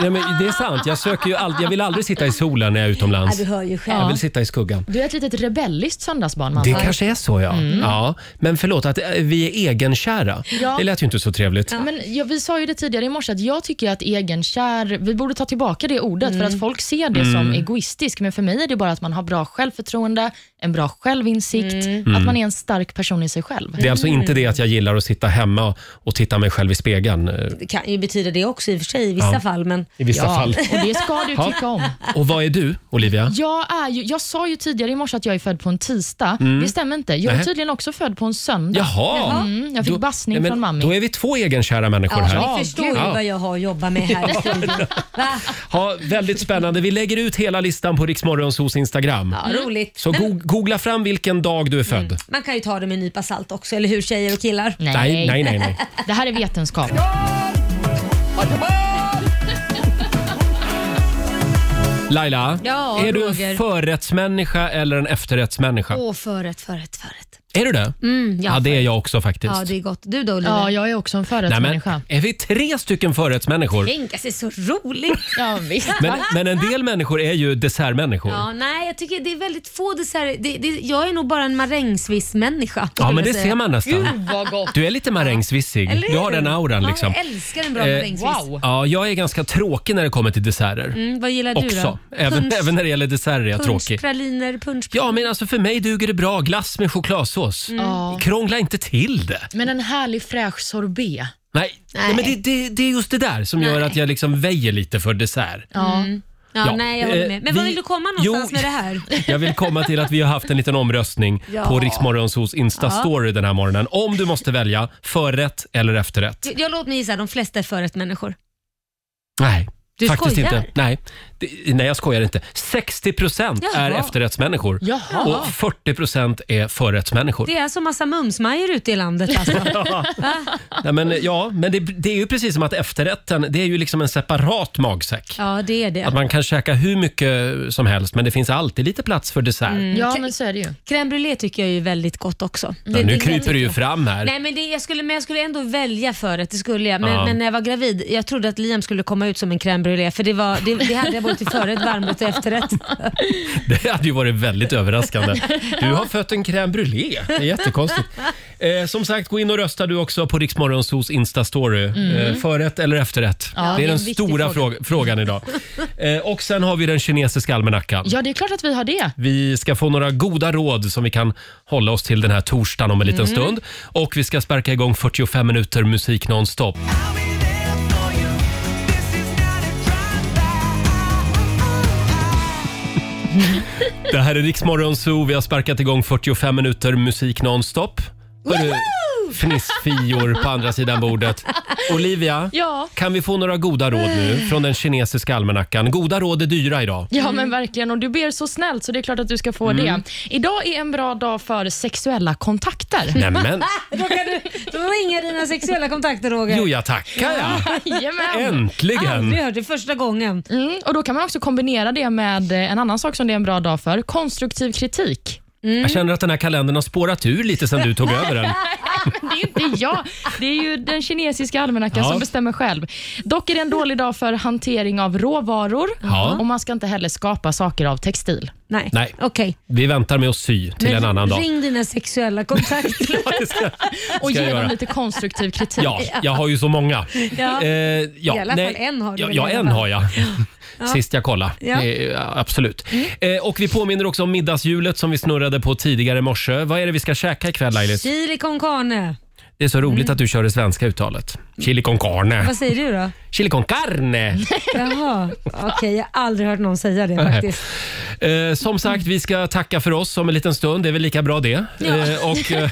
[SPEAKER 1] men det är sant. Jag, söker ju all... jag vill aldrig sitta i solen när jag är utomlands.
[SPEAKER 3] Ja, du hör ju själv.
[SPEAKER 1] Jag vill sitta i skuggan.
[SPEAKER 3] Du är ett litet rebelliskt söndagsbarn mamma.
[SPEAKER 1] Det kanske är så, ja.
[SPEAKER 3] Mm.
[SPEAKER 1] ja. Men förlåt, att eh, vi är egenkära.
[SPEAKER 3] Ja.
[SPEAKER 1] Det lät ju inte så trevligt.
[SPEAKER 3] Ja, men ja, vi sa ju det tidigare i morse att jag tycker att egenkär, vi borde ta tillbaka det ordet för att folk ser det
[SPEAKER 1] Mm.
[SPEAKER 3] som egoistisk. Men för mig är det bara att man har bra självförtroende, en bra självinsikt,
[SPEAKER 1] Mm.
[SPEAKER 3] att man är en stark person i sig själv.
[SPEAKER 1] Det är alltså
[SPEAKER 2] Mm.
[SPEAKER 1] inte det att jag gillar att sitta hemma och- och titta mig själv i spegeln. eh,
[SPEAKER 2] Det kan ju betyda det också i och för sig i vissa
[SPEAKER 1] Ja.
[SPEAKER 2] fall. Men...
[SPEAKER 1] I vissa fall.
[SPEAKER 3] och det ska du
[SPEAKER 1] Ja.
[SPEAKER 3] tycka om.
[SPEAKER 1] Och vad är du, Olivia?
[SPEAKER 3] Jag, är ju, jag sa ju tidigare i morse att jag är född på en tisdag.
[SPEAKER 1] Mm.
[SPEAKER 3] Det stämmer inte. Jag är
[SPEAKER 1] Nähä.
[SPEAKER 3] tydligen också född på en söndag.
[SPEAKER 1] Jaha.
[SPEAKER 3] Mm, jag fick
[SPEAKER 1] Då-
[SPEAKER 3] bassning
[SPEAKER 1] Nej, men
[SPEAKER 3] från mammi.
[SPEAKER 1] Då är vi två egenkära människor här.
[SPEAKER 2] Ja, ni förstår ju vad jag har att jobba med här i studion. Va?
[SPEAKER 1] Ja, väldigt spännande. Vi lägger ut hela listan på Riksmorgonsos Instagram.
[SPEAKER 2] Ja, Mm. roligt.
[SPEAKER 1] Så go- googla fram vilken dag du är född.
[SPEAKER 2] Man kan ju ta det med en nypa salt också, eller hur tjejer och killar?
[SPEAKER 1] Nej, nej, nej, nej.
[SPEAKER 3] Det här är vetenskap.
[SPEAKER 1] Laila,
[SPEAKER 2] Ja,
[SPEAKER 1] är du en
[SPEAKER 2] Roger.
[SPEAKER 1] förrättsmänniska eller en efterrättsmänniska?
[SPEAKER 2] Åh, förrätt, förrätt, förrätt.
[SPEAKER 1] Är du det?
[SPEAKER 2] Mm,
[SPEAKER 1] Ja, det är jag också faktiskt.
[SPEAKER 2] Ja, det är gott. Du då Oliver?
[SPEAKER 3] Ja, jag är också en
[SPEAKER 1] Nej, men,
[SPEAKER 3] förrättsmänniska.
[SPEAKER 1] är vi tre stycken förrättsmänniskor?
[SPEAKER 2] Tänk, alltså, det är så roligt.
[SPEAKER 3] ja, visst.
[SPEAKER 1] Men, men en del människor är ju dessertmänniskor.
[SPEAKER 2] Ja, nej, jag tycker det är väldigt få desserter. Det, det, jag är nog bara en marängsviss-människa.
[SPEAKER 1] Ja, men det
[SPEAKER 2] skulle jag
[SPEAKER 1] ser man nästan.
[SPEAKER 2] Gud, vad gott.
[SPEAKER 1] Du är lite marängsvissig.
[SPEAKER 2] Eller hur?
[SPEAKER 1] Du har den auran
[SPEAKER 2] Ja,
[SPEAKER 1] liksom.
[SPEAKER 2] jag älskar en bra
[SPEAKER 1] Eh,
[SPEAKER 2] marängsviss.
[SPEAKER 1] Ja, jag är ganska tråkig när det kommer till desserter.
[SPEAKER 2] Mm, vad gillar du
[SPEAKER 1] Också.
[SPEAKER 2] då?
[SPEAKER 1] Även,
[SPEAKER 2] Punsch-
[SPEAKER 1] även när det gäller desserter är jag tråkig.
[SPEAKER 2] Punschpraliner, punsch...
[SPEAKER 1] Ja, men alltså för mig duger det bra glass med chokladsås.
[SPEAKER 3] Mm. Ja.
[SPEAKER 1] Krångla inte till det.
[SPEAKER 3] Men en härlig fräsch sorbet.
[SPEAKER 1] Nej,
[SPEAKER 3] Nej.
[SPEAKER 1] men det, det, det är just det där som gör att jag liksom väjer lite för dessert.
[SPEAKER 3] Ja.
[SPEAKER 2] Ja,
[SPEAKER 1] Ja,
[SPEAKER 2] nej, jag håller
[SPEAKER 1] eh,
[SPEAKER 2] med. Men var
[SPEAKER 1] vi-
[SPEAKER 2] vill du komma någonstans med det här?
[SPEAKER 1] Jag vill komma till att vi har haft en liten omröstning
[SPEAKER 2] Ja.
[SPEAKER 1] på Riksmorgonsos Insta-story
[SPEAKER 2] Ja.
[SPEAKER 1] den här morgonen. Om du måste välja förrätt eller efterrätt.
[SPEAKER 2] Jag, jag låt mig gissa, de flesta är förrättsmänniskor.
[SPEAKER 1] Nej,
[SPEAKER 2] Du
[SPEAKER 1] faktiskt
[SPEAKER 2] skojar?
[SPEAKER 1] inte. Nej. Det, nej, jag skojar inte. 60 procent är
[SPEAKER 2] Jaha.
[SPEAKER 1] efterrättsmänniskor
[SPEAKER 2] Jaha.
[SPEAKER 1] och 40 procent är förrättsmänniskor.
[SPEAKER 2] Det är så massa mumsmajor ute i landet alltså. Va?
[SPEAKER 1] Nej, men, ja, men det, det är ju precis som att efterrätten, det är ju liksom en separat magsäck.
[SPEAKER 2] ja, det är det.
[SPEAKER 1] Att man kan käka hur mycket som helst, men det finns alltid lite plats för dessert.
[SPEAKER 2] Mm.
[SPEAKER 3] Ja,
[SPEAKER 2] Ka-
[SPEAKER 3] men så är det ju.
[SPEAKER 2] Crème brûlée tycker jag är väldigt gott också.
[SPEAKER 1] Ja, nu kryper du ju fram här.
[SPEAKER 2] Nej, men, det, jag skulle, men jag skulle ändå välja förrätt, det skulle jag. Men,
[SPEAKER 1] Ja.
[SPEAKER 2] men när jag var gravid, jag trodde att Liam skulle komma ut som en crème brûlée, för det, var, det, det hade jag både till förrätt, varmrätt och efterrätt.
[SPEAKER 1] Det hade ju varit väldigt överraskande. Du har fött en crème brûlée. Det är jättekonstigt. Eh, som sagt, gå in och rösta du också på Riksmorgonsos Insta-story.
[SPEAKER 13] Mm.
[SPEAKER 1] Eh, förrätt eller efterrätt?
[SPEAKER 3] Ja,
[SPEAKER 1] det är den
[SPEAKER 3] viktig
[SPEAKER 1] stora
[SPEAKER 3] fråga.
[SPEAKER 1] fråga. frågan idag. Eh, och sen har vi den kinesiska almanackan.
[SPEAKER 3] Ja, det är klart att vi har det.
[SPEAKER 1] Vi ska få några goda råd som vi kan hålla oss till den här torsdagen om en liten
[SPEAKER 3] Mm.
[SPEAKER 1] stund. Och vi ska sparka igång 45 minuter musik nonstop. Det här är Riksmorgon Zoo. Vi har sparkat igång 45 minuter musik nonstop. Hörru, fnissfior på andra sidan bordet. Olivia,
[SPEAKER 3] Ja.
[SPEAKER 1] kan vi få några goda råd nu från den kinesiska almanackan? Goda råd är dyra idag.
[SPEAKER 3] Ja, men verkligen. Och du ber så snällt, så det är klart att du ska få
[SPEAKER 1] Mm.
[SPEAKER 3] det. Idag är en bra dag för sexuella kontakter.
[SPEAKER 1] Nämen.
[SPEAKER 2] då kan du då ringer dina sexuella kontakter Roger.
[SPEAKER 1] Jo, jag tackar jag. Äntligen.
[SPEAKER 2] Aldrig hört det första gången.
[SPEAKER 3] Mm, och Då kan man också kombinera det med eh, en annan sak som det är en bra dag för, konstruktiv kritik.
[SPEAKER 2] Mm.
[SPEAKER 1] Jag känner att den här kalendern har spårat ur lite sen du tog över den.
[SPEAKER 3] Det är inte jag. Det är ju den kinesiska almanackan
[SPEAKER 1] Ja.
[SPEAKER 3] som bestämmer själv. Dock är det en dålig dag för hantering av råvaror
[SPEAKER 1] Ja.
[SPEAKER 3] och man ska inte heller skapa saker av textil.
[SPEAKER 2] Nej,
[SPEAKER 1] Nej.
[SPEAKER 2] okej.
[SPEAKER 1] Vi väntar med att sy till en annan dag.
[SPEAKER 2] Ring dina sexuella kontakter.
[SPEAKER 3] och
[SPEAKER 1] jag
[SPEAKER 3] ge
[SPEAKER 1] göra.
[SPEAKER 3] dem lite konstruktiv kritik.
[SPEAKER 1] Ja, jag har ju så många.
[SPEAKER 2] Ja.
[SPEAKER 1] Eh,
[SPEAKER 2] I alla fall en har du
[SPEAKER 1] ja,
[SPEAKER 2] väl
[SPEAKER 1] ja,
[SPEAKER 2] i alla
[SPEAKER 1] en
[SPEAKER 2] fall.
[SPEAKER 1] har jag.
[SPEAKER 2] Ja.
[SPEAKER 1] Sist jag kollade.
[SPEAKER 2] Ja. Mm.
[SPEAKER 1] Eh, absolut. Eh, och vi påminner också om middagshjulet som vi snurrade på tidigare i morse. Vad är det vi ska käka ikväll Lailis?
[SPEAKER 2] Chili con carne.
[SPEAKER 1] Det är så roligt att du kör det svenska uttalet. Chili con carne.
[SPEAKER 2] Mm. Vad säger du då?
[SPEAKER 1] Chili con carne.
[SPEAKER 2] Jaha, okej. jag har aldrig hört någon säga det faktiskt.
[SPEAKER 1] Eh, som sagt, vi ska tacka för oss om en liten stund. Det är väl lika bra det. Eh, och eh,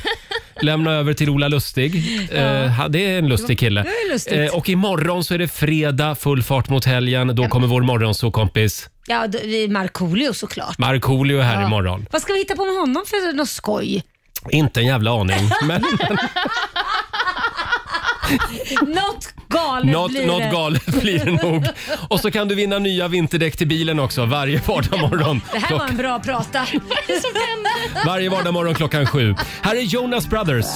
[SPEAKER 1] lämna över till Ola Lustig. Eh, ha- det är en lustig kille.
[SPEAKER 2] Det är lustigt.
[SPEAKER 1] Eh, och imorgon så är det fredag, full fart mot helgen. Då kommer vår morgonsåkompis
[SPEAKER 2] Ja, då- vi är Markoolio såklart.
[SPEAKER 1] Markoolio här
[SPEAKER 2] Ja.
[SPEAKER 1] imorgon.
[SPEAKER 2] Vad ska vi hitta på med honom för något skoj?
[SPEAKER 1] Inte en jävla aning. Men
[SPEAKER 2] Något galet
[SPEAKER 1] något,
[SPEAKER 2] blir
[SPEAKER 1] något
[SPEAKER 2] det.
[SPEAKER 1] galet blir det nog. Och så kan du vinna nya vinterdäck till bilen också varje vardagsmorgon.
[SPEAKER 2] Det här var en bra prata. Vad är det som händer?
[SPEAKER 1] Varje vardagsmorgon klockan sju. Här är Jonas Brothers.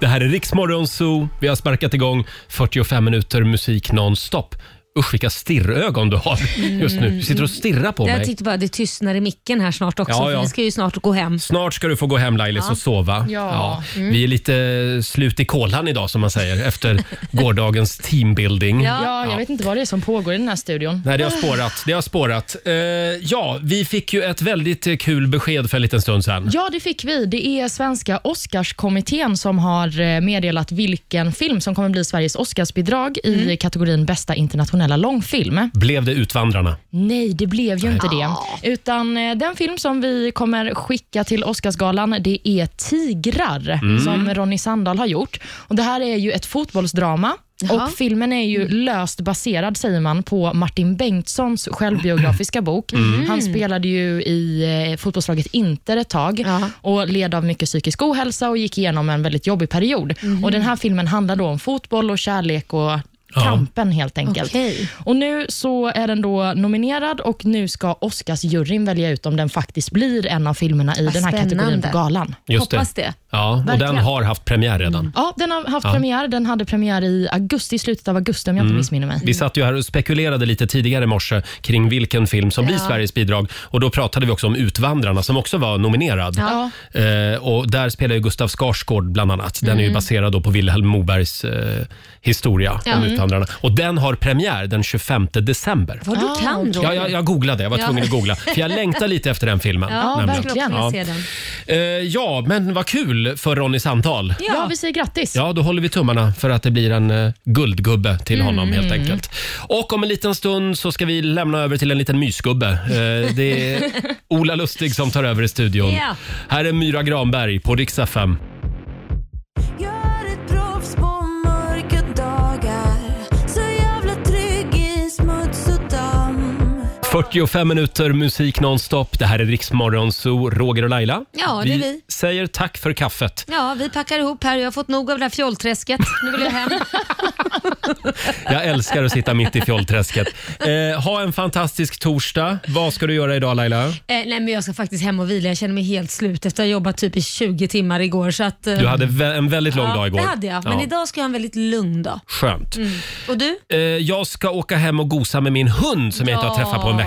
[SPEAKER 1] Det här är Riksmorgon Zoo. Vi har sparkat igång 45 minuter musik nonstop. Usch vilka stirrögon du har just nu. Du sitter och stirrar på
[SPEAKER 2] Mm. jag
[SPEAKER 1] mig.
[SPEAKER 2] tyckte bara det tystnar i micken här snart också.
[SPEAKER 1] Ja,
[SPEAKER 2] För
[SPEAKER 1] ja.
[SPEAKER 2] vi ska ju snart gå hem.
[SPEAKER 1] Snart ska du få gå hem Lailis
[SPEAKER 2] Ja.
[SPEAKER 1] och sova.
[SPEAKER 2] Ja. Mm.
[SPEAKER 1] Vi är lite slut i kolan idag som man säger efter gårdagens teambuilding.
[SPEAKER 3] Ja, jag vet inte vad det är som pågår i den här studion.
[SPEAKER 1] Nej, det har spårat. Det har spårat. Eh, ja, vi fick ju ett väldigt eh, kul besked för en liten stund sedan.
[SPEAKER 3] Ja, det fick vi. Det är svenska Oscarskommittén som har eh, meddelat vilken film som kommer bli Sveriges Oscarsbidrag i kategorin bästa internationella långfilm.
[SPEAKER 1] Blev det Utvandrarna?
[SPEAKER 3] Nej, det blev ju inte det. Utan eh, den film som vi kommer skicka till Oscarsgalan, det är Tigrar,
[SPEAKER 15] Mm.
[SPEAKER 3] som Ronny Sandahl har gjort. Och Det här är ju ett fotbollsdrama.
[SPEAKER 15] Jaha.
[SPEAKER 3] Och Filmen är ju löst baserad, säger man, på Martin Bengtssons självbiografiska bok.
[SPEAKER 15] Mm.
[SPEAKER 3] Han spelade ju i eh, fotbollslaget Inter ett tag och led av mycket psykisk ohälsa och gick igenom en väldigt jobbig period.
[SPEAKER 15] Mhm.
[SPEAKER 3] Och Den här filmen handlar då om fotboll och kärlek och kampen helt enkelt. Och Nu så är den då nominerad och nu ska Oscarsjuryn välja ut om den faktiskt blir en av filmerna i
[SPEAKER 1] Vad
[SPEAKER 3] den här kategorin
[SPEAKER 1] spännande.
[SPEAKER 3] på galan.
[SPEAKER 1] Just Ja, och den har haft premiär redan.
[SPEAKER 13] Mm.
[SPEAKER 3] Ja, den har haft
[SPEAKER 1] Ja.
[SPEAKER 3] premiär. Den hade premiär i augusti, slutet av augusti om jag inte
[SPEAKER 1] Mm.
[SPEAKER 3] missminner mig.
[SPEAKER 1] Vi satt ju här och spekulerade lite tidigare i morse kring vilken film som blir
[SPEAKER 3] Ja.
[SPEAKER 1] Sveriges bidrag. Och Då pratade vi också om Utvandrarna som också var nominerad.
[SPEAKER 3] Ja.
[SPEAKER 1] Eh, och Där spelar ju Gustav Skarsgård bland annat. Den är ju
[SPEAKER 13] Mm.
[SPEAKER 1] baserad då på Vilhelm Mobergs eh, historia
[SPEAKER 13] Ja.
[SPEAKER 1] om
[SPEAKER 13] Mm.
[SPEAKER 1] Utvandrarna. Och den har premiär den 25 december.
[SPEAKER 2] Vad du kan, Roger.
[SPEAKER 1] Ja, jag, jag googlade, jag var
[SPEAKER 2] Ja.
[SPEAKER 1] tvungen att googla. För jag längtar lite efter den filmen.
[SPEAKER 3] Ja,
[SPEAKER 1] nämligen.
[SPEAKER 3] verkligen.
[SPEAKER 1] Ja. Eh, ja, men vad kul för Ronny Sandahl.
[SPEAKER 3] Ja. vi säger grattis.
[SPEAKER 1] Ja, då håller vi tummarna för att det blir en eh, guldgubbe till honom
[SPEAKER 3] Mm.
[SPEAKER 1] helt enkelt. Och om en liten stund så ska vi lämna över till en liten mysgubbe. Eh, det är Ola Lustig som tar över i studion.
[SPEAKER 13] Ja.
[SPEAKER 1] Här är Myra Granberg på Rix FM.
[SPEAKER 13] Gör ett proffs på mörka dagar Så jävla trygg i smuts och damm
[SPEAKER 1] 45 minuter musik nonstop. Det här är Rix Morgon Zoo, Roger och Laila.
[SPEAKER 2] Ja, det är vi.
[SPEAKER 1] säger tack för kaffet.
[SPEAKER 2] Ja, vi packar ihop här. Jag har fått nog av det här fjollträsket. Nu vill jag hem. Eh,
[SPEAKER 1] Jag älskar att sitta mitt i fjollträsket. Eh, ha en fantastisk torsdag. Vad ska du göra idag Laila?
[SPEAKER 2] Eh, nej, men jag ska faktiskt hem och vila. Jag känner mig helt slut efter att ha jobbat typ i 20 timmar igår. Så att, eh,
[SPEAKER 1] Du hade vä- en väldigt lång
[SPEAKER 2] ja,
[SPEAKER 1] dag igår.
[SPEAKER 2] Det hade jag, men
[SPEAKER 1] Ja.
[SPEAKER 2] idag ska jag ha en väldigt lugn dag.
[SPEAKER 1] Skönt.
[SPEAKER 2] Mm. Och du?
[SPEAKER 1] Eh, jag ska åka hem och gosa med min hund som jag inte har
[SPEAKER 3] Ja.
[SPEAKER 1] träffat på en vecka.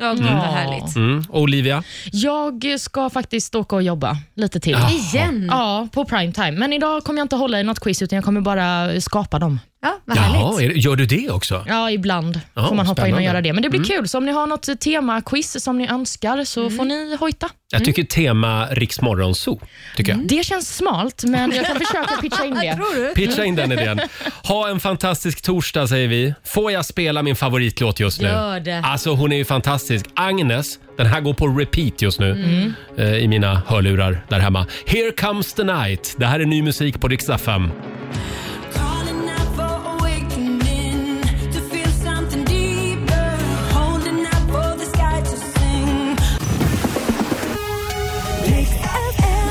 [SPEAKER 2] Ja, gud, vad härligt.
[SPEAKER 1] Mm. Olivia?
[SPEAKER 3] Jag ska faktiskt åka och jobba lite till.
[SPEAKER 1] Jaha.
[SPEAKER 2] Igen?
[SPEAKER 3] Ja, på primetime. Men idag kommer jag inte hålla i något quiz, utan jag kommer bara skapa dem.
[SPEAKER 2] Ja,
[SPEAKER 1] Jaha, är, det- gör du det också?
[SPEAKER 3] Ja, ibland
[SPEAKER 1] Ja,
[SPEAKER 3] får man hoppa in
[SPEAKER 1] spännande.
[SPEAKER 3] och göra det. Men det blir
[SPEAKER 1] Mm.
[SPEAKER 3] kul. Så om ni har något temaquiz som ni önskar så får ni hojta.
[SPEAKER 1] Jag
[SPEAKER 3] Mm.
[SPEAKER 1] tycker tema Riksmorgonzoo. Tycker jag.
[SPEAKER 3] Det känns smalt, men jag kan försöka pitcha in det.
[SPEAKER 2] Tror du?
[SPEAKER 1] Pitcha in den idén. Ha en fantastisk torsdag säger vi. Får jag spela min favoritlåt just nu?
[SPEAKER 2] Gör det.
[SPEAKER 1] Alltså hon är ju fantastisk. Agnes, den här går på repeat just nu
[SPEAKER 2] Mm.
[SPEAKER 1] eh, i mina hörlurar där hemma. Here comes the night. Det här är ny musik på Rix FM.
[SPEAKER 13] Calling out for awakening To feel something deeper Holding out for the sky to sing Rix FM